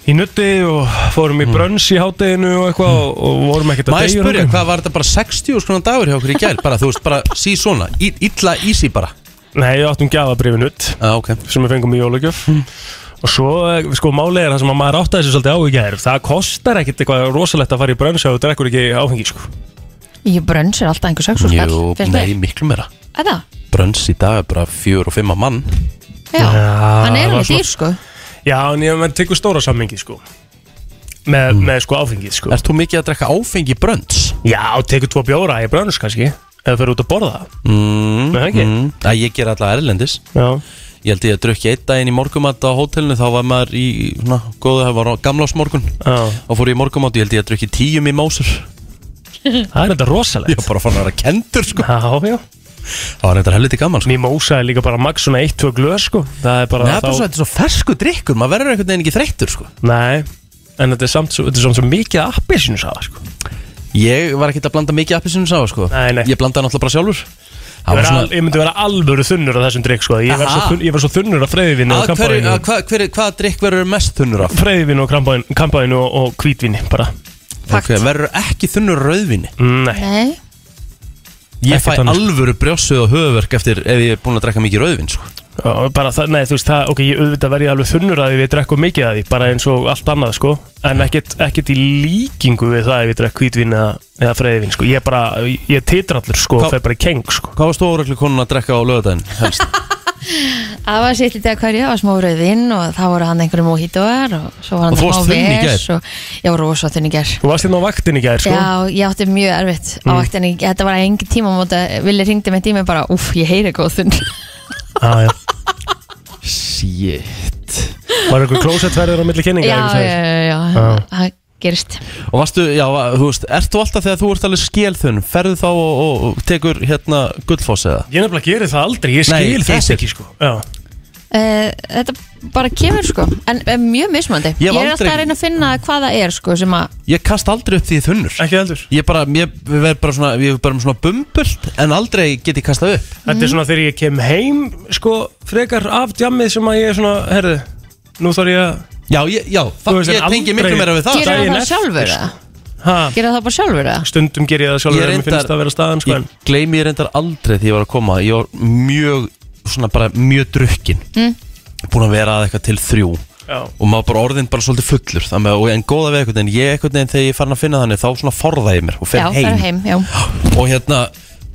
í nutti og fórum í brönns í hátteginu og eitthvað og, og vorum ekkert að
Hmm. Má ég
deyja um
spyrja,
þangað.
hvað var þetta bara 60 skoðan dagur hjá okkur í gær? Bara, þú veist, bara sí svona, í- illa easy bara
Nei, við áttum gjafabrifin út
Já, ok Hmm.
sem við fengum í jólugjöf Og svo, eh, sko, málið er það sem að maður áttaði þessu svolítið á í gær Það kostar ekkit eitthvað rosalegt að fara í brönnsjá og drekkur ekki áfengi, sko
Ég brönns er alltaf einhver sex og skall
Jú,
finnst
nei,
mér.
miklu meira
Er það?
Brönns í dag er bara fjör og fimm að mann
Já, hann er
það var
alveg
svona-
dýr sko
Já, en ég menn tekur stóra sammengi, sko Með,
Hmm.
með sko, áfengið, sko
Ert þú mikið að drekka áfengi brönns?
Já, tekur tvo bjóra í brönns, kannski Eða fyrir út að borða
Mm,
Nei, ekki.
mm. Æ, Ég ger alltaf erlendis
Já
Ég held ég að drukki einn daginn í morgumat á hótelinu Þá var maður í, svona, góðu, það var á gamlásmorgun
Já,
Þá fór ég í morgumat, ég held ég að drukki tíum í másur
það er þetta
Ég
rosalegt
var bara fann að vera kendur, sko
Já, já
Það var eitthvað helviti gaman, sko
Mimosa er líka bara max svona 1-2 glöð, sko Það er bara
Nei, það er bara svo, þetta er svo fersku drikkur, maður verður einhvern veginn ekki þreyttur, sko
Nei, en þetta er samt svo, þetta er samt svo mikið appelsinu safa, sko
Ég var ekkert að blanda mikið appisinu sá, sko
Nei, nei.
Ég blandaði náttúrulega bara sjálfur
Ég,
Það var
vera, al,
svona
ég myndi vera alvöru þunnur á þessum drikk sko. ég, var svo
Aha.
þunn, ég var svo þunnur á freyðvinni og
Að hverju-
kampaðinu
að Hvað hver, hvaða drikk verður mest þunnur af?
Freyðvinni og kampaðinu, kampaðinu og, og hvítvinni bara.
Ok, verður ekki þunnur af rauðvinni
Nei,
Nei,
Ég
Ekkert
fæ
annars.
alvöru brjósuð og höfuverk eftir ef ég er búin að drekka mikið rauðvin, sko
Og bara, það, nei, þú veist það, ok, ég auðvitað verði alveg þunnur að því við drekkum mikið að því, bara eins og allt annað sko, en ekkert, ekkert í líkingu við það ef við drekk hvítvinni eða, eða freyðvinni sko, ég er bara, ég titra allur sko,
Hvað-
það er bara í keng sko
Hvað var stóraklu konun að drekka á lögadaginn helst?
það var sitt lítið að hverja, það var smá rauðinn og það voru hann einhverjum mojitóar og svo
Og
var hann
þú varst
smá
þunn í
ves
gær?
og ég var rosa þunn í ger
Þú varst hérna á vaktinni í gær sko Mm.
Já, ég átti mjög erfitt á vaktinni, þetta var engin tíma móta, Vili ringdi með tíma bara, uff, ég heyri góð
[laughs]
þunn
ah, já.
Shit
Var einhver klósettverður á milli kynninga
Já,
einhver
já,
sagði?
já, já,
Já.
það gerist
Og varstu, já, þú veist, ert þú alltaf þegar þú ert alveg skélþunn Ferðu þá og, og, og tekur hérna gullfoss eða?
Ég nefnilega gerir það aldrei, ég
Nei,
skil
þetta
þetta
er-
ekki sko Já,
Uh, þetta bara kemur sko en er mjög mismandi
Ég
ég,
hef
er alltaf
aldrei-
að reyna að finna hvað það er sko sem að
Ég kast aldrei upp því ég er þunnur
ekki heldur
Ég bara, ég verð bara svona, ég verð bara með svona bumbult En aldrei get ég kastað upp
Þetta er svona þegar ég kem heim sko frekar af djammið sem að ég er svona, herðu, nú þarf ég að
Já, ég, já, það,
veist,
ég
en
tengi
aldrei-
miklu meira við það
gera
daginn
það
eftir,
sjálfur
sko.
eða?
ha,
gera það bara sjálfur eða?
stundum ger ég það
Ég
sjálfur en mér
reyndar-
finnst það að vera staðan sko en
Ég gleymi ég reyndar aldrei því ég var að koma Ég var mjög, svona bara mjög drukkin mm. Búin að vera að eitthvað til þrjú
Já,
Og maður bara orðin bara svolítið fullur Það með, og, En góða við eitthvað, en ég eitthvað neginn þegar ég er farin að finna þannig Þá svona forða ég mér og
já,
fer
það
heim.
er heim já.
Og hérna,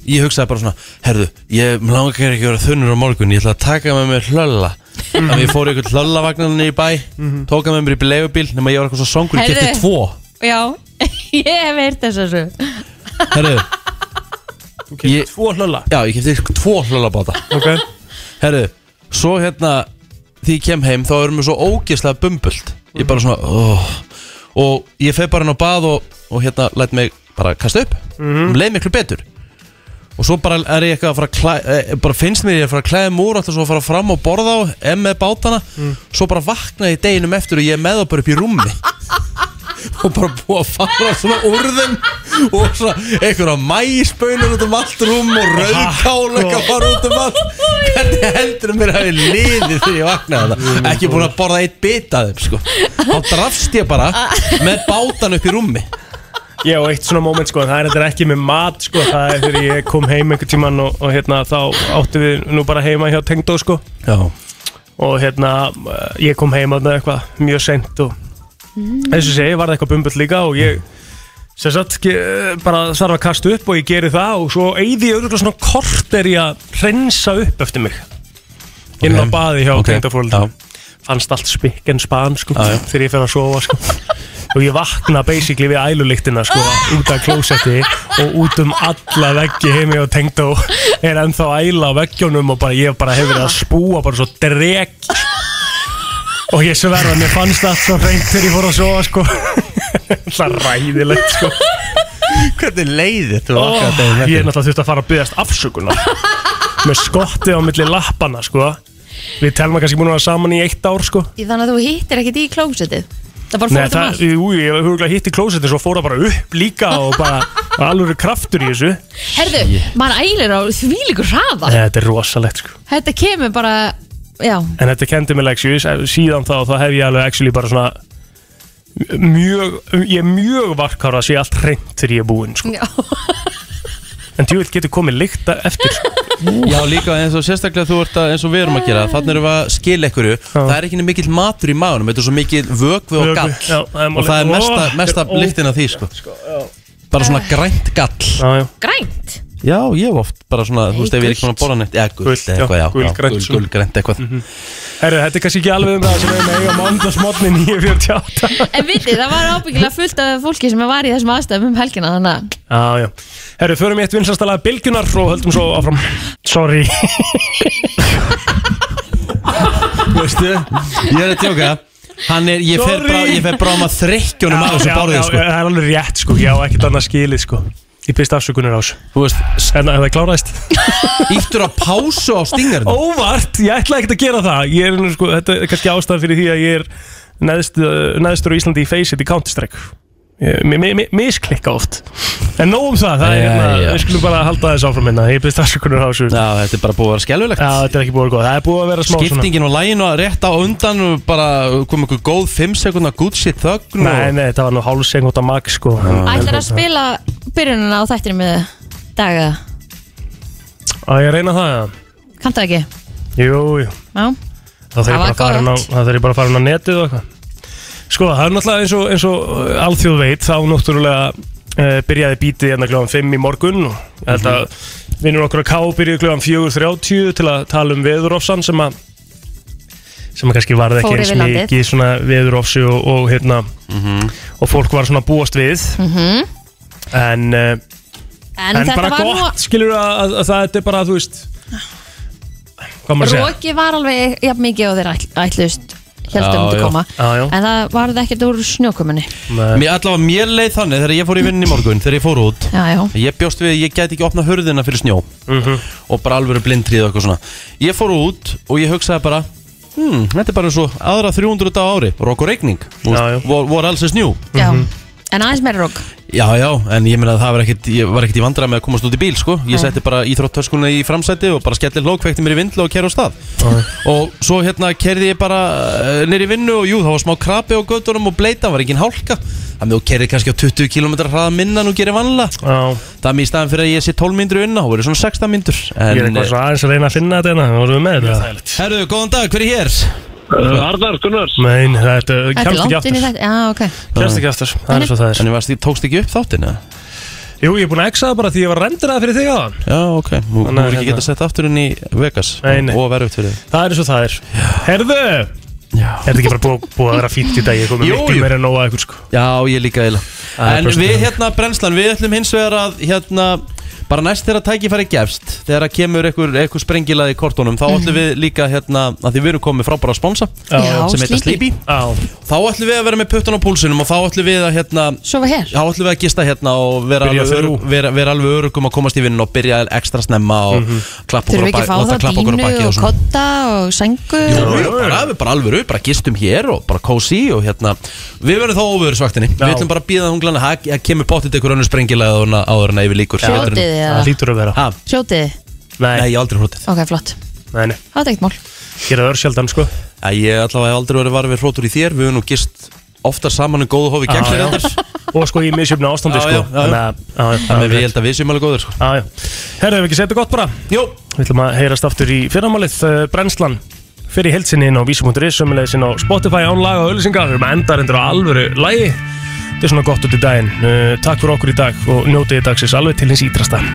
ég hugsaði bara svona Herðu, ég mig langar ekki að vera þunnur á morgun Ég ætla að taka með mér hlölla
Mhm.
Þannig ég fór í eitthvað hlöllavagnan í bæ Tóka með mér í leigubíl Nefn ég var eitthvað svo songur, ég
Heyrðu.
geti tvo
já, [laughs] ég hef heyrt þess að svo
Herðu,
þú kemur
Ég-
tvo hlölla
já, ég kefti tvo hlöllabáta
Ok,
Herðu, svo hérna Því ég kem heim, þá erum við svo ógeðslega bumbult Ég bara svona oh. Og ég feg bara hann á bað og, og hérna læt mig bara kasta upp mm Leið miklu betur Og svo bara er ég eitthvað að fara að klæða Bara finnst mér ég að fara að klæða múr Alltaf svo að fara fram og borða á En með bátana Svo bara vakna ég deginum eftir Og ég er með það bara upp í rúmi Og bara búið að fara svona úr þeim Og svona einhverja mæsbönur út um allt rúm Og rauðkál ekki að fara út um allt Hvernig heldur mér að ég liði Þegar ég vaknaði þetta Ekki búin að borða eitt bita af þeim sko Þá drafst ég bara með bátan upp í rúmi
ég á eitt svona moment sko en það er þetta ekki með mat sko það er þegar ég kom heim einhvern tíman og, og hérna þá áttu við nú bara heima hjá Tengdó sko
Já,
og hérna eh, ég kom heim að eitthvað mjög seint og eins og segi var það eitthvað bumbult líka og ég sem sagt ge- eh, bara þarf að kasta upp og ég geri það og svo eyði ég auðvitað svona kort er ég að hreinsa upp eftir mig inn á
Ok.
baði hjá
Ok.
okay. tengdafólk
Já.
fannst allt spikk en span sko
Já, já.
þegar ég fer að sofa sko og ég vakna basically við ælulíktina sko út af klósetti og út um alla veggi heimi og tengd og er ennþá æla á veggjónum og bara, ég bara hefur verið að spúa bara svo dreg og ég sverða mér fannst allt svo reynd þegar ég fór að sofa sko [laughs] það er ræðilegt sko
hvernig leiði þetta
oh, ég er náttúrulega þurfti að fara að byggast afsökunar með skottið á milli lappana sko við telma kannski búin að vera saman í eitt ár sko
Í þannig að þú hittir ekkert í klósitið það bara fór
Nei,
um þetta
það,
maður
jú, ég hef huglega hitt í klósetin svo fór það bara upp líka og bara alveg kraftur í þessu Nei,
herðu, maður ælir á þvílíkur hraða
Þetta er rosalegt sko
þetta kemur bara, já
En þetta kendi mig leksju síðan þá þá hef ég alveg actually bara svona mjög, ég er mjög varkar að sé allt reynd þegar ég er búinn sko [laughs]
Já.
en djúvill getur komið líkta eftir sko.
Já, líka eins og sérstaklega þú ert að, eins og við erum að gera Þannig erum við að skila ekkurju Það er ekki neitt mikill matur í maðunum Þetta er svo mikill vökvi og
Vökvi,
gall
já, það er
Og það er
málið.
mesta,
Ó,
mesta
þetta er ó-
lyktin af því sko. Bara svona grænt gall
já, já.
Grænt
Já, ég hef oft bara svona, þú veist, ef ég er ekki svona að borða neitt Já, gult
Gult, já,
eitthvað, já,
gulgrænt
já,
svona. Mhm.
gul, gulgrænt eitthvað
[laughs] Herru, þetta er kannski ekki alveg um það sem við með eiga mándagsmotni 9.48
En vitið, það var ábyggilega fullt af fólki sem var í þessum aðstæðum um helgina Þannig að
Já, já. Herru, förum í eitt vinsastalega bylgjunar og höldum svo áfram. Sorry.
Veistu, ég er að tjóka Hann er, ég fer
Sorry.
bara, ég fer bara um að þrykkjónum á þessu
Já,
bárðið,
já,
sko
já, Það er alveg rétt, sko. Já, ekkert annað skilið, sko. Ég byrst afsökunar á þessu.
Þú veist,
En það kláraðist.
íttur á pásu á stingarinn
Óvart, ég ætla ekkert að gera það. Ég er, nú, sko, þetta er kannski ástæðan fyrir því að ég er neðst, uh, neðstur á Íslandi í Faceit í Counter-Strike. Ég- mi- mi- mi- Misklikka oft. En nóg um það, það er
Já,
hérna,
já.
við skulum bara halda þess áfram hérna. Ég byrst afsökunar á þessu.
Já, þetta er bara búið að vera skelfilegt
Já, þetta er ekki búið að vera góð. Það er búið að vera smá svona-
skiptingin og lægin og rétt á undan og bara kom einhver góð 5 sekundar good shit þögn
Nei,
og
nei, þetta var nú hálseng út af mag sko
ætlar að spila byrjunina á þættinu með daga
Á ég að reyna það, já
Kanntu það ekki?
Jú, jú
Já,
Það þarf
Það
ég
var
bara að fara inn á,
gott.
það þarf ég bara að fara inn á netið og eitthvað Sko, það er náttúrulega eins og, eins og uh, alþjóð veit Þá náttúrulega uh, byrjaði bítið hérna kljóðan 5 í morgun og Ég held að vinnur okkur að ká byrjuði kljóðan 4.30 til að tala um veðurofsan sem að sem að kannski varði
Fór
ekki eins
yfir landið.
mikið svona veðurofsi og, og hérna og fólk var svona að búast við en uh,
Mhm. en,
en
þetta
bara
var
gott,
nú
skilur að, að, að það þetta er bara, þú veist
Ah.
Hvað maður að segja?
Roki var alveg jafn mikið og þeir ætl, ætlust
Já,
Heldum að
já.
koma
Já, já.
En það varði ekkert úr snjókumunni
Nei.
mér allavega mér leið þannig þegar ég fór í vinnin í morgun þegar ég fór út
Já, já,
ég bjóst við, ég gæti ekki opna hurðina fyrir snjó
Mhm.
og bara alveg blindrið og eitthvað svona ég fór út og ég hugsaði bara hmm, þetta er bara svo aðra 300 dag á ári rokk og regning, Þú
Já, já.
veist, vor, vor alls er snjó
já
Mhm.
En aðeins meira rók
já, já, en ég meina að það var ekkit ég var ekkit í vandra með að komast út í bíl, sko ég
Nei.
setti bara íþróttöskunni í framsæti og bara skellir lókvekti mér í vindlu og kerði á stað og svo hérna kerði ég bara uh, nýri vinnu og jú, það var smá krapi á göttunum og bleita, var engin hálka þannig að þú kerði kannski á 20 km hraða minna en þú gerir vanlega
Já,
það er mér í staðan fyrir að ég sé 12 myndur unna þá verður svona 16 myndur
ég er eitthvað
en,
svona aðeins að reyna að finna þetta hérna, vorum við með þetta?
herru, góðan dag, hver er hér?
Arnar Gunnars
Nein, þetta
Þetta er
kemst ekki
langt inn í
aftur
þetta Já, ok
Kemst ekki aftur, það er svo það er
þannig varst, tókst ekki upp þáttin eða?
Jú, ég er búin að exa það bara því ég var rendur að fyrir þig á
já, ok, þú þú
Nei,
er ekki
hérna.
getað sett aftur inn í Vegas
Nei, nei.
og verður fyrir
Það er svo það er Herðu, er
þig
þetta ekki bara búið, búið að vera fínt í dag Ég komið
Jú,
miklu
jú.
meira en nóga ykkur sko
Já, ég líka eila
er
En
bara
við
stuð.
hérna brennslan, við ætlum hins vegar að hérna, bara næst þegar tækifæri gefst þegar að kemur einhver, einhver sprengilað í kortunum þá ætlum við líka hérna að því við erum komið frábæra sponsa
Mhm. Já,
sem heita
Sleepy.
Sleepy
Já,
þá ætlum við að vera með puttan á púlsinum og þá ætlum við að hérna
Svo var hér
þá ætlum við að gista hérna og vera,
Byrja
alveg,
þrjú.
örugg, vera, vera alveg örugum að komast í vinn og byrja ekstra snemma og
Mhm.
klappa okkur á
Þurfum við ekki
bak-
að fá
láta
þá
klappa okkur á
dínu
bakið og
og
svona.
kotta og sengu
Jú,
og-
jú, bara, við bara alveg upp, bara gistum hér og bara kósi og hérna Við verðum þá óvöðursvaktinni Við
Já.
ætlum bara að býða hunglana Það það kemur pottit ykkur önnur sprengilega áður en- áður en að yfir líkur
Hljótið þið
það
eða?
lítur að vera
Ha,
Hljótið þið?
nei,
Nei,
ég hef aldrei hrótið
Ok, flott
nei, nei,
Það er ekkert mál
gera það örsjaldan sko
ja, Ég allavega hef aldrei verið varfið hrótur í þér Við höfum nú gist ofta saman um góðu hófi
Já, já.
gegn þér
Og sko í misjöfna ástandi
Já,
sko
já, já, já.
Þannig að- já, já,
Þannig að
já,
við held að við séum alveg góður sko.
já, já. Herðu, hefur ekki setið gott bara?
Jó,
Við ætlum að heyrast aftur í fyrramálið uh, Brennslan fyrir helsinni inn á vísum.is sömulegis inn á Spotify án laga og öllisingar við erum að enda reyndur á alvöru Eh, lægi þetta er svona gott út í daginn uh, takk fyrir okkur í dag og njótið í dagsins alveg til hins ítrasta